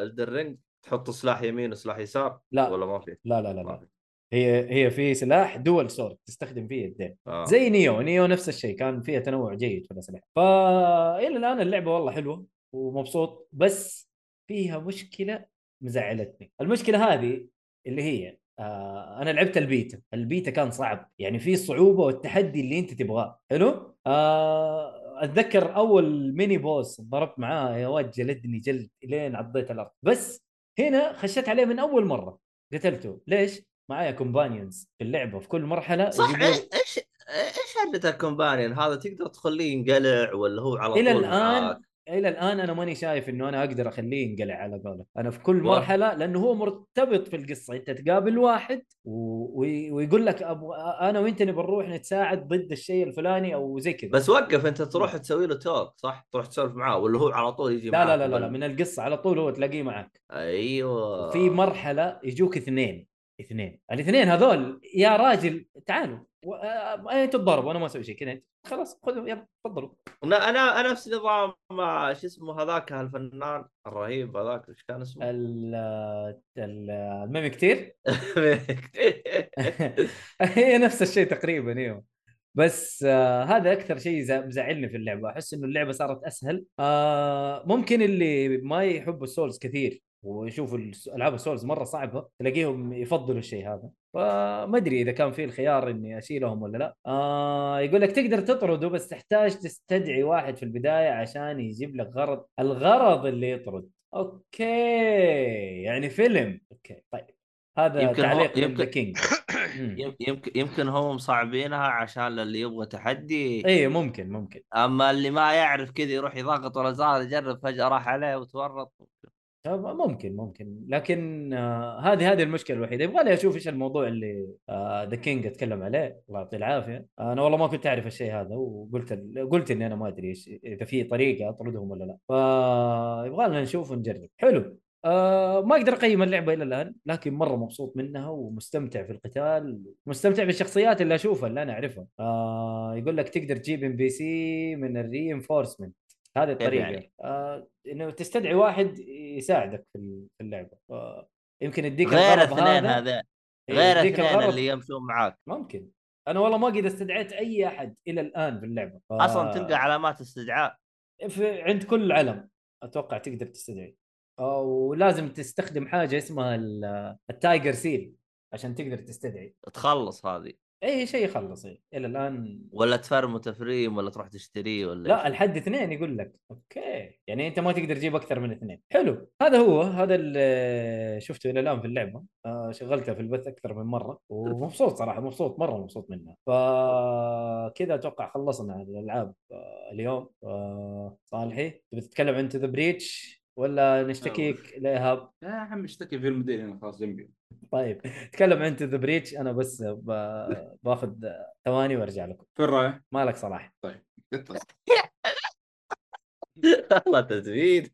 E: الدرينج تحط سلاح يمين وسلاح يسار
D: لا.
E: ولا ما في؟
D: لا لا لا,
E: ما
D: لا.
E: في
D: هي هي في سلاح دول سورد تستخدم فيه الدين
E: آه.
D: زي نيو نيو نفس الشيء كان فيها تنوع جيد في الاسلحه فا الى الان اللعبه والله حلوه ومبسوط بس فيها مشكله مزعلتني المشكله هذه اللي هي آه انا لعبت البيتا البيتا كان صعب يعني في الصعوبه والتحدي اللي انت تبغاه حلو آه اتذكر اول ميني بوس ضربت معاه يا واد جلدني جلد لين عضيت الارض بس هنا خشيت عليه من اول مره قتلته ليش معايا كومبانيونز في اللعبه في كل مرحله
E: صح
D: يجيبوا-
E: إيش- ايش ايش حقة الكومبانيون هذا تقدر تخليه ينقلع ولا هو على طول
D: الى الان
E: معاك؟
D: الى الان انا ماني شايف انه انا اقدر اخليه ينقلع على قولك انا في كل
E: واو.
D: مرحله لانه هو مرتبط في القصه انت تقابل واحد و... وي- ويقول لك أبو... انا وانت نبي نروح نتساعد ضد الشيء الفلاني او زي كذا
E: بس وقف انت تروح تسوي له توك صح؟ تروح تسولف معاه ولا هو على طول يجي
D: لا
E: معاك
D: لا لا, لا, لا
E: بال-
D: من القصه على طول هو تلاقيه معك
E: ايوه
D: في مرحله يجوك اثنين اثنين الاثنين هذول يا راجل تعالوا و... آه، انتوا تضربوا انا ما اسوي شيء كذا خلاص خذوا يلا تفضلوا
E: لا انا انا نفس نظام آه، شو اسمه هذاك الفنان الرهيب هذاك ايش كان [LAUGHS] اسمه؟
D: ال... ال... الميمي كتير [LAUGHS] هي نفس الشيء تقريبا ايوه بس آه هذا اكثر شيء زع- مزعلني في اللعبه احس انه اللعبه صارت اسهل آه ممكن اللي ما يحبوا السولز كثير ويشوفوا الس- العاب السولز مره صعبه تلاقيهم يفضلوا الشيء هذا فما ادري اذا كان في الخيار اني اشيلهم ولا لا آه يقول لك تقدر تطرده بس تحتاج تستدعي واحد في البدايه عشان يجيب لك غرض الغرض اللي يطرد اوكي يعني فيلم اوكي طيب هذا
E: يمكن هو-
D: تعليق
E: يمكن-
D: يمكن كينج [CLEARS THROAT]
E: يم- يمكن يمكن هم مصعبينها عشان اللي يبغى تحدي
D: اي إيه، ممكن ممكن
E: اما اللي ما يعرف كذا يروح يضغط ولا زال يجرب فجاه راح عليه وتورط
D: طب ممكن ممكن لكن آه، هذه هذه المشكله الوحيده يبغى لي اشوف ايش الموضوع اللي ذا كينج اتكلم عليه الله يعطيه العافيه انا والله ما كنت اعرف الشيء هذا وقلت قلت اني انا ما ادري ايش اذا في طريقه اطردهم ولا لا فيبغى لنا نشوف ونجرب حلو آه ما اقدر اقيم اللعبه الى الان لكن مره مبسوط منها ومستمتع في القتال مستمتع بالشخصيات اللي اشوفها اللي انا اعرفها آه يقول لك تقدر تجيب ام بي سي من الرينفورسمنت هذه الطريقه
E: يعني؟
D: آه انه تستدعي واحد يساعدك في ال- في اللعبه آه يمكن يديك
E: غير
D: الغرض
E: اثنين
D: هذا-
E: هذا
D: إيه،
E: غير
D: يديك
E: اثنين
D: الغرض.
E: اللي يمشون معاك
D: ممكن انا والله ما قد استدعيت اي احد الى الان في اللعبه ف-
E: اصلا تلقى علامات استدعاء
D: في عند كل علم اتوقع تقدر تستدعي آه، ولازم تستخدم حاجه اسمها ال- التايجر سيل عشان تقدر تستدعي
E: تخلص هذه
D: اي شيء يخلص إيه. الى الان
E: ولا تفرمه تفريم ولا تروح تشتريه [LAUGHS] ولا
D: لا الحد اثنين يقول لك اوكي يعني انت ما تقدر تجيب اكثر من اثنين حلو هذا هو هذا اللي شفته الى الان في اللعبه آه، شغلتها في البث اكثر من مره ومبسوط صراحه مبسوط مره مبسوط منها فكذا اتوقع خلصنا الالعاب آه، اليوم آه، صالحي تبي تتكلم عن ذا بريتش ولا نشتكيك
E: نعم.
D: لايهاب
B: يا عم اشتكي في المدير هنا خلاص جنبي
D: طيب تكلم عن ذا بريتش انا بس ب... باخذ ثواني وارجع لكم
B: فين رايح؟
D: مالك صلاح
B: قطع.
E: والله تزويد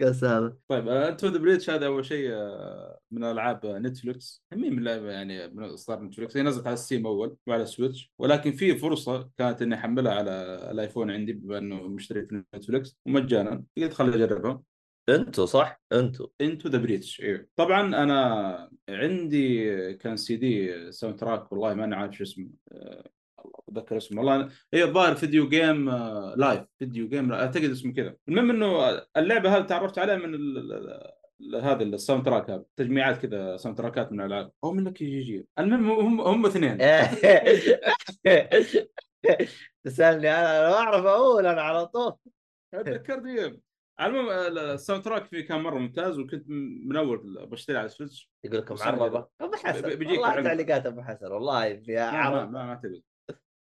E: كسر
B: طيب انتو ذا بريتش هذا اول شيء آه، من العاب نتفلكس مين من اللعبه يعني من اصدار نتفلكس هي نزلت على ستيم اول وعلى سويتش ولكن في فرصه كانت اني احملها على الايفون عندي بما انه مشتري في نتفلكس ومجانا قلت خليني اجربها
E: انتو صح [LAUGHS] انتو
B: انتو ذا بريتش ايوه طبعا انا عندي كان سي دي ساوند تراك والله ما انا عارف شو اسمه آه، الله اتذكر اسمه والله هي الظاهر فيديو جيم آه، لايف فيديو جيم اعتقد اسمه كذا المهم انه اللعبه هذه تعرفت عليها من ال- ال- ال- هذا الساوند تراك هذا تجميعات كذا ساوند تراكات من الالعاب او من لك جي جي المهم هم هم اثنين
E: إيه. تسالني انا انا ما اعرف اقول انا على طول
B: تذكرني إيه. على المهم آه، الساوند تراك فيه كان مره ممتاز وكنت م- من اول بشتري على السويتش
E: يقول لكم
B: بس-
E: معربه ابو حسن
B: ب- بيجيك
E: والله
B: العنف.
E: تعليقات ابو حسن والله يا
B: ما ما-
E: عرب
B: ما اعتقد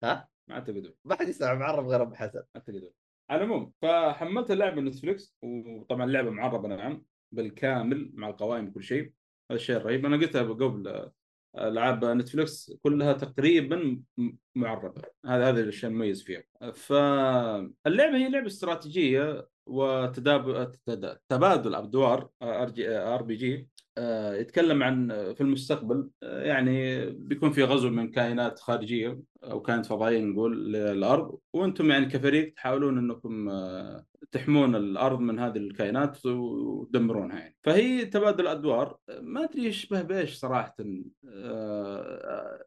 E: ها؟
B: ما اعتقد
E: ما حد يسمع معرب غير ابو حسن
B: اعتقد على العموم فحملت اللعبه من نتفلكس وطبعا اللعبه معربه نعم بالكامل مع القوائم وكل شيء هذا الشيء الرهيب انا قلتها قبل آه، العاب نتفلكس كلها تقريبا م- معربه هذا هذا الشيء المميز فيها فاللعبه هي لعبه استراتيجيه وتداب تد- تبادل ادوار ار بي جي يتكلم عن آه، في المستقبل آه، يعني بيكون في غزو من كائنات خارجيه او كانت فضائيه نقول للارض وانتم يعني كفريق تحاولون انكم آه، تحمون الارض من هذه الكائنات وتدمرونها يعني فهي تبادل ادوار ما ادري يشبه بايش صراحه آه،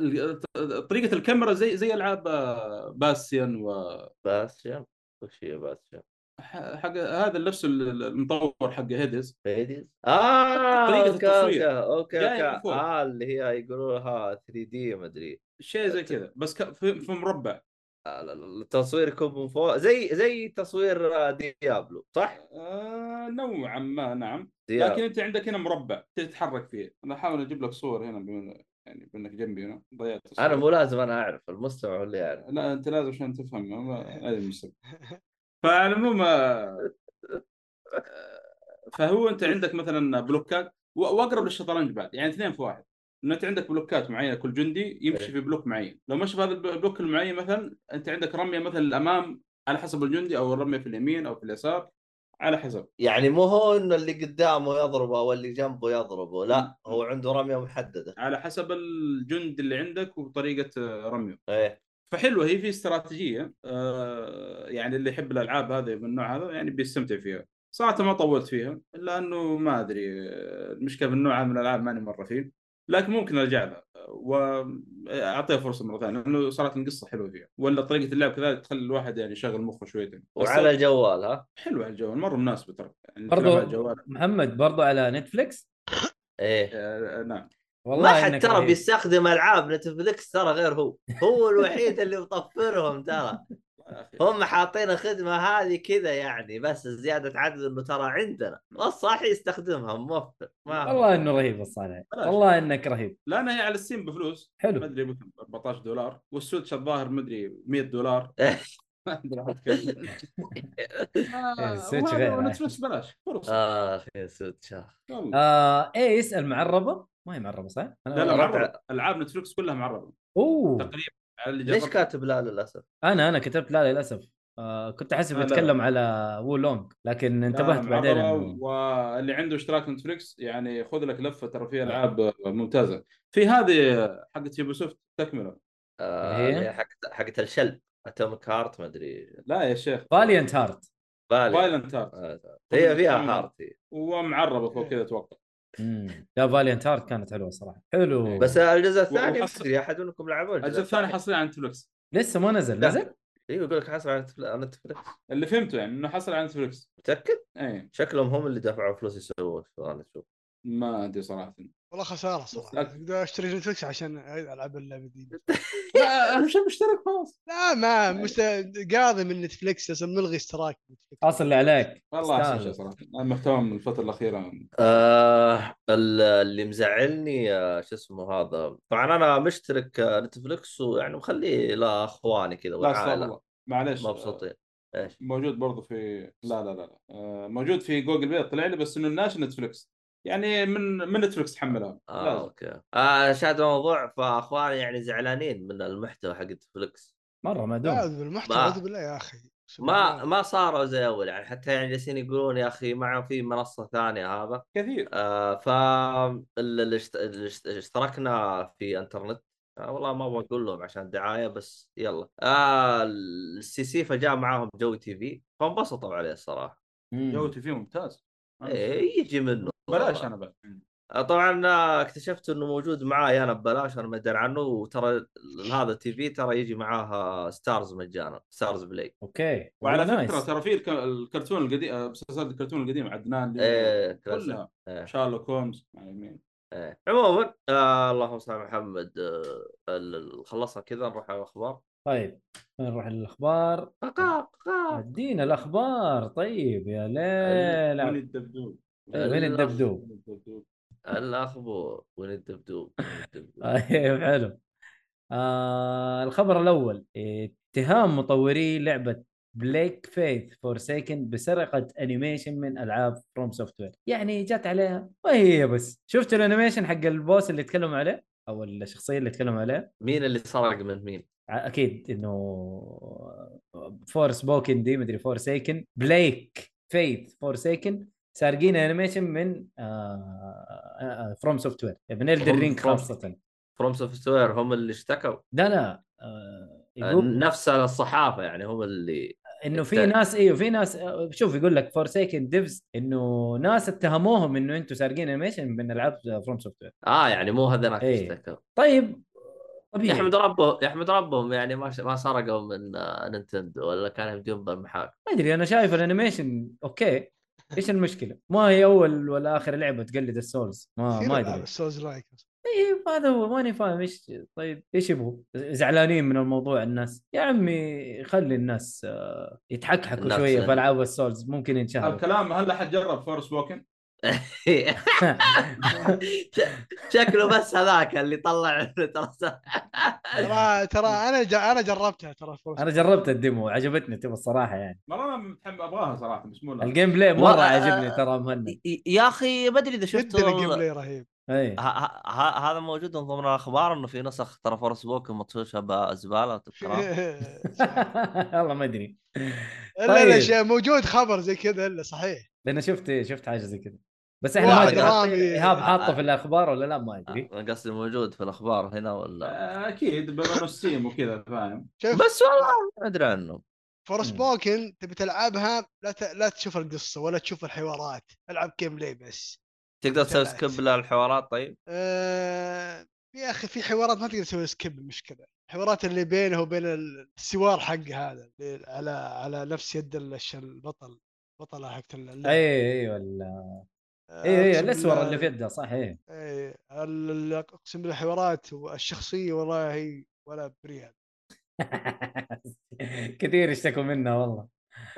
B: ال- طريقه الكاميرا زي زي العاب آه، باسيان و
E: باسشن وش هي باسشن
B: ح- حق هذا نفس المطور حق هيدز
E: فيديز اه
B: طريقة
E: أوكي،
B: التصوير.
E: اوكي
B: جاية
E: اوكي
B: من
E: اوكي
B: فوق.
E: اه اللي هي يقولوا لها 3 دي مدري
B: شيء زي كذا بس ك- في في مربع
E: آه، ال- ال- التصوير يكون من فوق زي زي تصوير آه، ديابلو صح؟
B: آه، نوعا ما نعم لكن
E: ديابلو
B: انت عندك هنا مربع تتحرك فيه انا احاول اجيب لك صور هنا بما يعني بانك جنبي هنا ضيعت الصور.
E: انا مو لازم انا اعرف المستمع هو اللي يعرف
B: لا انت لازم عشان تفهم ما- هذا المشكله فعلى العموم آه، فهو انت عندك مثلا بلوكات و- واقرب للشطرنج بعد يعني اثنين في واحد انه انت عندك بلوكات معينه كل جندي يمشي في بلوك معين لو مشى في هذا البلوك المعين مثلا انت عندك رميه مثلا للامام على حسب الجندي او رميه في اليمين او في اليسار على حسب
E: يعني مو هو انه اللي قدامه يضربه او اللي جنبه يضربه لا هو عنده رميه محدده
B: على حسب الجند اللي عندك وطريقه آه، رميه
E: ايه
B: فحلوه هي في استراتيجيه آه، يعني اللي يحب الالعاب هذه من النوع هذا يعني بيستمتع فيها صراحه ما طولت فيها الا انه ما ادري آه، المشكله بالنوع هذا من الالعاب ماني مره فيه لكن ممكن ارجع لها واعطيها فرصه مره ثانيه لانه صراحه القصه حلوه فيها ولا طريقه اللعب كذلك تخلي الواحد يعني يشغل مخه شويتين بس
E: وعلى الجوال ها
B: حلوه على الجوال مره مناسبه ترى يعني
D: برضو-
B: تلعب على الجوال
D: محمد برضو على نتفلكس
E: ايه
B: آه، آه، نعم
E: ما
D: والله
E: حد
D: إنك
E: ترى
D: رهيب.
E: بيستخدم العاب نتفلكس ترى غير هو هو الوحيد اللي مطفرهم ترى
B: يا أخي.
E: هم حاطين الخدمه هذه كذا يعني بس زياده عدد انه ترى عندنا الصح يستخدمها موفر ما
B: آه.
E: هو.
D: والله انه رهيب الصالح
B: بلاش.
D: والله انك رهيب
B: لا انا هي على السيم بفلوس طيب. ما
D: حلو
B: ادري بكم 14 دولار والسويتش الظاهر ما ادري
E: [LAUGHS]
B: 100 دولار
E: إيه.
B: ما ادري أحط
D: [LAUGHS]
B: كم.
D: إيه،
B: آه،
D: يعني السويتش
B: وهذا
D: غير
B: وأنا
D: رايح.
B: سويتش بلاش
E: آه.
B: فرصة
E: اخ يا سود شهر
B: والله.
D: آه ايه اسال معربه ما هي معربه صح؟ أنا-
B: لا لا
E: ربع. آه.
B: معربة. العاب نتفلكس كلها معربه
D: اوه
B: تقريبا على اللي
E: ليش
B: جربت.
E: كاتب لا للاسف؟
D: انا انا كتبت لا للاسف آه كنت احسب
B: لا، لا.
D: بتكلم على وولونج لكن
B: لا،
D: انتبهت
B: معربة
D: بعدين انه
B: آه، واللي عنده اشتراك نتفلكس يعني خذ لك لفه ترى
D: آه.
B: فيها العاب ممتازه في هذه حقت يوبيسوفت تكمله
E: آه
D: اللي هي؟
E: اللي هي حقت حقت الشلب اتوميك هارت ما ادري
B: لا يا شيخ
D: فاليانت هارت
E: بالي
B: فايلنت هارت
E: آه، هي فيها
B: مم.
E: هارت هي.
B: ومعربه فوق كذا اتوقع
D: لا فاليانت هارت كانت حلوه صراحه
B: إيه.
D: حلو
E: بس الجزء الثاني ما
B: وحصل-
E: ادري احد منكم لعبوه
B: الجزء الثاني حصري على نتفلكس
D: لسه ما نزل
E: لا.
D: نزل؟
E: ايوه يقول لك حصل على نتفل- على نتفلكس
B: اللي فهمته يعني انه حصل على نتفلكس إيه،
E: متاكد؟
B: اي
E: شكلهم هم اللي دفعوا فلوس يسوون الشغل، انا اشوف
B: ما ادري صراحه
F: والله خساره صراحه اقدر اشتري نتفلكس عشان العب اللعبه دي
B: لا اهم شيء مشترك خلاص
F: لا ما مست... قاضي من نتفلكس لازم نلغي اشتراك نتفلكس.
D: خلاص اللي عليك
B: والله احسن شيء
D: استاهل.
B: صراحه المحتوى من الفتره الاخيره
E: آه ال- اللي مزعلني آه، شو اسمه هذا طبعا انا مشترك آه، نتفلكس ويعني مخليه لاخواني كذا
B: لا استغفر
E: والعائله
B: الله معليش
E: مبسوطين ايش
B: موجود برضو في لا لا لا, لا. آه، موجود في جوجل بلاي طلع لي بس انه الناشر نتفلكس يعني من من نتفلكس تحملها
E: آه
B: لازم.
E: اوكي آه شاهد الموضوع فاخواني يعني زعلانين من المحتوى حق نتفلكس
D: مره معدوم
F: لا بالمحتوى
E: ما-
F: اعوذ بالله يا اخي
E: ما ما صاروا زي اول يعني حتى يعني جالسين يقولون يا اخي ما في منصه ثانيه هذا
B: كثير
E: آه ف ال- ال- اشت- ال- اشت- اشتركنا في انترنت آه والله ما ابغى اقول لهم عشان دعايه بس يلا آه السي سي فجاء معاهم جوي تي في فانبسطوا عليه الصراحه
B: جودتي فيه ممتاز
E: إيه يجي منه
B: آه، بلاش
E: والله.
B: انا بعد
E: آه، طبعا آه، اكتشفت انه موجود معاي انا ببلاش انا ما ادري عنه وترى ال- هذا التي في ترى يجي معاه ستارز مجانا ستارز بلاي
D: اوكي
B: وعلى
D: والله
B: فكره
D: نايس.
B: ترى في الك- الكرتون القديم آه، مسلسلات الكرتون القديمه عدنان اللي-
E: إيه، كلاسيك.
B: كلها
E: إيه.
B: شارلوك هولمز يعني مين.
E: إيه. عموما آه اللهم صل على محمد آه ال- ال- خلصنا كذا نروح على الاخبار
D: طيب نروح للاخبار
B: آه.
E: قاق قاق
D: ادينا الاخبار طيب يا
B: من
E: إيه،
D: ليل
B: الدبدوب
D: وين الدبدوب
B: من الدبدوب
E: الاخبار وين الدبدوب وين
D: [LAUGHS]
E: الدبدوب؟
D: طيب حلو آه الخبر الاول اتهام مطوري لعبه بليك فيث فورسيكن بسرقه انيميشن من العاب فروم سوفت وير يعني جت عليها وهي بس شفت الانيميشن حق البوس اللي تكلموا عليه او الشخصيه اللي تكلموا عليه
E: مين اللي سرق من مين؟
D: ع- اكيد انه فورس بوكن دي مدري فورسيكن بليك فيث فورسيكن سارقين انيميشن من آه، فروم سوفت وير من
E: From-
D: الدر رينج
E: From-
D: خاصه
E: فروم سوفت وير هم اللي اشتكوا
D: لا لا آه،
E: آه،
D: يقول
E: نفس الصحافه يعني هم اللي
D: انه في ناس ايوه في ناس آه، شوف يقول لك فورسيكن ديفز انه ناس اتهموهم انه انتم سارقين انيميشن من العاب فروم سوفت وير
E: اه يعني مو هذاك
D: إيه.
E: اشتكوا
D: طيب طبيعي
E: يحمد ربهم يحمد ربهم يعني ما ش- ما سرقوا من آه، نينتندو ولا كانوا يبدون بالمحاكم
D: [LAUGHS] ما ادري انا شايف الانيميشن اوكي ايش المشكله؟ ما هي اول ولا اخر لعبه تقلد السولز ما ما ادري
F: سولز لايك
D: اي هذا هو ماني فاهم ايش طيب ايش يبغوا؟ زعلانين من الموضوع الناس يا عمي خلي الناس آه، يتحكحكوا
E: الناس
D: شويه
E: يعني.
D: في العاب السولز ممكن
E: إيه.
D: ينشهروا
B: الكلام هلا حد جرب فورس ووكن
E: ش- [LAUGHS] شكله بس هذاك اللي طلع [LAUGHS] ترى
F: ترى ترى انا ج... انا جربتها ترى فرصة.
D: انا جربت الديمو عجبتني تبى الصراحه يعني
B: والله انا متحمل ابغاها صراحه بس مو لا
D: الجيم بلاي مره
E: والله،
D: عجبني ترى مهند
E: يا اخي ما ادري اذا شفت
F: جدا الجيم بلاي
E: [LAUGHS]
F: رهيب
D: اي
E: ه- ه- هذا موجود من ضمن الاخبار انه في نسخ ترى فورس بوكن مطفشه بزباله
F: [LAUGHS]
E: وتذكرها
D: [LAUGHS] والله ما ادري
F: الا
D: طيب.
F: لا شيء موجود خبر زي كذا الا صحيح
D: لان شفت شفت حاجه زي كذا بس احنا ما
F: واحد
D: ادري
F: رامي
D: ايهاب حاطه في الاخبار ولا لا ما ادري
E: أه، أنا قصدي موجود في الاخبار هنا ولا
B: آه، اكيد بما انه ستيم وكذا فاهم
F: شوف
E: بس والله ما ادري عنه
F: فورس
D: مم.
F: بوكن تبي تلعبها لا ت... لا تشوف القصه ولا تشوف الحوارات العب جيم بلاي بس
E: تقدر تسوي
F: تابعت.
E: سكيب للحوارات طيب
F: أه... يا اخي في حوارات ما تقدر تسوي سكيب المشكله الحوارات اللي بينه وبين السوار حق هذا اللي على على نفس يد الش- البطل بطله حقت آه، اللعبه
D: اي اي ولا اي اي الاسور اللي في يده صح اي
F: اي ال- ال- اقسم بالله حوارات والشخصيه والله ولا بريال
D: [LAUGHS] كثير يشتكوا منها والله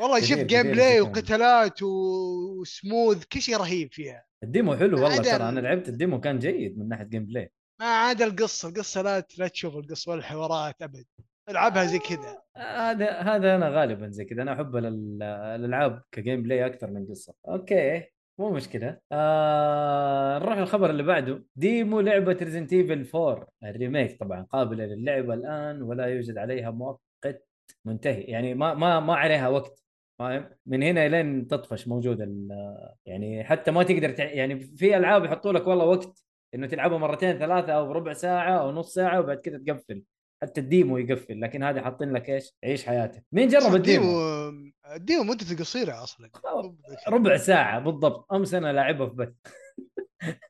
F: والله
D: كثير-
F: شوف
D: كثير
F: جيم بلاي
D: يشتكون.
F: وقتالات و- وسموث كل شيء رهيب فيها
D: الديمو حلو والله
F: عدم.
D: ترى انا لعبت الديمو كان جيد من ناحيه جيم بلاي
F: ما عدا القصه القصه لا ت- لا تشوف القصه ولا الحوارات ابد العبها زي كذا
D: هذا هذا انا غالبا زي كذا انا احب الال- الالعاب كجيم بلاي اكثر من قصه اوكي مو مشكله آه نروح الخبر اللي بعده ديمو لعبه ريزنت ايفل 4 الريميك طبعا قابله للعب الان ولا يوجد عليها مؤقت منتهي يعني ما ما ما عليها وقت فاهم من هنا لين تطفش موجود ال- يعني حتى ما تقدر تع... يعني في العاب يحطوا لك والله وقت انه تلعبها مرتين ثلاثه او ربع ساعه او نص ساعه وبعد كذا تقفل حتى الديمو يقفل لكن هذه حاطين لك ايش؟ عيش حياتك مين جرب الديمو؟
F: الديمو الديمو مدته قصيره اصلا
D: ربع ساعه بالضبط امس انا لاعبها في بث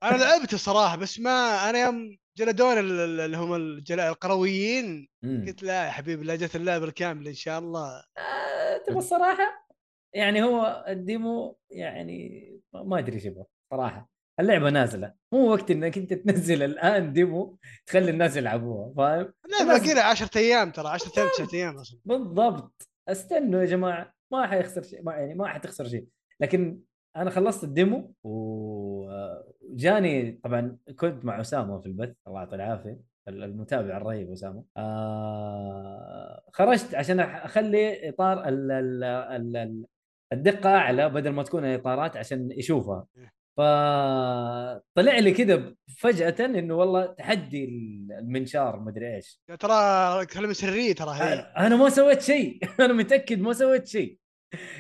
F: انا لعبته صراحه بس ما انا يوم جلدون ال- ال- اللي هم الجلاء القرويين
D: مم.
F: قلت لا يا حبيبي لا جت اللعبه الكامله ان شاء الله
D: آه، تبى الصراحه يعني هو الديمو يعني ما ادري ايش يبغى صراحه اللعبه نازله مو وقت انك انت تنزل الان ديمو تخلي الناس يلعبوها فاهم
F: لا باقي لها 10 ايام ترى 10 ايام
D: [LAUGHS]
F: 9 ايام اصلا
D: بالضبط استنوا يا جماعه ما حيخسر شيء ما يعني ما حتخسر شيء لكن انا خلصت الديمو وجاني طبعا كنت مع اسامه في البث الله يعطيه العافيه المتابع الرهيب اسامه آه خرجت عشان أح- اخلي اطار ال ال ال ال الدقه اعلى بدل ما تكون الاطارات عشان يشوفها فطلع لي كذا فجاه انه والله تحدي المنشار مدري ايش
F: يا يعني ترى كلمه سريه ترى هي
D: أنا- انا ما سويت شيء [LAUGHS] انا متاكد ما سويت شيء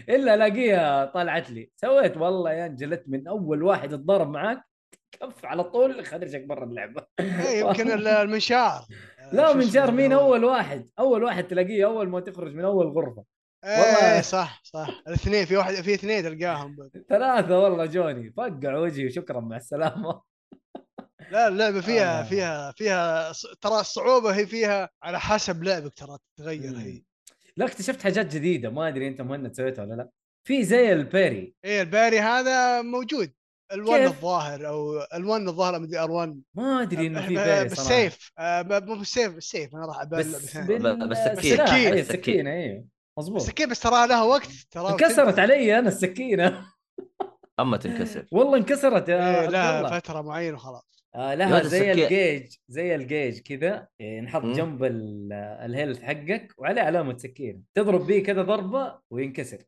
D: الا الاقيها طلعت لي سويت والله يا انجلت من اول واحد اتضارب معاك كف على طول خرجك برا
F: [LAUGHS]
D: اللعبه
F: إيه، يمكن ال- المنشار
D: أيوة. لا
F: شو
D: من
F: اسمه؟
D: شهر مين اول واحد اول واحد تلاقيه اول ما تخرج من اول غرفه والله.
F: ايه صح صح الاثنين في واحد في اثنين تلقاهم
D: ثلاثه والله جوني فقع وجهي وشكرا مع السلامه
F: لا اللعبه فيها
D: آه.
F: فيها فيها ص- ترى الصعوبه هي فيها على حسب لعبك ترى تتغير هي
D: لا اكتشفت حاجات جديده ما ادري انت مهند سويتها ولا لا في زي البيري
F: ايه الباري هذا موجود الوان
D: كيف؟
F: الظاهر او الوان الظاهر مدري ار 1
D: ما ادري انه في بيري صراحه
F: أه، بالسيف آه، ب- مو بالسيف بالسيف انا راح ابالي لعبه
D: بس
F: ثانيه
E: بال- بالسكين.
D: بالسكينه
F: بالسكين.
D: اي السكينه اي إيه. مظبوط
F: السكين بس ترى لها وقت ترى
D: انكسرت علي انا السكينه
E: اما تنكسر
D: [LAUGHS]
F: [LAUGHS]
D: والله انكسرت يا
F: إيه
D: عبد
F: لا
D: الله
F: فتره معينه وخلاص
D: آه
E: يا
D: لها
E: ولد
D: زي
E: السكين.
D: الجيج زي الجيج كذا إيه، ينحط
E: مم.
D: جنب ال- الهيلث حقك وعليه علامه سكينه تضرب به كذا ضربه وينكسر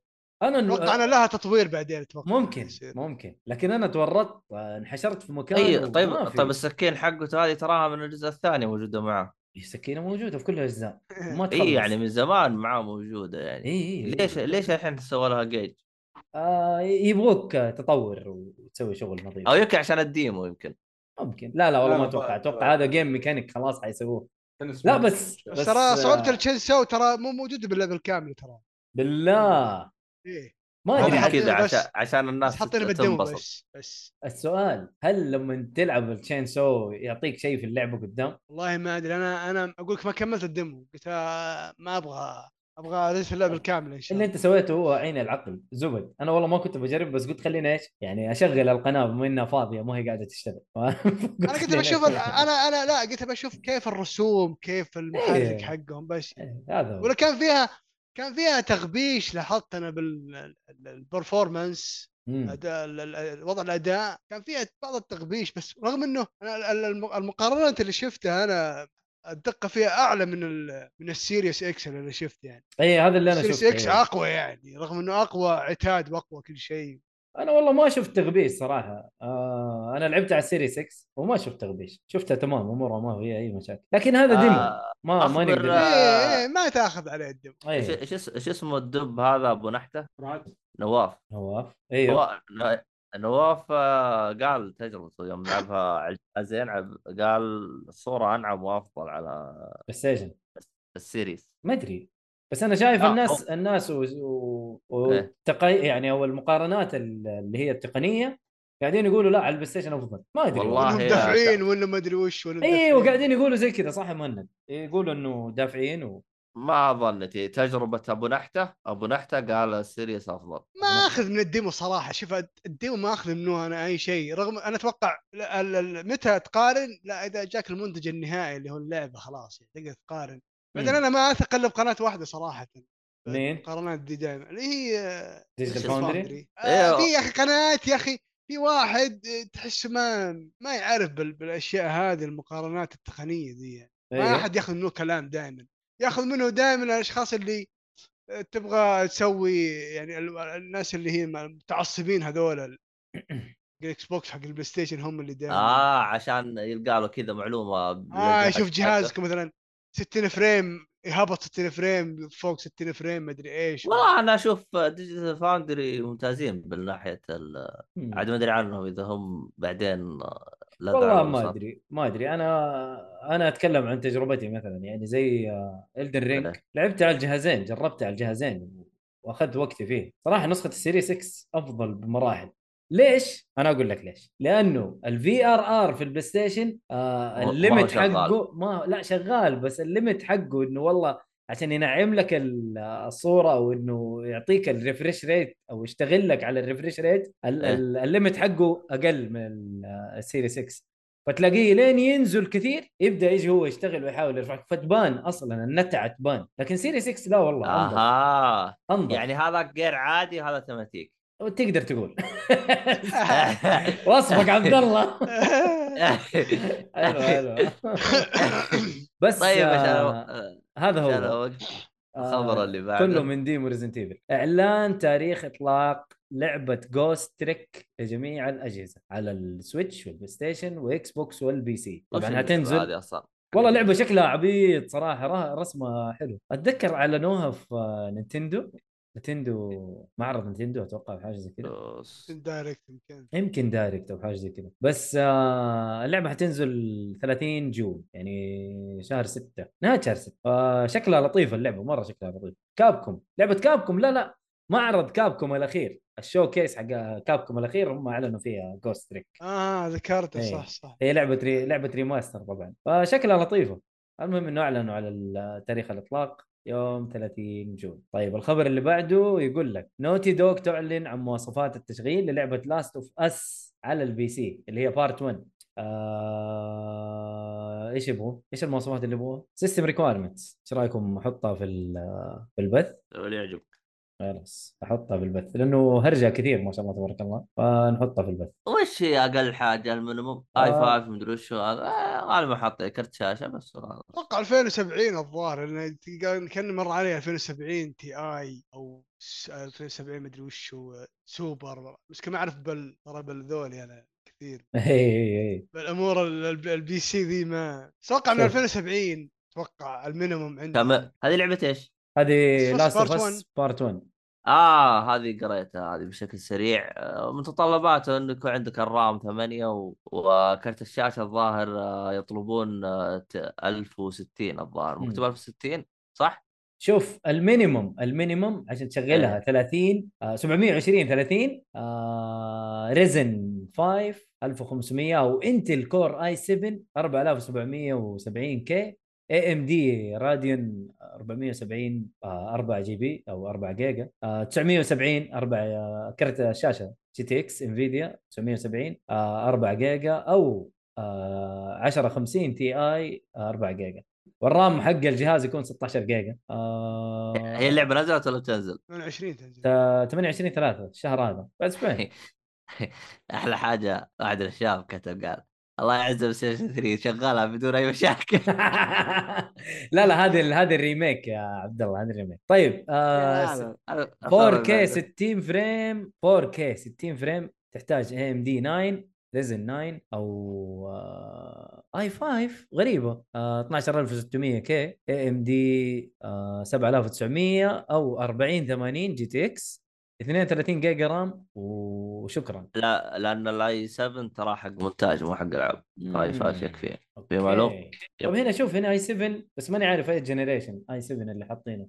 D: انا
F: اتوقع انا لها تطوير بعدين اتوقع
D: ممكن
F: يصير.
D: ممكن لكن انا تورطت آه، انحشرت في مكان
E: طيب طيب
D: وما في.
E: طيب السكين حقته هذه تراها من الجزء الثاني موجوده معاه
D: السكينه موجوده إيه، في كل الاجزاء
F: إيه.
B: إيه.
D: ما تخلص
E: اي يعني من زمان معاه موجوده يعني
D: اي
E: ليش ليش الحين سوى لها جيج؟
D: آه يبغوك آه، تطور وتسوي شغل نظيف
E: او يمكن عشان الديمو يمكن
D: ممكن لا لا والله
B: لا،
D: ما
B: لا، إيه.
D: اتوقع
B: ما-
D: اتوقع هذا جيم ميكانيك خلاص حيسووه
B: تنس
D: لا
B: ما-
D: بس
F: بس ترى صعوبه التشينسو ترى مو موجوده باللعبه الكامله ترى
D: بالله
F: ايه
D: ما
F: هذا
D: ادري
F: حق-
D: عاد-
F: حاطينه
E: كذا
F: بس-
E: عشان عشان
F: بس
E: الناس
F: حاطينه بالدمو
E: تنبسط
F: بس بس
D: السؤال هل لما تلعب التشين سو يعطيك شيء في اللعبه قدام؟
F: والله ما ادري انا انا اقول لك ما كملت الدمو قلت آه، ما ابغى ابغى ليش اللعبه الكامله ان شاء
D: اللي
F: الله
D: انت سويته هو عين العقل زبد انا والله ما كنت بجرب بس قلت خلينا ايش؟ يعني اشغل القناه بما انها فاضيه ما هي قاعده تشتغل [LAUGHS]
F: انا قلت بشوف ال- انا انا لا قلت بشوف كيف الرسوم كيف المحرك
D: إيه.
F: حقهم بس
D: هذا هو.
F: ولا كان فيها كان فيها تغبيش لاحظت انا بالبرفورمانس
D: مم.
F: اداء ال- ال- ال- وضع الاداء كان فيها بعض التغبيش بس رغم انه انا ال- ال- الم- المقارنات اللي شفتها انا الدقه فيها اعلى من ال- من السيريس اكس اللي شفت يعني
D: اي هذا اللي انا
F: السيريس
D: شفته
F: اكس
D: إيه.
F: اقوى يعني رغم انه اقوى عتاد واقوى كل شيء
D: انا والله ما شفت تغبيش صراحه آه انا لعبت على السيري 6 وما شفت تغبيش شفتها تمام امورها ما فيها اي مشاكل لكن هذا ديمو
E: آه،
D: ما ما
E: أخبر-
D: نقدر إيه،
F: ايه إيه، ما تاخذ عليه الدم
D: اي
E: إيش- ايش اس- ايش اسمه الدب هذا ابو نحته؟
B: رعد.
E: نواف
D: نواف ايوه
E: هو- ن- نواف آه، قال تجربته يوم لعبها على الجهاز يلعب قال الصوره انعم وافضل على
D: بلاي ستيشن
E: السيريس
D: ما ادري بس انا شايف
E: آه،
D: الناس الناس و... و...
E: إيه.
D: والتقي... يعني او المقارنات ال- اللي هي التقنيه قاعدين يقولوا لا على البلاي ستيشن افضل ما ادري
E: والله
F: ولا
E: يا-
F: مدافعين ولا ما ادري وش ولا
D: ايوه
F: مدافعين.
D: قاعدين يقولوا زي كذا صح يا مهند يقولوا انه دافعين و...
E: ما إيه، ظنتي تجربه ابو نحته ابو نحته قال السيريس أمم. افضل
F: ما اخذ من الديمو صراحه شوف الديمو ما اخذ منه انا اي شيء رغم انا اتوقع ال- ال- ال- متى تقارن لا اذا جاك المنتج النهائي اللي هو اللعبه خلاص يعني تقدر تقارن بعدين انا ما اثق الا بقناه واحده صراحه
D: مين؟
F: المقارنات دي دائما اللي هي
D: ديجيتال
E: إيش
D: فاوندري
F: فاوندري
E: إيه.
F: في يا اخي قنوات يا اخي في واحد آه، تحس ما ما يعرف بال- بالاشياء هذه المقارنات التقنيه ذي يعني. ما
D: أيوه.
F: احد ياخذ منه كلام دائما ياخذ منه دائما الاشخاص اللي آه، تبغى تسوي يعني ال- الناس اللي هي المتعصبين
D: [COUGHS]
F: هذول ال- الاكس بوكس حق البلاي ستيشن هم اللي دائما
D: آه،
E: اه عشان يلقى له كذا معلومه
F: اه
E: بالجهاز
F: شوف
E: حقه.
F: جهازكم مثلا 60 فريم يهبط 60 فريم فوق 60 فريم مدري
D: [LAUGHS]
F: ايش [LAUGHS]
E: والله انا اشوف ديجيتال فاوندري ممتازين بالناحيه
D: أمم.
E: ال...
D: مم.
E: عاد ما ادري عنهم اذا هم بعدين لا
D: والله
E: دعوة
D: ما
E: بالوساطة.
D: ادري ما ادري انا انا اتكلم عن تجربتي مثلا يعني زي الدن رينج
E: إيه.
D: لعبت على الجهازين جربت على الجهازين واخذت وقتي فيه صراحه نسخه السيريس 6 افضل بمراحل ليش؟ انا اقول لك ليش؟ لانه الفي ار ار في البلاي ستيشن
E: ما
D: آه
E: هو
D: الليمت
E: شغال.
D: حقه ما لا شغال بس الليمت حقه انه والله عشان ينعم لك ال- الصوره او انه يعطيك الريفرش ريت او يشتغل لك على الريفرش ريت ال-
E: إيه.
D: ال- الليمت حقه اقل من ال- السيري 6 فتلاقيه لين ينزل كثير يبدا يجي هو يشتغل ويحاول يرفعك فتبان اصلا النتعه تبان لكن سيري 6 لا والله انضف
E: اها
D: انضف يعني
E: آه، يعني هذا غير عادي وهذا تماتيك
D: تقدر تقول [LAUGHS]
F: [LAUGHS]
E: [LAUGHS]
D: وصفك عبد الله حلو
E: [LAUGHS]
D: حلو بس
E: طيب
D: آه،
E: عشان أنا-
D: هذا
E: عشان
D: هو
E: اوقف
D: آه،
E: الخبر اللي بعده
D: كله من دي وريزنت ايفل اعلان تاريخ اطلاق لعبه جوست تريك لجميع الاجهزه على السويتش والبلاي ستيشن واكس بوكس والبي سي
E: وش
D: طبعا
E: اللعبة
D: هتنزل
E: طيب، هذه اصلا
D: والله لعبه شكلها عبيط صراحه را- رسمها حلو اتذكر اعلنوها في آه، نينتندو نينتندو معرض نينتندو اتوقع أو حاجه زي كذا
E: أوس.
F: دايركت يمكن
D: يمكن دايركت او حاجه زي كذا بس آه اللعبه حتنزل 30 جون يعني شهر 6 نهايه شهر 6 آه شكلها لطيفه اللعبه مره شكلها لطيف كابكم لعبه كابكم لا لا معرض كابكم الاخير الشو كيس حق كابكم الاخير هم اعلنوا فيها جوست تريك
F: اه ذكرته
D: إيه.
F: صح صح
D: هي لعبه ري... لعبه ريماستر طبعا فشكلها لطيفه المهم انه اعلنوا على ال- تاريخ الاطلاق يوم 30 جون طيب الخبر اللي بعده يقول لك نوتي دوغ تعلن عن مواصفات التشغيل للعبه لاست اوف اس على البي سي اللي هي بارت 1 آه... ايش يبغوا؟ ايش المواصفات اللي يبغوها؟ سيستم ريكوايرمنتس ايش رايكم احطها في ال- في البث؟
E: اللي يعجبك
D: خلاص احطها في البث لانه هرجه كثير ما شاء الله تبارك الله فنحطها في البث [LAUGHS]
E: وش هي اقل حاجه المينيموم
D: آه.
E: اي 5 مدري وش هو هذا آه، غالبا حاطين كرت شاشه بس وهذا.
F: اتوقع 2070 الظاهر لان قال- كان مر عليه 2070 تي اي او س- 2070 مدري وش هو سوبر بس ما اعرف بل ترى بل ذولي انا كثير
D: اي
F: بالامور ال- ال- البي سي ذي ما اتوقع من
D: شوف.
F: 2070 اتوقع المينيموم عندي
E: كم- هذه لعبه ايش؟
D: هذه
F: Last
D: لاست
F: of
D: اوف
F: Us
D: اس بارت 1
E: اه هذه قريتها هذه بشكل سريع آه، متطلباته انه يكون عندك الرام 8 و... وكرت الشاشه الظاهر آه، يطلبون آه، ت- 1060 الظاهر
D: مم.
E: مكتوب 1060 صح؟
D: شوف المينيموم المينيموم عشان تشغلها 30 آه، 720 30 آه، ريزن 5 1500 او انتل كور اي 7 4770 كي اي ام دي راديون 470 آه، 4 جي بي او 4 جيجا آه، 970 4 آه، كرت الشاشه جي تي اكس انفيديا 970 آه، 4 جيجا او آه، 1050 تي اي 4 جيجا والرام حق الجهاز يكون 16 جيجا آه،
E: هي اللعبه نزلت ولا بتنزل؟
F: 28 تنزل
D: تا- 28 3 الشهر هذا بعد اسبوعين
E: احلى حاجه واحد الشباب كتب قال الله يعز بلاي ستيشن 3 شغالها بدون اي
D: [LAUGHS]
E: مشاكل
D: لا لا هذه ال- هذه الريميك يا عبد الله هذه الريميك
E: [LAUGHS]
D: طيب آه،
E: أنا- أنا-
D: 4K 60 فريم 4K 60 فريم تحتاج اي ام دي 9 ريزن آه، 9 او اي 5 غريبه آه، 12600 كي اي ام دي 7900 او 4080 جي تي اكس 32 جيجا رام وشكرا
E: لا لان الاي 7 ترى حق مونتاج مو حق طيب، العاب اي 5 يكفي
D: اوكي
E: معلومة؟
D: طب
E: يب.
D: طيب، هنا شوف هنا اي 7 بس ماني عارف اي جنريشن اي 7 اللي حاطينه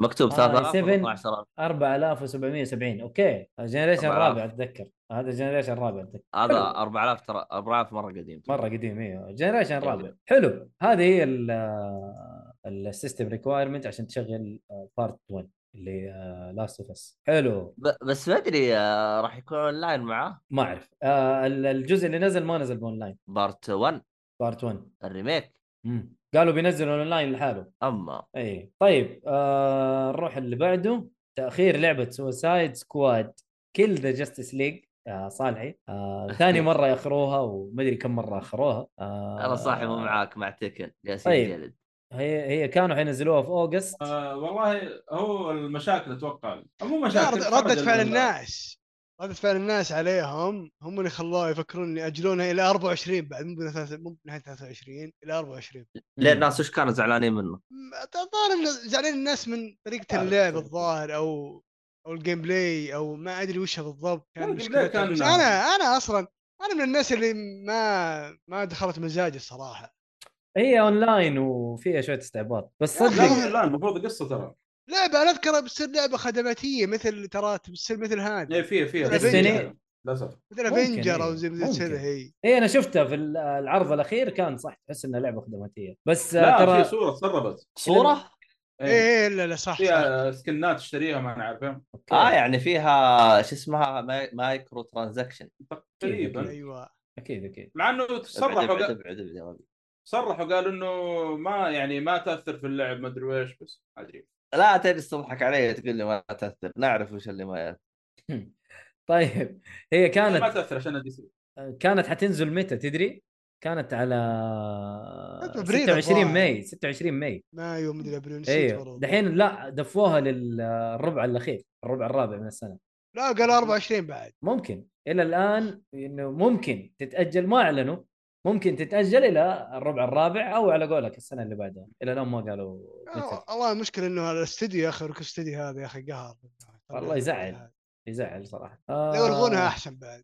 E: مكتوب
D: آه،
E: 3000
D: 7.
E: 12000
D: 4770 اوكي الجنريشن
E: أربعة آلاف.
D: الرابع اتذكر هذا الجنريشن الرابع اتذكر
E: هذا 4000 ترى 4000 مره قديم
D: مره قديم ايوه جنريشن
E: طيب.
D: الرابع حلو هذه هي ال- السيستم ريكوايرمنت عشان تشغل بارت 1 اللي آه، لاست اوف اس حلو
E: ب- بس ما ادري آه، راح يكون اون لاين معاه
D: ما اعرف آه، ال- الجزء اللي نزل ما نزل اونلاين
E: بارت 1
D: بارت 1
E: الريميك
D: مم. قالوا بينزلوا اونلاين لحاله
E: اما
D: اي طيب آه نروح اللي بعده تاخير لعبه سوسايد سكواد كل ذا جاستس ليج صالحي آه
E: [LAUGHS]
D: ثاني مره ياخروها ومدري كم مره اخروها آه
E: انا صاحي مو معاك مع تكن جالس
D: طيب.
E: يجلد
D: هي هي كانوا حينزلوها في اوغست
B: آه والله هو المشاكل اتوقع أو مو
F: لا،
B: مشاكل
F: رد-
B: فرج
F: ردة فعل
B: ال-
F: الناس ردة فعل الناس عليهم هم اللي خلوه يفكرون ان ياجلونها الى 24 بعد مو بنهاية- مو بنهايه 23 الى 24
E: ليه الناس وش كانوا زعلانين منه؟
F: م- الظاهر إن زعلان الناس من طريقه
B: عارف.
F: اللعب الظاهر او او الجيم بلاي او ما ادري وش بالضبط
B: لا،
F: كان
B: الجيم بلاي
F: مشكلتها.
B: كان-
F: بس انا انا اصلا انا من الناس اللي ما ما دخلت مزاجي الصراحه
D: هي اونلاين وفيها شويه استعباط بس
F: يا
B: لا
D: صدق
B: مو لا المفروض قصه ترى
F: لعبه انا اذكرها بتصير لعبه خدماتيه مثل ترى بتصير مثل هذا
B: إيه، في في
D: يعني
F: Destiny.
B: للاسف
F: مثل
D: ممكن،
F: افنجر او
D: إيه،
F: زي
D: ممكن.
F: مثل كذا هي
D: هي انا إيه، شفتها في ال- العرض الاخير كان صح تحس انها لعبه خدماتيه بس آه،
B: لا في
D: ترى
B: صوره تسربت
E: صوره؟
D: إيه.
F: ايه لا لا صح صح.
B: فيها سكنات تشتريها ما انا عارف
E: اه يعني فيها شو اسمها ماي- مايكرو ترانزاكشن
D: إيه،
B: تقريبا
F: ايوه
D: اكيد اكيد
B: مع انه
E: ابعد
B: تصرحوا
E: ابعد
B: قال-
E: ابعد ابعد يا ولد.
B: صرحوا قالوا انه ما يعني ما تاثر في اللعب ما ادري ايش بس ما ادري
E: لا تجلس تضحك علي وتقول لي ما تاثر نعرف وش اللي ما يأثر.
D: [LAUGHS] طيب هي
B: يعني ما
D: كانت
B: تاثر عشان دي سي
D: كانت حتنزل متى تدري؟ كانت على
F: كانت أبريل
D: 26
F: الظاهر.
D: ماي 26 ماي
F: مايو مدري ابريل نسيت
D: ايوه
F: والله.
D: دحين لا دفوها للربع الاخير الربع الرابع من السنه
F: لا قالوا 24 بعد
D: ممكن الى الان انه ممكن تتاجل ما اعلنوا ممكن تتاجل الى الربع الرابع او على قولك السنه اللي بعدها الى الان ما قالوا متى
F: آه، والله المشكله انه الاستديو يا اخي ركن استديو هذا يا اخي قهر
D: والله يزعل. يزعل صراحه آه
F: لو يلغونها احسن
D: [LAUGHS]
F: بعد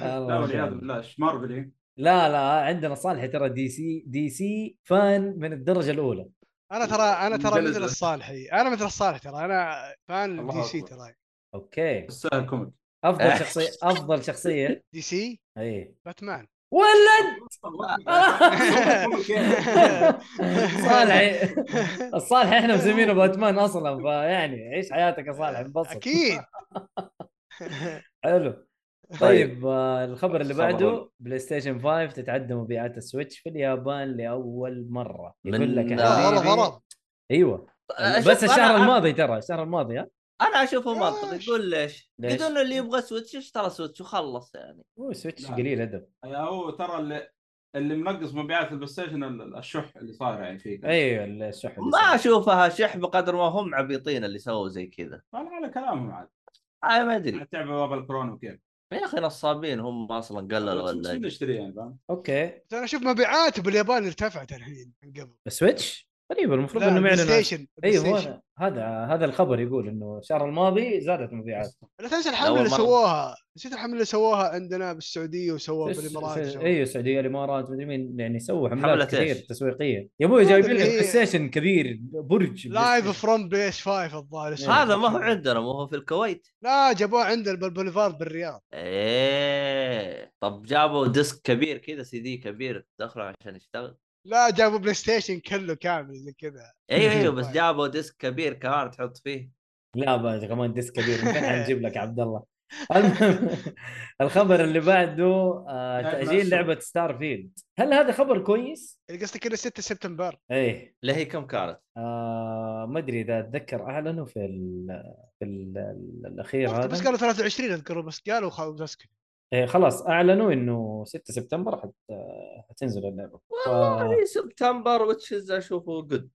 B: لا
D: الله
B: والعياذ
D: يعين.
B: بالله ايش مارفل
D: لا لا عندنا صالح ترى دي سي دي سي فان من الدرجه الاولى
F: انا ترى انا ترى
B: مجلد.
F: مثل الصالحي انا مثل الصالح ترى انا فان
B: الله
F: دي سي
B: أكبر.
F: ترى
D: اوكي
B: السهل كوميك
D: افضل
B: [LAUGHS]
D: شخصيه افضل شخصيه
F: دي سي
D: اي
E: [LAUGHS]
F: باتمان [LAUGHS]
D: ولد صالح الصالح احنا مسمينه باتمان اصلا فيعني عيش حياتك يا صالح انبسط
F: اكيد
D: حلو [LAUGHS] طيب آه، الخبر اللي
E: خبر
D: بعده بلاي ستيشن 5 تتعدى مبيعات السويتش في اليابان لاول مره يقول
E: من-
D: لك يا
E: لا،
F: هرب
D: حبيبي
F: هرب
D: ايوه
E: أشوف
D: بس الشهر
E: طيب، آه، أه، أنا-
D: الماضي ترى الشهر الماضي ها
E: انا اشوفه منطقي
F: ليش؟
E: يقول ليش؟
D: ليش؟
E: يقول انه اللي يبغى سويتش اشترى سويتش وخلص يعني
D: هو سويتش
B: لا.
D: قليل ادب
B: يا يعني هو ترى اللي اللي منقص مبيعات البلاي ستيشن ال- الشح اللي صاير يعني فيه
D: ايوه الشح اللي
E: ما
D: صار.
E: اشوفها شح بقدر ما هم عبيطين اللي سووا زي كذا
B: والله على كلامهم عاد
E: انا ما ادري
B: حتى باب الكورونا وكيف
E: يا اخي نصابين هم اصلا قللوا
B: بس
E: ولا
B: مستحيل نشتريه يعني فاهم
D: اوكي
F: انا اشوف مبيعاته باليابان ارتفعت الحين من قبل
D: السويتش غريب المفروض انه معلن
F: بلاي ستيشن بلاي
D: ايوه
F: ستيشن.
D: هو هذا هذا الخبر يقول انه الشهر الماضي زادت مبيعات
F: لا
E: أول
F: تنسى الحمله اللي
E: مرة.
F: سووها نسيت الحمله اللي سووها عندنا بالسعوديه وسووها بالامارات وسووها.
D: ايوه السعوديه الامارات مدري مين يعني سووا
E: حملة
D: حملات كثير
E: إيش؟
D: تسويقيه يا ابوي جايبين لك
F: هذا اللي
D: بلاي
F: هي-
D: ستيشن كبير برج
F: لايف فروم بيس 5 الظاهر اسمه.
E: هذا ما هو عندنا ما هو في الكويت
F: لا جابوه عندنا بالبوليفارد بالرياض
E: ايه طب جابوا ديسك كبير كذا سي دي كبير دخله عشان
D: [LAUGHS]
E: يشتغل
F: لا جابوا بلاي ستيشن كله كامل زي كذا
E: ايوه ايوه
D: طيب.
E: بس جابوا ديسك كبير كمان تحط فيه
D: لا بس كمان ديسك كبير من فين حنجيب لك عبد الله المهم، الخبر اللي بعده آه،
B: لعبة
D: تاجيل
B: أسوأ.
D: لعبه ستار فيلد هل هذا خبر كويس؟
F: اللي قصدك انه 6 سبتمبر
D: ايه
E: لا هي كم كانت؟
D: آه ما ادري اذا اتذكر اعلنوا في ال في ال الاخير إيه، هذا
F: بس قالوا 23 اذكر بس قالوا خلاص اسكت
D: إيه خلاص اعلنوا انه 6 سبتمبر حت... آه، حتنزل اللعبه ف...
E: والله سبتمبر وتشز اشوفه قد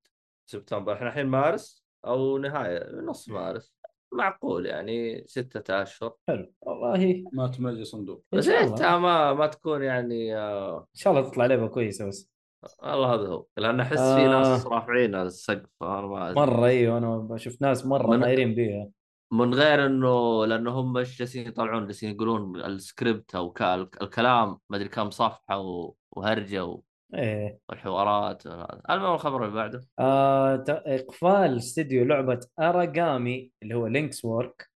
E: سبتمبر احنا الحين مارس او نهايه نص مارس معقول يعني ستة اشهر
D: حلو والله
B: ما تملي صندوق
D: ان
E: بس إيه،
D: شاء
E: انت
D: الله
E: ما ما تكون يعني آه،
D: ان شاء الله تطلع لعبه كويسه بس
E: والله هذا هو لان احس في ناس
D: آه.
E: رافعين السقف انا ما أدري.
D: مره ايوه انا شفت ناس مره
E: من-
D: طايرين بيها
E: من غير انه لانه هم مش جالسين يطلعون جالسين يقولون السكريبت او ك- الكلام ما ادري كم صفحه و- وهرجه و-
D: ايه
E: والحوارات وهذا. المهم الخبر اللي بعده
D: آه ت- اقفال استديو لعبه اراجامي اللي هو لينكس وورك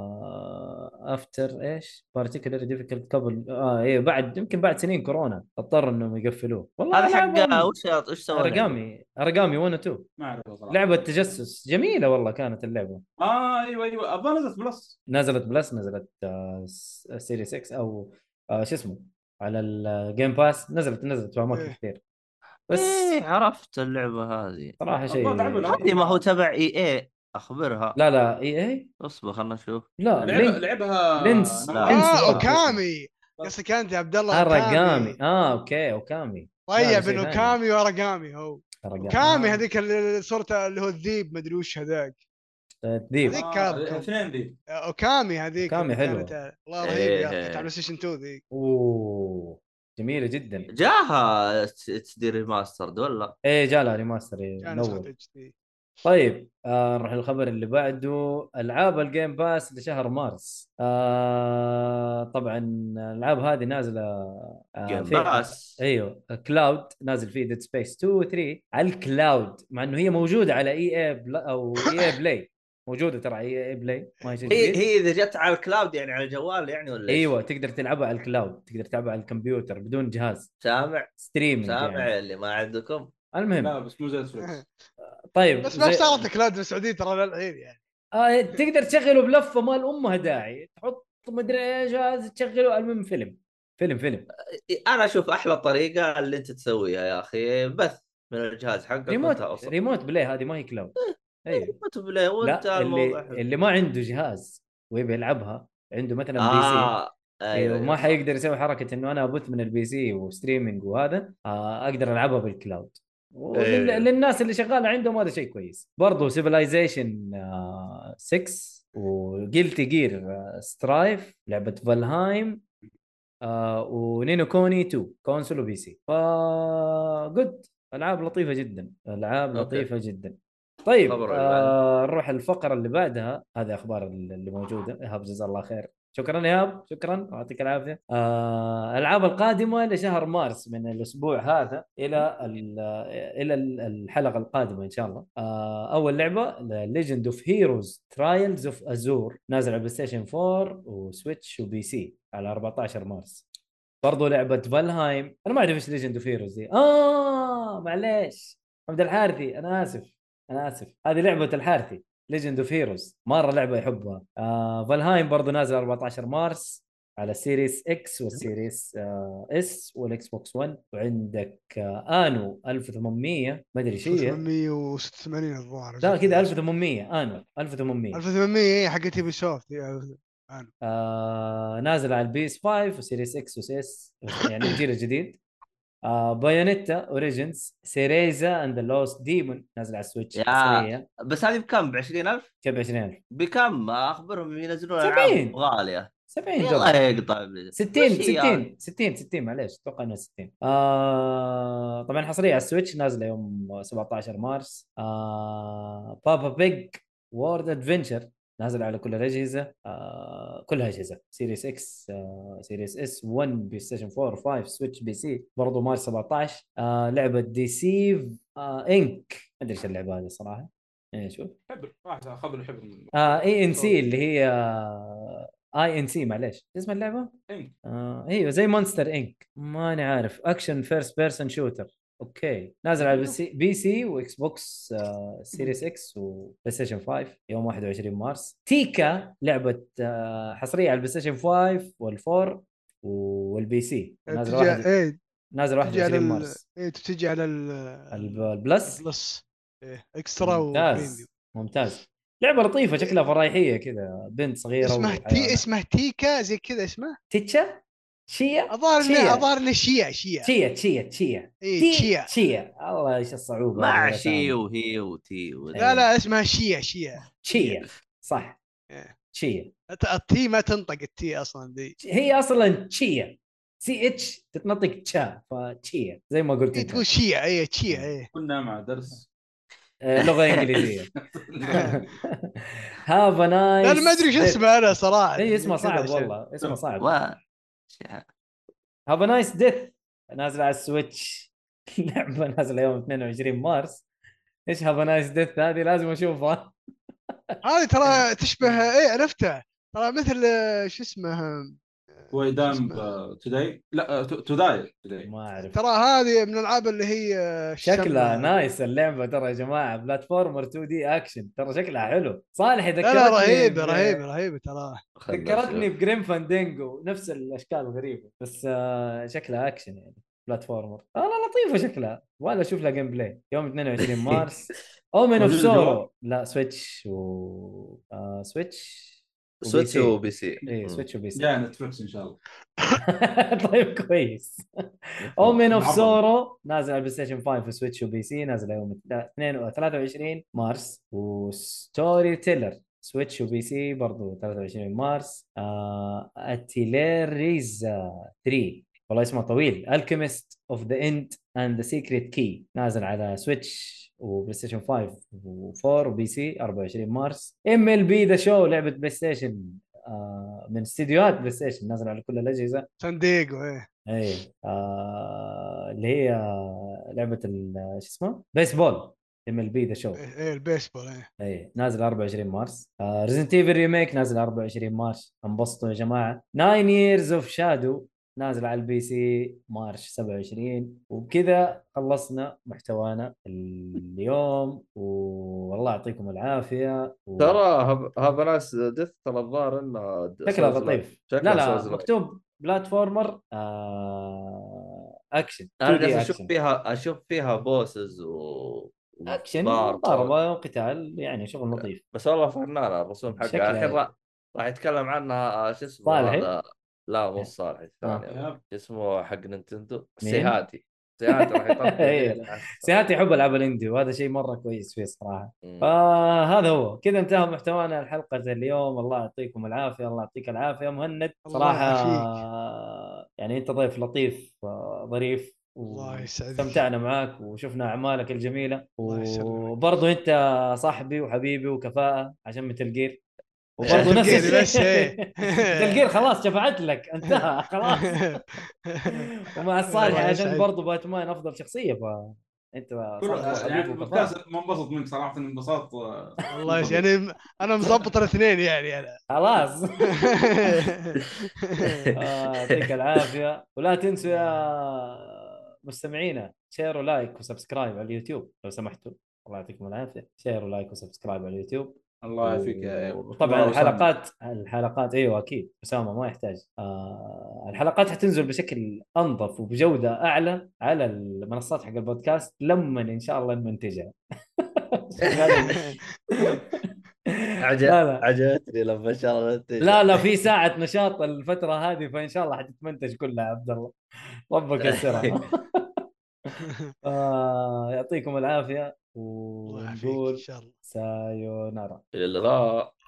D: آه افتر ايش؟ بارتيكولر ديفيكلت كابل اه ايه بعد يمكن بعد سنين كورونا اضطروا انهم يقفلوه والله
E: هذا حق آه،
D: لعبة-
E: وش وش سوى
D: اراجامي اراجامي 1 و 2
B: ما اعرف صراحه
D: لعبه تجسس جميله والله كانت اللعبه
B: اه ايوه ايوه ابغى نزلت بلس
D: نزلت بلس نزلت آه، س- سيريس 6 او آه، شو اسمه على الجيم باس نزلت نزلت في اماكن
F: إيه.
D: كثير
E: بس
D: بس
E: إيه عرفت اللعبه هذه
D: صراحه شيء
B: أتوقع تعمل
E: هذه ما هو تبع اي اي اخبرها
D: لا لا اي اي
E: اصبر خلنا نشوف
D: لا
B: لعبها
D: آه، لينك
B: لعبها نعم. آه،
D: لينس.
B: أنا-
E: لا.
F: اه
D: انسى.
F: اوكامي قصدك انت يا عبد الله
D: اراجامي اه اوكي اوكامي
F: طيب
D: شيء
F: بين
D: ثاني.
F: اوكامي واراجامي هو
D: أراجامي.
F: اوكامي هذيك اللي صورته اللي هو الذيب مدري وش هذاك
D: الذيب
F: هذيك
B: آه،
F: كابكوم.
B: اثنين ذي
F: آه، اوكامي هذيك
D: أوكامي
F: اللي
D: حلوة.
F: كانت- والله رهيب يا
E: إيه.
F: اخي على ستيشن 2 ذيك
D: اوه جميله جدا
E: جاها اتش دي ريماسترد ولا
D: ايه جالها ريماستر إيه،
F: كان
D: منور.
F: نسخة اتش
D: [LAUGHS]
F: دي
D: طيب آه نروح للخبر اللي بعده العاب الجيم باس لشهر مارس آه طبعا الالعاب هذه نازله آه
E: جيم
D: في-
E: باس.
D: ايوه كلاود نازل فيه ديد سبيس 2 و 3 على الكلاود مع انه هي موجوده على E اي اي بلا او اي اي بلاي موجوده ترى اي اي بلاي ما هي شيء
E: هي
D: جديد.
E: هي اذا جت على الكلاود يعني على الجوال يعني ولا إيش؟
D: ايوه تقدر تلعبها على الكلاود تقدر تلعبها على الكمبيوتر بدون جهاز
E: سامع
D: ستريمينج
E: سامع
D: يعني.
E: اللي ما عندكم
D: المهم
F: إيه.
B: لا بس مو زي نتفلكس
D: طيب
F: [LAUGHS] بس ما
D: زي-
F: اشتغلت كلاود في السعوديه ترى للحين يعني
D: آه تقدر تشغله بلفه مال امها داعي تحط مدري ايش هذا تشغله المهم فيلم فيلم فيلم
E: انا اشوف احلى طريقه اللي انت تسويها يا اخي بث من الجهاز حقك
D: ريموت
E: وانت أوصل.
D: ريموت بلاي هذه ما هي كلاود ايوه
E: ريموت بلاي وانت
D: لا اللي
E: الموضوع حلو.
D: اللي ما عنده جهاز ويبي يلعبها عنده مثلا بي سي
E: اه
D: ايوه ما حيقدر يسوي حركه انه انا ابث من البي سي وستريمينج وهذا آه، اقدر العبها بالكلاود ولل-
E: أيوة.
D: للناس اللي شغاله عندهم هذا شيء كويس آه، برضه سيفلايزيشن 6 وجلتي جير سترايف لعبه فالهايم آه ونينو كوني 2 كونسول وبي سي ف جود العاب لطيفه جدا العاب
E: أوكي.
D: لطيفه جدا طيب
E: خبر اللي
D: آه نروح الفقره اللي بعدها هذه اخبار اللي موجوده ايهاب جزاه الله خير شكرا ايهاب شكرا يعطيك العافيه آه، الالعاب القادمه لشهر مارس من الاسبوع هذا الى ال- الى ال- الحلقه القادمه ان شاء الله آه، اول لعبه ليجند اوف هيروز ترايلز اوف ازور نازل على بلاي ستيشن 4 وسويتش وبي سي على 14 مارس برضو لعبه فالهايم انا ما اعرف ايش ليجند اوف هيروز دي اه معليش حمد الحارثي انا اسف انا اسف هذه لعبه الحارثي ليجند اوف هيروز مره لعبه يحبها آه فالهايم برضه نازل 14 مارس على السيريس اكس والسيريس آه اس والاكس بوكس 1 وعندك آه انو 1800 ما ادري شو هي
F: 886 الظاهر
D: لا كذا 1800 انو 1800
F: 1800 هي حقت ايبي سوفت
D: آه نازل على البيس 5 وسيريس اكس وسيس يعني الجيل الجديد آه بايونيتا اوريجنز سيريزا اند ذا لوست ديمون نازل على السويتش
E: يا.
D: حصريا
E: بس هذه بكم؟ ب 20000
D: كيف 20000
E: بكم؟ اخبرهم ينزلون
D: سبعين.
E: العاب غاليه
D: 70
E: الله
D: دولار
E: يقطع بلي.
D: 60
E: وش هي هذه؟
D: 60 60 60 معليش اتوقع انه 60 آه طبعا حصريه على السويتش نازله يوم 17 مارس آه بابا بيج وورد ادفنشر نازل على كل الاجهزه آه كل الاجهزه سيريس اكس آه سيريس اس 1 بلاي ستيشن 4 5 سويتش بي سي برضه مارس 17 آه لعبه ديسيف آه انك ما ادري ايش اللعبه هذه صراحه يعني شوف
B: حبر واحد اخذ له حبر من-
D: اي ان سي اللي هي اي ان سي معليش إيش اسم اللعبه؟
B: إنك.
D: آه ايوه زي مونستر انك ماني عارف اكشن فيرست بيرسون شوتر اوكي نازل على بي سي, بي سي واكس بوكس آه سيريس اكس وبلاي ستيشن 5 يوم 21 مارس تيكا لعبه آه حصريه على البلاي ستيشن 5 والفور والبي سي نازل واحد
F: ايه
D: نازل
F: تجي على
D: 21
F: ال...
D: مارس
F: ايه تجي على ال...
D: الب- البلس
F: بلس إيه، اكسترا وبريميوم
D: ممتاز ممتاز لعبه لطيفه شكلها فرايحيه كذا بنت صغيره
F: اسمها
D: وحيوانات.
F: تي اسمها تيكا زي كذا اسمها
D: تيتشا شيا
F: الظاهر
D: شيا.
F: انه الظاهر انه شيا شيا
D: تشيا تشيا تشيا
F: اي
D: تشيا
F: شيا
D: تشيا الله ايش الصعوبه هذه
E: مع
D: يا
E: شي
D: سامي.
E: وهي وتي و-
D: إيه،
F: لا لا اسمها شيا شيا
D: تشيا صح
F: إيه.
D: تشيا
F: الت- التي ما تنطق التي اصلا ذي
D: هي اصلا تشيا سي اتش تتنطق تشا فتشيا زي ما قلت
F: إيه،
D: انت
F: تقول شيا اي شيا إيه. اي
D: [LAUGHS]
B: كنا مع درس
D: آه، لغه
F: [LAUGHS]
D: انجليزيه هاف ا نايس
F: لا أنا ما ادري ايش اسمها انا صراحه
D: اي إيه، اسمه
F: كذا
D: صعب
F: عشان-
D: والله
E: إيه.
D: اسمه صعب
E: ما-
D: هاف نايس ديث نازل على السويتش [LAUGHS] لعبه نازله يوم 22 مارس ايش هاف نايس ديث هذه لازم اشوفها
F: هذه
D: إيه.
F: ترى تشبه اي عرفتها ترى مثل آه، شو اسمه
B: ويدام توداي لا آه، توداي
D: [LAUGHS] ما اعرف
F: ترى هذه من الالعاب اللي هي آه، شو
D: شكلها
F: يسمى؟
D: نايس اللعبه ترى يا جماعه بلاتفورمر 2 دي اكشن ترى شكلها حلو صالح
F: لا
D: ذكرتني
F: لا رهيبه
D: ب-
F: رهيبه رهيبه ترى
E: خلنا
D: ذكرتني
E: نشوف.
D: بجريم فاندينجو نفس الاشكال الغريبه بس آه، شكلها اكشن يعني بلاتفورمر والله لطيفه شكلها ولا اشوف لها جيم بلاي يوم 22 مارس اومن اوف
B: موجود الجوال؟
D: سورو لا سويتش و آه، سويتش
E: سويتش
D: وبي سي.
E: وبي سي
D: ايه
E: مم.
D: سويتش وبي سي
B: جاي نتفلكس ان شاء الله
D: [LAUGHS] طيب كويس اومن اوف
B: عظم.
D: سورو نازل على بلاي ستيشن 5 وسويتش وبي سي نازل يوم 2 23 مارس وستوري تيلر سويتش وبي سي برضو 23 مارس آه اتيليريزا 3 والله اسمه طويل الكيمست اوف ذا اند اند ذا سيكريت كي نازل على سويتش وبلاي ستيشن 5 و4 وبي سي 24 مارس ام ال بي ذا شو لعبه بلاي ستيشن آه من استديوهات بلاي ستيشن نازل على كل الاجهزه
F: سان دييغو ايه
D: ايه آه اللي هي لعبه ال- شو اسمه؟ بيسبول ام ال بي ذا شو
F: إيه، إيه، البيسبول ايه
D: ايه نازل 24 مارس آه ريزنت ايفل ريميك نازل 24 مارس انبسطوا يا جماعه 9 ييرز اوف شادو نازل على البي سي مارش 27 وبكذا خلصنا محتوانا اليوم والله يعطيكم العافيه و...
E: ترى هاف- هاف نايس ديث ترى الظاهر انها د-
D: شكلها
E: Souls-like.
D: لطيف
E: شكلها
D: لا لا
E: Souls-like.
D: مكتوب بلاتفورمر آه... اكشن
E: انا
D: 2D
E: جالس اشوف
D: أكشن.
E: فيها اشوف فيها بوسز و
D: اكشن
E: ضارب
D: ضربه وقتال يعني شغل لطيف
E: بس والله فنانه الرسوم حقها
D: شكلها-
E: الحين راح- راح يتكلم عنها آه، شو اسمه
D: صالحي؟
E: هذا لا مو صالح الثاني
B: يب.
E: شو اسمه حق نينتندو
D: إيه. آه. مين؟
E: سيهاتي سيهاتي راح
D: [LAUGHS]
E: [LAUGHS]
D: إيه.
E: يطلع
D: سيهاتي يحب العاب الاندي وهذا شيء مره كويس فيه صراحه
E: آه.
D: فهذا هو كذا انتهى محتوانا الحلقة اليوم الله يعطيكم العافية الله يعطيك العافية مهند
F: الله
D: صراحة
F: يعافيك.
D: يعني انت ضيف لطيف آه، ظريف
F: الله يسعدك.
D: استمتعنا معك وشفنا اعمالك الجميلة
F: الله يسلمك.
D: وبرضه انت صاحبي وحبيبي وكفاءة عشان متلقير
F: عشان [LAUGHS]
D: وبرضه نفس
F: تلقيني بس،
D: الشيء
F: إيه.
D: [LAUGHS] تلقير خلاص شفعت لك انتهى
F: [LAUGHS]
D: خلاص [LAUGHS] ومع الصالح
F: الله
D: عشان
F: يسعدك.
D: برضه باتمان افضل شخصية فانت صاحبي
B: يعني
D: وحبيبي وكفاءة
B: البودكاست منبسط منك صراحه انبساط آه،
F: الله يسعدك يعني انا مظبط الاثنين
D: [LAUGHS]
F: يعني [LAUGHS] انا
D: خلاص
F: Eh,
E: [LAUGHS]
D: آه، يعطيك العافيه ولا تنسوا يا مستمعينا شير ولايك وسبسكرايب على اليوتيوب لو سمحتوا الله يعطيكم العافيه شير ولايك وسبسكرايب على اليوتيوب
B: الله يعافيك يا
D: وطبعا الحلقات الحلقات ايوه اكيد اسامه ما يحتاج آه الحلقات حتنزل بشكل انظف وبجوده اعلى على المنصات حق البودكاست لما ان شاء الله [LAUGHS] نمنتجها
F: eh.
D: لا لا
E: عجبتني لما ان شاء الله ننتج. [LAUGHS]
D: لا لا في ساعة نشاط الفترة هذه فإن شاء الله حتتمنتج كلها يا عبد الله ربك يسرها
F: [LAUGHS]
D: آه يعطيكم العافية
F: الله يعافيك ان
D: ونقول
F: شاء الله
D: سايونارا
E: الغاء